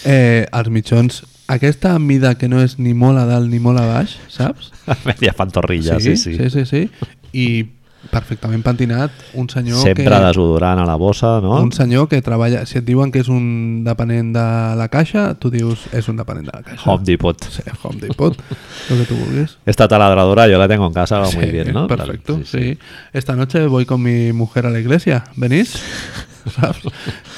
Eh, els mitjons, aquesta mida que no és ni molt a dalt ni molt a baix, saps?
Media pantorrilla, sí, sí.
sí, sí, sí. I perfectament pentinat, un senyor
Sempre
que...
desodorant a la bossa, no?
un senyor que treballa... Si et diuen que és un dependent de la caixa, tu dius és un dependent de la caixa.
Home Depot.
Sí, Home Depot, lo que tú vulguis.
Esta taladradora yo la tengo en casa, va muy bien, ¿no?
Perfecto,
Claro,
sí, Esta noche voy con mi mujer a la iglesia. ¿Venís? ¿Sabes?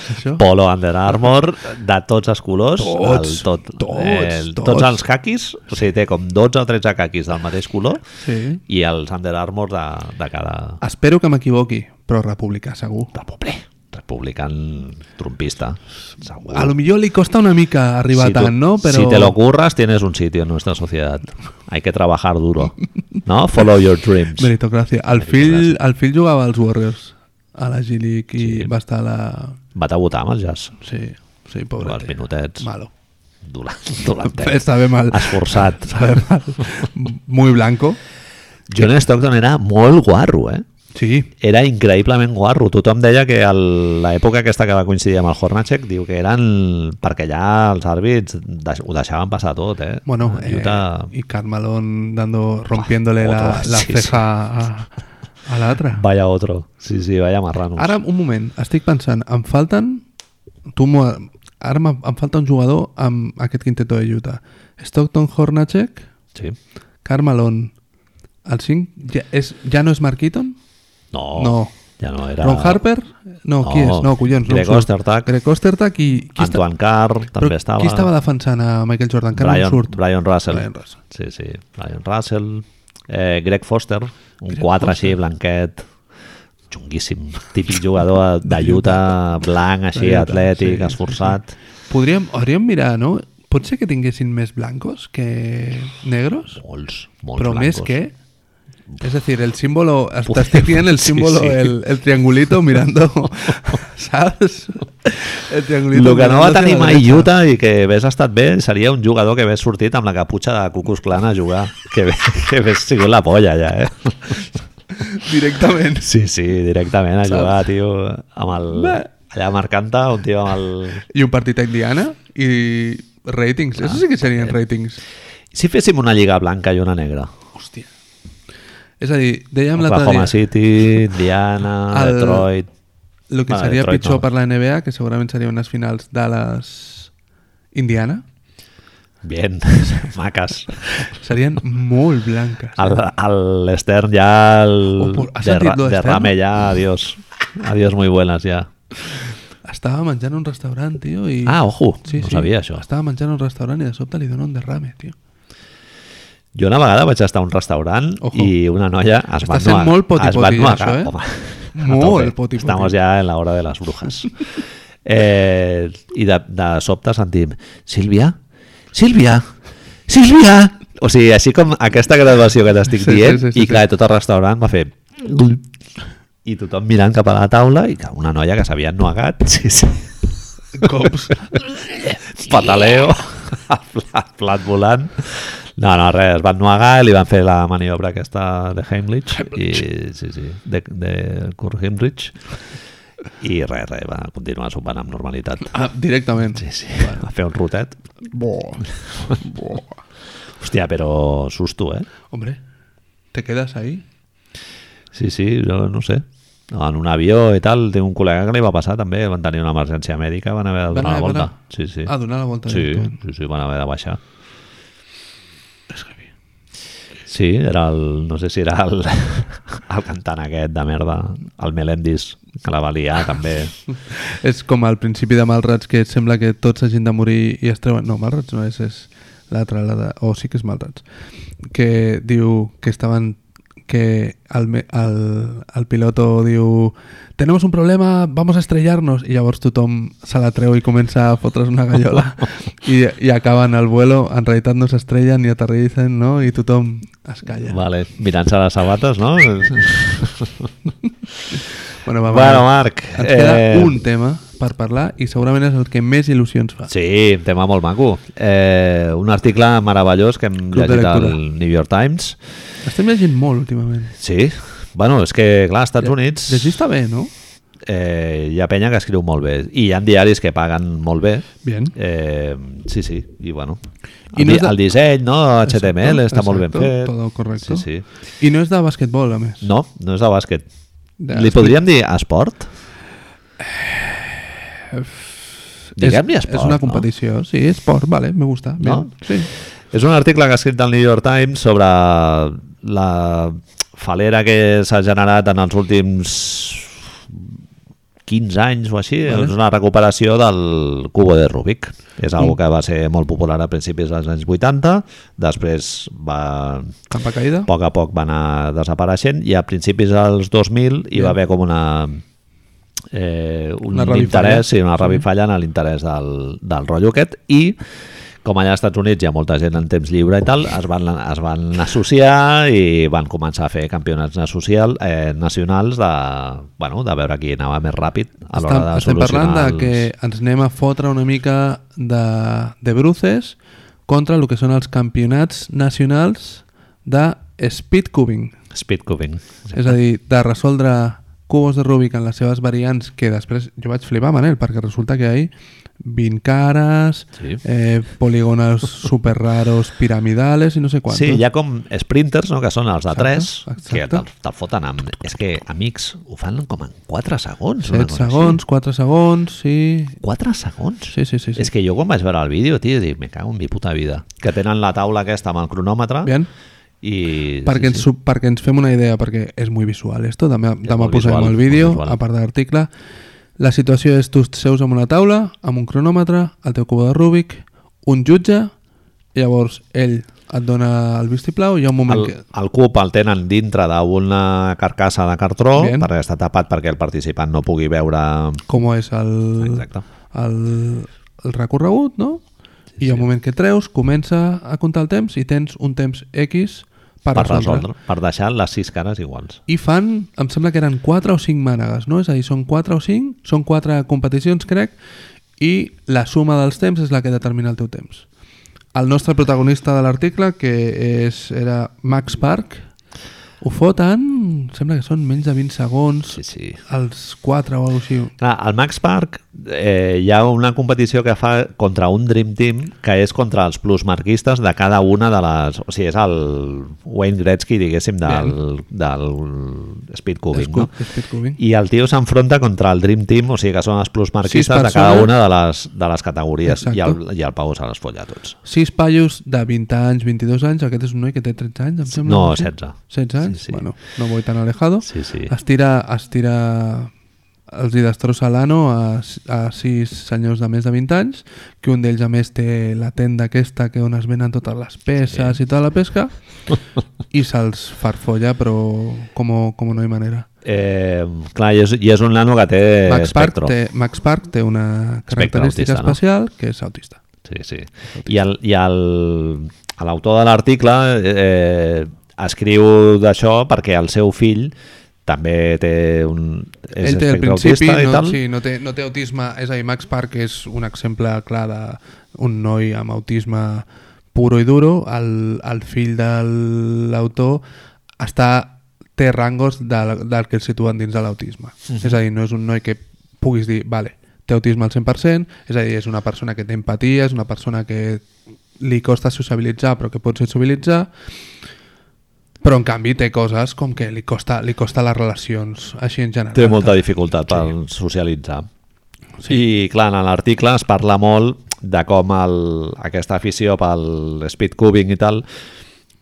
Això.
Polo Under Armour, de tots els colors,
Tots,
el tot, eh,
tots, tots.
tots els caquis, o sigui, té com 12 o 13 caquis del mateix color
Sí.
i els Under Armour de, de cada
Espero que m'equivoqui, però republicà, segur.
republican trompista. Segur.
A lo millor li costa una mica arribar
si tú-
tant, no? Però...
Si te lo curras, tienes un sitio en nuestra sociedad. Hay que trabajar duro, ¿no? Follow your dreams.
Meritocràcia. El fill, el fill jugava als Warriors, a la G League, i
Sí.
va estar a la...
Va a votar amb el jazz.
Sí, sí, pobre.
Els minutets.
Malo.
Dolant, dolantet.
Estava mal.
Esforçat.
Estava mal. Muy blanco.
John Stockton era molt guarro, eh?
Sí,
era increïblement guarro. Tothom deia que el- l'època aquesta que va coincidir amb el Hornacek diu que eren... perquè allà els àrbits deix- ho deixaven passar tot, eh?
bueno, eh,
Utah
y Carmalón dando, rompiéndole
otro,
la, la
sí,
ceja a- A, la otra.
Vaya otro. Sí, sí, vaya marranos.
Ara, un moment, estic pensant, em falten... Tu m'ho- ara em, em falta un jugador amb aquest quinteto de Utah. Stockton Hornacek,
Sí.
Carmelon. El 5 ja, és, ja no és Mark Eaton?
No.
No.
Ja no era...
Ron Harper? No, qui
No,
és? No, collons.
Greg
no em surt.
Ostertag.
Greg Ostertag i... Qui
Antoine Carr també
però
estava.
Qui estava defensant a Michael Jordan? Que
Brian,
no em surt.
Brian Russell.
Brian Russell.
Sí, sí. Brian Russell. Eh, Greg Foster, un 4 així, blanquet, xunguíssim. Típic jugador de Utah, blanc, així,
Utah,
atlètic,
sí, sí,
esforçat.
Podríem, hauríem mirar, no? Pot ser que tinguessin més blancos que negros?
Molts, molts
Però
blancos.
més que... Es decir, el símbolo, hasta estoy bien el
Sí,
símbolo,
sí.
El, el triangulito mirando, ¿sabes? El triangulito.
El que no va
mirando hacia
tenir
la
mai
derecha.
Utah i que hagués estat bé seria un jugador que hagués sortit amb la caputxa de Cucus Clan a jugar, que, hagués- que hagués sigut la polla ja, eh?
Directament.
Sí, sí, directament a
Saps?
jugar, tio, amb el...
Bé.
Allà marcant-te, un tio amb el...
I un partit a Indiana i ratings. Eso sí que serien ratings.
Si féssim una lliga blanca i una negra,
Hòstia. És a dir, dèiem l'altre
Oklahoma
dia...
City, Indiana,
El-
Detroit...
El que
Vale,
seria
Detroit
pitjor
no.
per la NBA, que segurament serien unes finals de les Indiana,
Bien, maques.
serien molt blanques.
Al, al Stern ya
Oh,
al
por- ¿has
derra-
sentido lo de
derrame ya, adiós. Adiós muy buenas ya.
Estava menjant a un restaurant, tio, i...
Ah, ojo, no sabia això.
Estava menjant a un restaurant i de sobte li dona un derrame, tio.
Jo una vegada vaig estar a un restaurant
Ojo.
i una noia es va
Està sent molt poti-poti,
es va
eh,
ennuegar,
això, eh?
home, a
Molt
tope.
poti-poti.
Estamos ya en la hora de las brujas. eh, I de, de sobte sentim Sílvia, Sílvia, Sílvia! O sigui, així com aquesta graduació que t'estic
Sí, sí,
dient
sí, sí,
i clar, tot el restaurant va fer i tothom mirant cap a la taula i clar, una noia que s'havia ennuegat sí, sí,
Cops.
pataleo, el plat, plat volant. No, no, res, es van nuagar, li van fer la maniobra aquesta de Heimlich, i, sí, sí, de, de Kurt Heimlich, i res, res, va continuar sopant amb normalitat.
Ah, directament.
Sí, sí, va fer un rotet.
Bo. Bo.
Hòstia, però susto, eh?
Hombre, te quedas ahí?
Sí, sí, jo no sé. En un avió i tal, té un col·lega que li va passar també, van tenir una emergència mèdica, van haver de
Van
donar la
haver de
volta.
donar-
Sí, sí.
Ah, donar la volta
Sí,
directament.
sí, sí, van haver de baixar. Sí, era el, no sé si era el, el cantant aquest de merda, el Melendis, que la va liar també.
És com al principi de Malrats que sembla que tots s'hagin de morir i es treuen... No, Malrats no és, és l'altra, la de... O oh, sí que és Malrats. Que diu que estaven que el, me- el, el piloto diu tenemos un problema, vamos a estrellarnos i llavors tothom se la treu i comença a fotre's una gallola i, i acaben el vuelo, en realitat no s'estrellen ni aterrissen, no? I tothom es calla.
Vale, mirant-se les sabates, no?
Bueno, va,
bueno,
va.
Marc... eh,
Ens queda un tema per parlar i segurament és el que més il·lusions fa.
Sí, un tema molt maco. Eh, un article meravellós que hem
Club de
llegit al
lectura.
New York Times.
Estem llegint molt últimament.
Sí, bueno, és que, clar, als Estats Units
Llegir està bé, no?
eh, hi ha penya que escriu molt bé i hi ha diaris que paguen molt bé.
Bien.
Eh, sí, sí, i bueno. I
I no
no
és de-
El disseny, no? HTML està molt ben
Exacto,
fet.
Todo correcto.
Sí, sí.
I no és de basquetbol, a més.
No, no és de bàsquet.
De-
Li podríem dir esport? Diguem-li esport,
Eh, És una
no?
competició, sí, esport, vale, me gusta. Bien.
No?
Sí.
És un article que ha escrit el New York Times sobre la falera que s'ha generat en els últims 15 anys o així.
Vale.
Vale. És una recuperació del cubo de Rubik. És algo que va ser molt popular a principis dels anys 80, després va
Campa caída.
a poc a poc va anar desapareixent i a principis dels 2000 hi va haver com una eh, un
Una
una
revifalla. Mm.
interès i una revifalla en l'interès del, del rotllo aquest i com allà als Estats Units hi ha molta gent en temps lliure i tal, es van, es van associar i van començar a fer campionats social, eh, nacionals de, bueno, de veure qui anava més ràpid a l'hora
Estem,
de
estem
solucionar
parlant de
els...
que ens anem a fotre una mica de, de bruces contra el que són els campionats nacionals de speed cubing,
Speed cubing.
és a dir, de resoldre cubos de Rubik en les seves variants, que després jo vaig flipar, Manel, perquè resulta que hi ha 20 cares,
Sí.
eh, polígonos super raros, piramidales i no sé quantos.
Sí, hi ha com sprinters, no?, que són els de
Exacte,
3, que
exacte.
te'l te foten amb... És que, amics, ho fan com en 4 segons. una
7
cosa així.
segons, 4 segons, sí...
4 segons?
Sí, sí, sí. sí.
És que jo quan vaig veure el vídeo, tio, dic, me cago en mi puta vida. Que tenen la taula aquesta amb el cronòmetre
Bien.
i...
perquè,
sí,
ens, perquè ens fem una idea, perquè és molt visual esto, demà, demà
molt
posarem
visual,
el vídeo,
molt visual.
a part de l'article. La situació és tu seus en una taula, amb un cronòmetre, el teu cubo de Rubik, un jutge, i llavors ell et dona el vistiplau, i hi ha un
sí.
moment
El,
que...
el cub el tenen dintre d'una carcassa de cartró
Bien.
perquè està tapat perquè el participant no pugui veure...
Com és el,
Exacte.
el, el recorregut, no? I hi ha un moment que treus, comença a comptar el temps i tens un temps X per,
Per resoldre, per deixar les sis cares iguals.
I fan, em sembla que eren 4 o 5 mànegues, no? És a dir, són 4 o 5, són 4 competicions, crec, i la suma dels temps és la que determina el teu temps. El nostre protagonista de l'article, que és, era Max Park, ho foten, sembla que són menys de 20 segons,
Sí, sí.
els 4 o alguna cosa així.
Clar, al Max Park eh, hi ha una competició que fa contra un Dream Team que és contra els plusmarquistes de cada una de les... O sigui, és el Wayne Gretzky, diguéssim, del, del Speed Cubing,
Escu-
no?
Speed Cubing.
I el tio s'enfronta contra el Dream Team, o sigui que són els
Sis
plusmarquistes de
persones.
cada una de les, de les categories i el,
Exacte.
i el Pau se les folla a tots.
Sis paios de 20 anys, 22 anys, aquest és un noi que té 13 anys, em sembla.
No,
sé.
16.
16 anys?
Sí,
Sí,
sí.
sí. Bueno, no voy tan alejado.
Sí, sí.
Es tira, es tira els hi destrossa l'ano a, a sis senyors de més de 20 anys, que un d'ells a més té la tenda aquesta que on es venen totes les peces sí. i tota la pesca, i se'ls farfolla, però com, com no hi manera.
Eh, clar, i és, i és un nano que té
Max Park,
espectro.
té, Max Park té una
Espectre
característica
Eh, autista, no?
especial, que és autista.
Sí, sí. I el- i el- a l'autor de l'article eh, escriu d'això perquè el seu fill també té un... És
Ell té
espectre
el principi,
autista i
no,
tal.
sí, no, té, no té autisme, és a dir, Max Park és un exemple clar d'un noi amb autisme puro i duro, el, el fill de l'autor està té rangos del, del que el situen dins de l'autisme.
Mhm.
És a dir, no és un noi que puguis dir, vale, té autisme al 100%, és a dir, és una persona que té empatia, és una persona que li costa sociabilitzar però que pot sociabilitzar, però en canvi té coses com que li costa, li costa les relacions així en general.
Té molta dificultat per socialitzar. Sí. I clar, en l'article es parla molt de com el, aquesta afició pel speed cubing i tal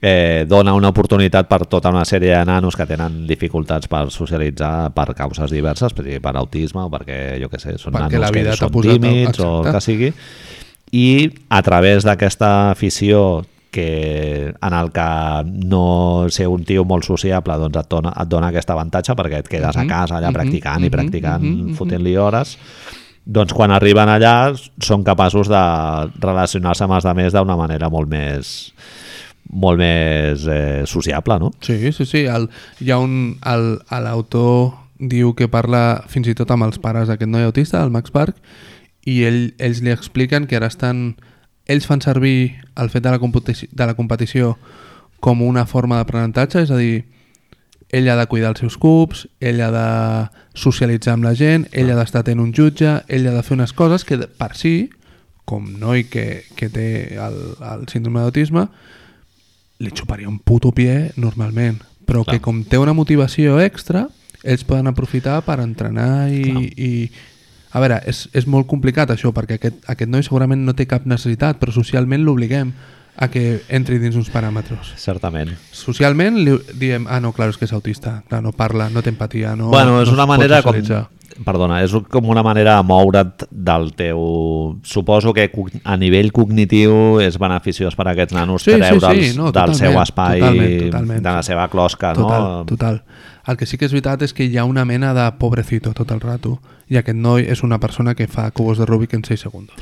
eh, dona una oportunitat per tota una sèrie de nanos que tenen dificultats per socialitzar per causes diverses, per, dir, per autisme o perquè, jo què sé, són
Perquè la
nanos
vida
que
t'ha
són
posat a-
tímids o el
Exacte.
que sigui. I a través d'aquesta afició que, en el que no ser un tio molt sociable doncs et, dona, et dona aquest avantatge perquè et quedes a
Mhm,
casa allà
mhm,
practicant i
mhm,
practicant,
mhm, mhm.
fotent-li hores doncs quan arriben allà són capaços de relacionar-se amb els altres d'una manera molt més molt més eh, sociable, no?
Sí, sí, sí. El, hi ha un... el- a L'autor diu que parla fins i tot amb els pares d'aquest noi autista, el Max Park, i ell, ells li expliquen que ara estan... Ells fan servir el fet de la, competici- de la competició com una forma d'aprenentatge, és a dir, ell ha de cuidar els seus cubs, ell ha de socialitzar amb la gent, ell ha d'estar atent a un jutge, ell ha de fer unes coses que de- per si, com noi que, que té el, el síndrome d'autisme, li xuparia un puto pie normalment, però Clar. que com té una motivació extra, ells poden aprofitar per entrenar i... i a veure, és, és molt complicat això, perquè aquest, aquest noi segurament no té cap necessitat, però socialment l'obliguem a que entri dins uns paràmetres
Certament.
socialment li diem, ah no, clar, és que és autista, clar, no parla, no té empatia, no...
bueno, és
no
una
pot
manera com...
socialitzar.
Perdona, és com una manera de moure't del teu... Suposo que cog- a nivell cognitiu és beneficiós per a aquests nanos
Sí, sí,
treure'ls
sí, no,
del seu
totalment,
espai,
totalment, totalment.
de la seva closca,
Total,
no?
total. El que sí que és veritat és que hi ha una mena de pobrecito tot el rato, i aquest noi és una persona que fa cubos de Rubik en 6 segons.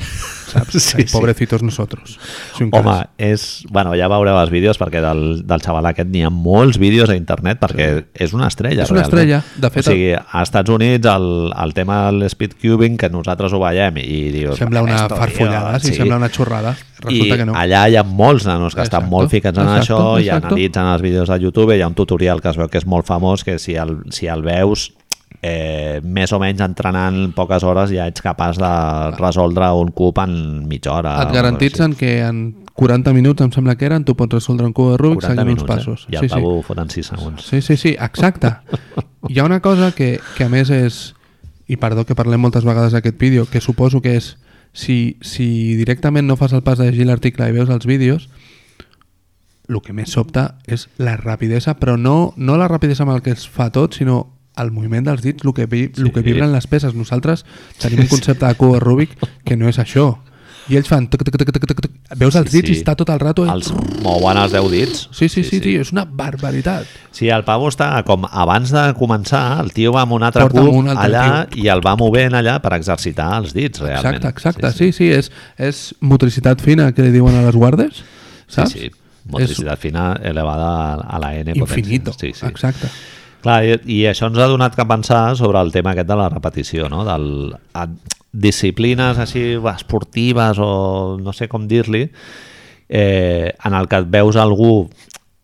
saps?
Sí,
Ai,
sí.
Pobrecitos nosotros. Si un cas.
Home, és... Bueno, ja veureu els vídeos perquè del, del xaval aquest n'hi ha molts vídeos a internet perquè és una estrella.
És una
realment.
estrella. De fet,
o sigui, a Estats Units el, el tema del speed cubing que nosaltres ho veiem i dius...
sembla una
"Esto, tio,
farfollada, sí, sembla una xorrada. Resulta
I
que no.
allà hi ha molts nanos que estan
Exacto,
molt ficats en
exacto,
això i
exacto.
analitzen els vídeos de YouTube. Hi ha un tutorial que es veu que és molt famós, que si el, si el veus eh, més o menys entrenant poques hores ja ets capaç de resoldre un cub en mitja hora. o alguna
Et
cosa així.
garantitzen que en 40 minuts, em sembla que eren, tu pots resoldre un cub de Rubik
40
seguint uns
minuts,
passos.
eh? I el sí, pavo sí. foten 6 segons.
Sí, sí, sí, exacte. Hi ha una cosa que, que a més és, i perdó que parlem moltes vegades d'aquest vídeo, que suposo que és, si, si directament no fas el pas de llegir l'article i veus els vídeos, el que més sobta és la rapidesa, però no, no la rapidesa amb el que es fa tot, sinó el moviment dels dits, el que, vi, el que
Sí.
vibren les peces. Nosaltres tenim un concepte de cubo Rubik que no és això. I ells fan... Tuc, tuc, tuc, tuc, tuc, tuc. Veus els
Sí,
dits
sí.
i està tot el rato... eh?
Els mouen els 10 dits.
Sí, sí, sí, sí, tio, és una barbaritat.
Sí, el pavo està com abans de començar, el tio va amb un altre
Porta
cub
amb un altre
allà i el va movent allà per exercitar els dits, realment.
Exacte, exacte. Sí, sí, és, és motricitat fina que li diuen a les guardes, saps?
Sí, sí. Motricitat fina elevada a la N
és infinito,
potència. Sí, sí.
exacte.
Clar, i, i això ens ha donat que pensar sobre el tema aquest de la repetició, no? Del, a, disciplines així esportives o no sé com dir-li, eh, en el que et veus algú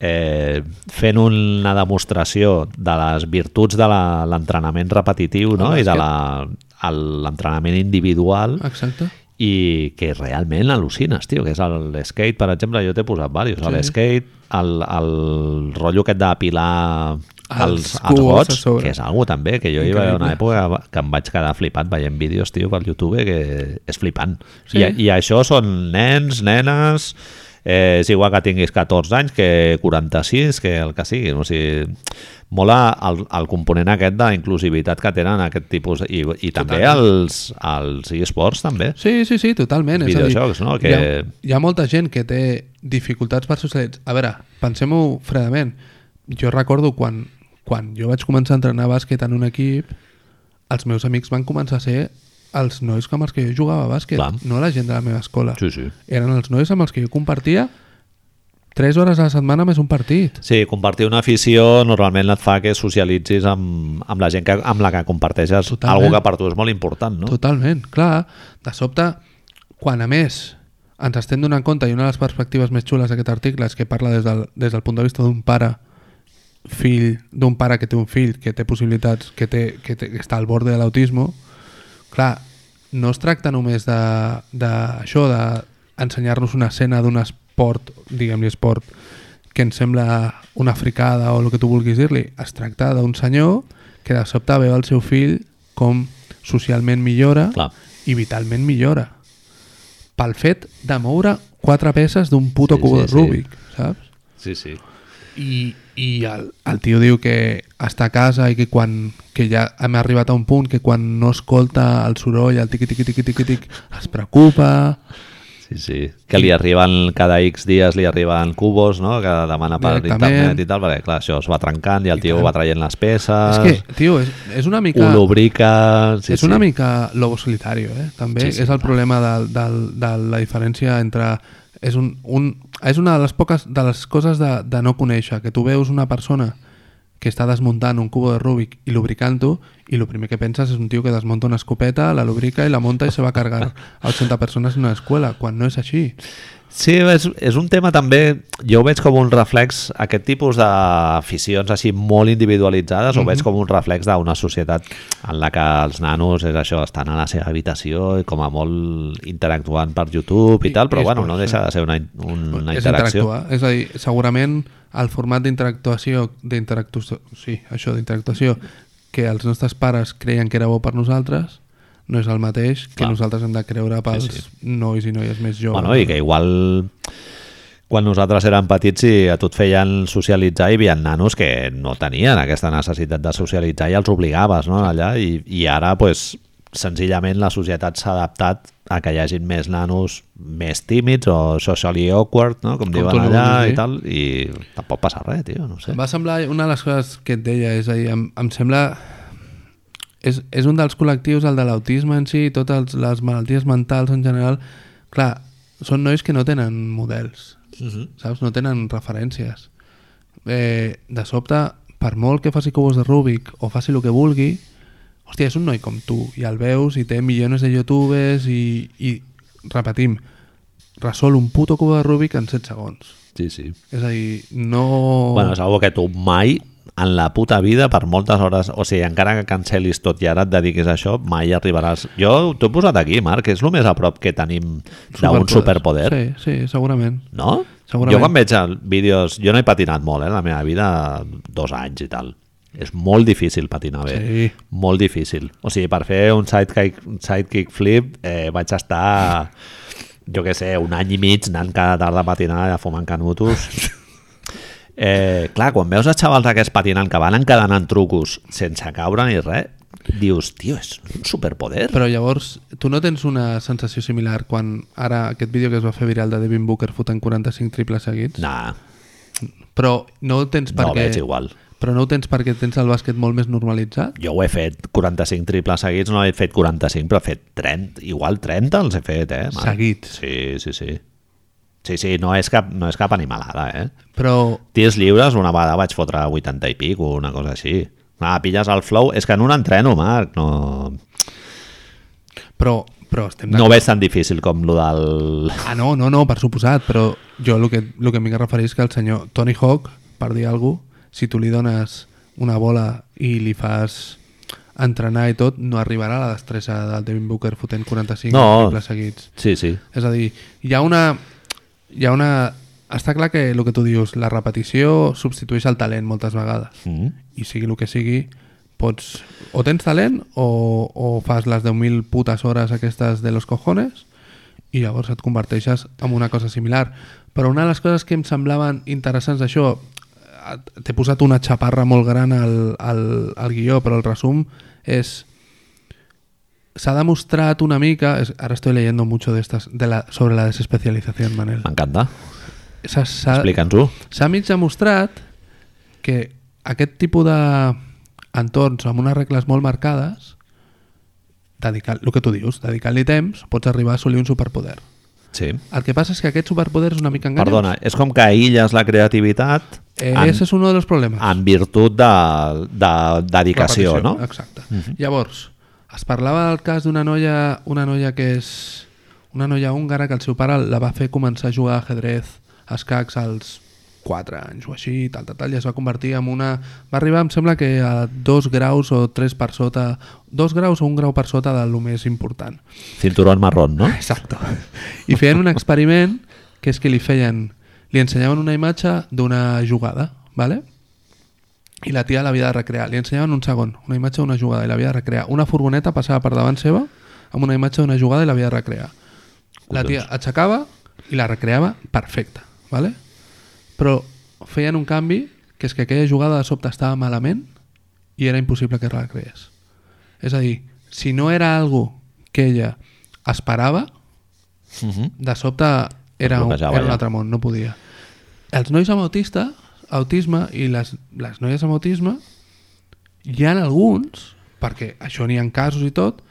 eh, fent una demostració de les virtuts de la- l'entrenament repetitiu no?
El
i de
bàsquet.
la- el- l'entrenament individual
Exacte.
i que realment al·lucines, tio, que és el skate, per exemple, jo t'he posat diversos, sí. l'skate, el, el rotllo aquest d'apilar els,
Els
els
cubos a
gots,
sobre.
que és algo també, que jo hi va haver una
Increïble.
època que em vaig quedar flipat veient vídeos, tio, per YouTube, que és flipant.
Sí.
Sí. I, I això són nens, nenes, eh, és igual que tinguis 14 anys que 46, que el que sigui. O sigui, mola el, el component aquest d'inclusivitat que tenen aquest tipus, i, i també els, els esports també.
Sí, sí, sí, totalment. És a dir,
Videojocs, no? Que-
Hi ha, hi ha molta gent que té dificultats per socialitzar. A veure, pensem-ho fredament. Jo recordo quan, quan jo vaig començar a entrenar bàsquet en un equip, els meus amics van començar a ser els nois amb els que jo jugava a bàsquet,
Clar.
no la gent de la meva escola.
Sí, sí.
Eren els nois amb els que jo compartia 3 hores a la setmana més un partit.
Sí, compartir una afició normalment et fa que socialitzis amb, amb la gent que, amb la que comparteixes
Totalment.
algo que per tu és molt important, no?
Totalment, clar. De sobte, quan a més ens estem donant compte, i una de les perspectives més xules d'aquest article és que parla des del, des del punt de vista d'un pare fill d'un pare que té un fill que té possibilitats, que, té, que, té, que està al bord de l'autisme, clar, no es tracta només de, de això, d'ensenyar-nos una escena d'un esport, diguem-li esport, que ens sembla una fricada o el que tu vulguis dir-li. Es tracta d'un senyor que de sobte veu el seu fill com socialment millora
Clar.
i vitalment millora pel fet de moure quatre peces d'un puto
Sí,
sí, cubo
sí,
de
sí.
Rubik, saps?
Sí, sí.
I, i el, el tio diu que està a casa i que quan que ja hem arribat a un punt que quan no escolta el soroll, el tiqui tiqui tiqui tiqui tiqui, es preocupa
Sí, sí. Que li arriben cada X dies li arriben cubos, no? Que demana per
Directament.
internet i tal, perquè clar, això es va trencant i el tio va traient les peces,
és que, tio, és, és una mica
ho lubrica...
sí,
Sí,
és una
sí.
mica lobo solitario eh? també,
Sí,
sí,
sí,
sí, és el problema de, de, de la diferència entre és, un, un, és una de les poques de les coses de, de no conèixer que tu veus una persona que està desmuntant un cubo de Rubik i lubricant-ho i el primer que penses és un tio que desmunta una escopeta, la lubrica i la monta i se va a cargar a 80 persones en una escuela, quan no és així.
Sí, és, és un tema també, jo ho veig com un reflex, aquest tipus d'aficions així molt individualitzades, mm -hmm. ho
Mhm.
veig com un reflex d'una societat en la que els nanos, és això, estan a la seva habitació i com a molt interactuant per YouTube i,
I-
tal, però
i és
bueno,
per
no
això.
deixa de ser una, in- una
és
interacció.
interactuar. És a dir, segurament el format d'interactuació d'interactuació, sí, això d'interactuació que els nostres pares creien que era bo per nosaltres no és el mateix que
Clar.
nosaltres hem de creure pels
Sí,
sí, sí. nois i noies més joves.
Bueno, i que igual quan nosaltres érem petits i a tot feien socialitzar, hi havia nanos que no tenien aquesta necessitat de socialitzar i els obligaves no, allà i, i ara pues, senzillament la societat s'ha adaptat a que hi hagin més nanos més tímids o socially awkward, no? com,
Com tu
diuen
li
allà i
vulguis dir.
tal, i tampoc passa res, tio, no ho sé.
Em va semblar una de les coses que et deia, és a dir, em, em sembla... És, és un dels col·lectius, el de l'autisme en si, i totes els- les malalties mentals en general, Clar, són nois que no tenen models, saps? No tenen referències. Eh, de sobte, per molt que faci cubos de Rubik o faci el que vulgui, hòstia, és un noi com tu, i el veus, i té milions de youtubers, i, i repetim, resol un puto cubo de Rubik en 7 segons.
Sí, sí.
És a dir, no...
Bueno, segur que tu mai en la puta vida, per moltes hores, o sigui, encara que cancelis tot i ara et dediquis a això, mai arribaràs. Jo t'ho he posat aquí, Marc, és el més a prop que tenim d'un superpoder.
Sí, sí, segurament.
No? Jo
Segurament.
quan veig el- vídeos... Jo no he patinat molt, eh? La meva vida, dos anys i tal. És molt difícil patinar bé.
Sí.
Molt difícil. O sigui, per fer un sidekick, un sidekick flip eh, vaig estar, jo què sé, un any i mig anant cada tarda a patinar a fumant canutos. Eh, clar, quan veus els xavals aquests patinant que van encadenant trucos sense caure ni res, dius, tio, és un superpoder.
Però llavors, tu no tens una sensació similar quan ara aquest vídeo que es va fer viral de Devin Booker fotent 45 triples seguits?
Nah,
Però no ho tens
no
perquè...
veig igual.
Però no ho tens perquè tens el bàsquet molt més normalitzat?
Jo ho he fet 45 triples seguits, no he fet 45, però he fet 30, igual 30 els he fet, eh? Marc?
Seguits.
Sí, sí, sí. Sí, sí, no és cap, no és cap animalada, eh?
Però
Tirs lliures, una vegada vaig fotre 80 i pic o una cosa així. Ah, pilles el flow, és que en un entreno, Marc, no,
Però, però estem
no ho veig tan difícil com lo del...
Ah, no, no, no, per suposat, però jo el que, el que m'hi referir és que el senyor Tony Hawk, per dir alguna cosa, si tu li dones una bola i li fas entrenar i tot, no arribarà a la destressa del Devin Booker fotent 45
No.
triples seguits.
Sí, sí.
És a dir, hi ha una... Hi ha una... Està clar que el que tu dius, la repetició substitueix el talent moltes vegades.
Mm.
I sigui el que sigui, pots... O tens talent o, o fas les 10.000 putes hores aquestes de los cojones i llavors et converteixes en una cosa similar. Però una de les coses que em semblaven interessants d'això, eh, t'he posat una xaparra molt gran al, al, al guió, però el resum és s'ha demostrat una mica, es- ara estoy leyendo mucho de estas, de la, sobre la desespecialización, Manel.
M'encanta.
S'ha- s'ha-
Explica'ns-ho.
S'ha mig demostrat que aquest tipus d'entorns amb unes regles molt marcades, dedicar, el que tu dius, dedicant-li temps, pots arribar a assolir un superpoder.
Sí.
El que passa és que aquest superpoder és una mica enganyós.
Perdona, eh? és com que aïlles la creativitat
Eh,
en,
Ese és un dels problemes.
en virtut de, de dedicació,
Repetició,
no?
Exacte. Llavors, es parlava del cas d'una noia, una noia que és una noia húngara que el seu pare la va fer començar a jugar a ajedrez, a escacs als 4 anys o així, tal, tal, tal, i es va convertir en una... Va arribar, em sembla que a dos graus o tres per sota... Dos graus o un grau per sota de lo més important.
Cinturón marrón, no?
Exacte. I feien un experiment que és que li feien... Li ensenyaven una imatge d'una jugada, ¿vale? i la tia l'havia de recrear. Li ensenyaven un segon, una imatge d'una jugada i l'havia de recrear. Una furgoneta passava per davant seva amb una imatge d'una jugada i l'havia de recrear. La tia aixecava i la recreava perfecta, ¿vale? però feien un canvi que és que aquella jugada de sobte estava malament i era impossible que la recreés. És a dir, si no era algo que ella esperava, Mm-hmm. de sobte era, un,
bloquejava
era un
ja.
altre món, no podia. Els nois amb autista, autisme i les, les noies amb autisme, hi ha alguns, perquè això n'hi ha casos i tot,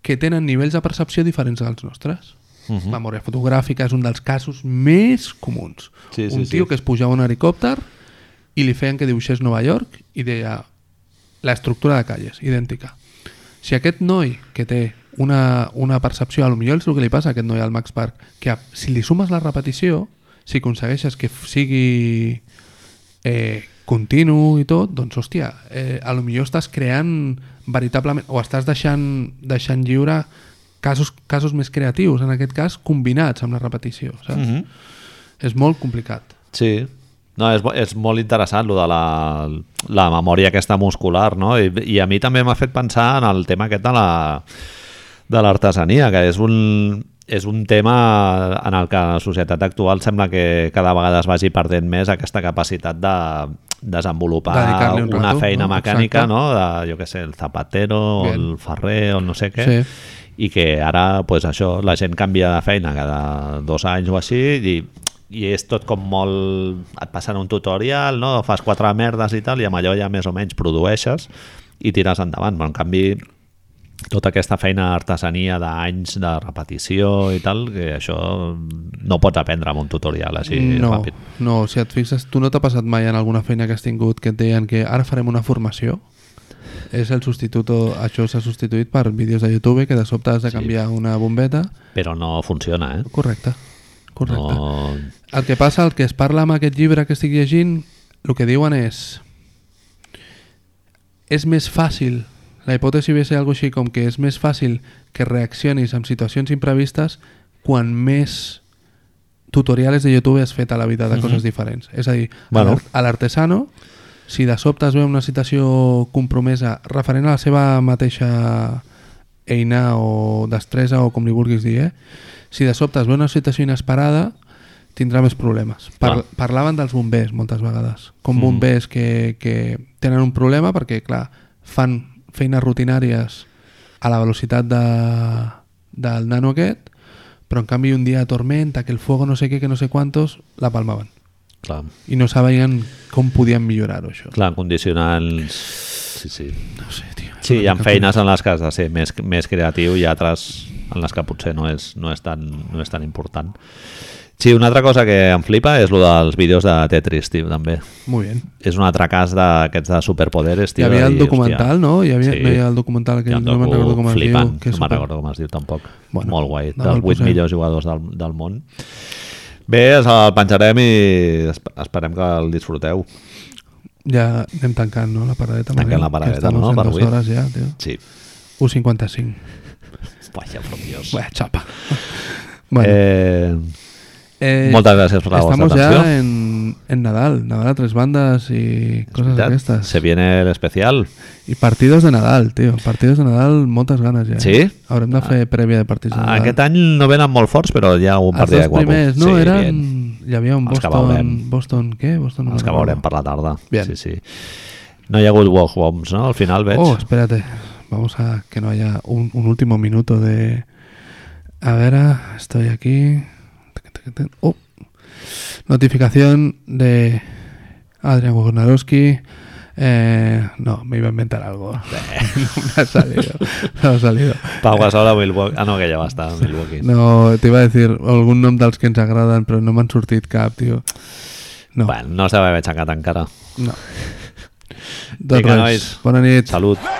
que tenen nivells de percepció diferents dels nostres. Uh
Mm-hmm.
-huh. Memòria fotogràfica és un dels casos més comuns.
Sí, sí,
un tio
sí.
que es pujava a un helicòpter i li feien que dibuixés Nova York i deia la estructura de calles, idèntica. Si aquest noi que té una, una percepció, a lo millor és el que li passa a aquest noi al Max Park, que a- si li sumes la repetició, si aconsegueixes que f- sigui eh, continu i tot, doncs hòstia, eh, a lo millor estàs creant veritablement, o estàs deixant, deixant lliure casos, casos més creatius, en aquest cas combinats amb la repetició, saps? Mm -hmm. És molt complicat.
Sí. No, és, bo- és molt interessant lo de la, la memòria aquesta muscular, no? I, i a mi també m'ha fet pensar en el tema aquest de la de l'artesania, que és un, és un tema en el que la societat actual sembla que cada vegada es vagi perdent més aquesta capacitat de desenvolupar
Dedicar-li un
una
rato,
feina
no?
mecànica,
Exacte.
no? De, jo què sé, el zapatero, o
Bien.
el ferrer, o el no sé què
Sí.
eh? i que ara, pues, això, la gent canvia de feina cada dos anys o així i, i és tot com molt... et passen un tutorial, no? fas quatre merdes i tal i amb allò ja més o menys produeixes i tires endavant, però en canvi tota aquesta feina d'artesania d'anys de repetició i tal, que això no pots aprendre amb un tutorial així
no,
ràpid.
no, si et fixes, tu no t'ha passat mai en alguna feina que has tingut que et deien que ara farem una formació? És el substitut, o això s'ha substituït per vídeos de YouTube que de sobte has de canviar una bombeta.
Però no funciona, eh?
Correcte, correcte.
No...
El que passa, el que es parla amb aquest llibre que estic llegint, el que diuen és és més fàcil la hipòtesi ve a ser algo així com que és més fàcil que reaccionis amb situacions imprevistes quan més tutorials de YouTube has fet a la vida de coses diferents. És a dir,
Bueno.
bueno. a l'artesano, si de sobte es veu una situació compromesa referent a la seva mateixa eina o destresa o com li vulguis dir, eh? si de sobte es veu una situació inesperada, tindrà més problemes. Par
Clar.
parlaven dels bombers moltes vegades, com bombers que, que tenen un problema perquè, clar, fan feines rutinàries a la velocitat de, del nano aquest, però en canvi un dia tormenta, que el fuego no sé què, que no sé quantos, la palmaven.
Clar,
I no sabien com podien millorar-ho, això.
clar, condicionals... Sí, sí.
No sé, tio. és
Sí,
una
hi ha
mica
feines en les que has de ser més, més creatiu i altres en les que potser no és, no és, tan, no és tan important. Sí, una altra cosa que em flipa és el dels vídeos de Tetris, tio, també.
fum. Molt bé.
És un altre cas d'aquests de superpoderes,
Hi
tio.
havia
de
el
dir,
documental,
hòstia,
no? Hi havia,
sí.
no hi ha el documental aquell,
Hi ha un
no me'n
docu
recordo com es
flipant,
diu. Que és
no me'n
super-
recordo com es diu tampoc.
Bueno,
Molt guai,
no
dels
me'l
8
posaré.
millors jugadors del, del món. Bé, es el penjarem i esp- esperem que el disfruteu.
Ja anem tancant, no? La paradeta.
Tanquem
Manel?
la paradeta,
Que estamos
no?
en
Per
dues
avui.
hores ja, tio.
Sí.
1.55.
Vaja, per Dios.
Vaya chapa. Bueno,
Eh,
eh,
moltes gràcies per la vostra
Estamos
atenció.
ya en, en Nadal, Nadal a tres bandas y cosas
Veritat?
d'aquestes.
Se viene el especial.
I partidos de Nadal, tío. Partidos de Nadal, moltes ganes ja.
Sí? Ah.
Haurem de fer prèvia de partits de Nadal.
Aquest any no venen molt forts, però hi ha un
Els
partit
dos
de guapo.
primers, no?
Sí,
Eren...
bien.
Hi havia un
Els que
Boston...
veurem.
Boston, què? Boston, no
Els que
me'n
veurem per
recordo.
la tarda.
Bien.
Sí, sí. No hi ha hagut walk bombs, no? Al final veig.
Oh, espérate. Vamos a que no haya un, un último minuto de... A ver, ah, estoy aquí. Oh. Notificación de Adrián Wojnarowski. Eh, no, me iba a inventar algo. no me ha salido. No me ha salido.
Pau Gasol a Milwaukee. Ah, no, que ja va estar a Milwaukee.
No, te iba a decir algún nom dels que ens agraden, però no m'han sortit cap, tio. No,
Bueno, no s'ha d'haver aixecat encara.
no. Doncs
Vinga,
res,
nois.
bona nit.
Salut.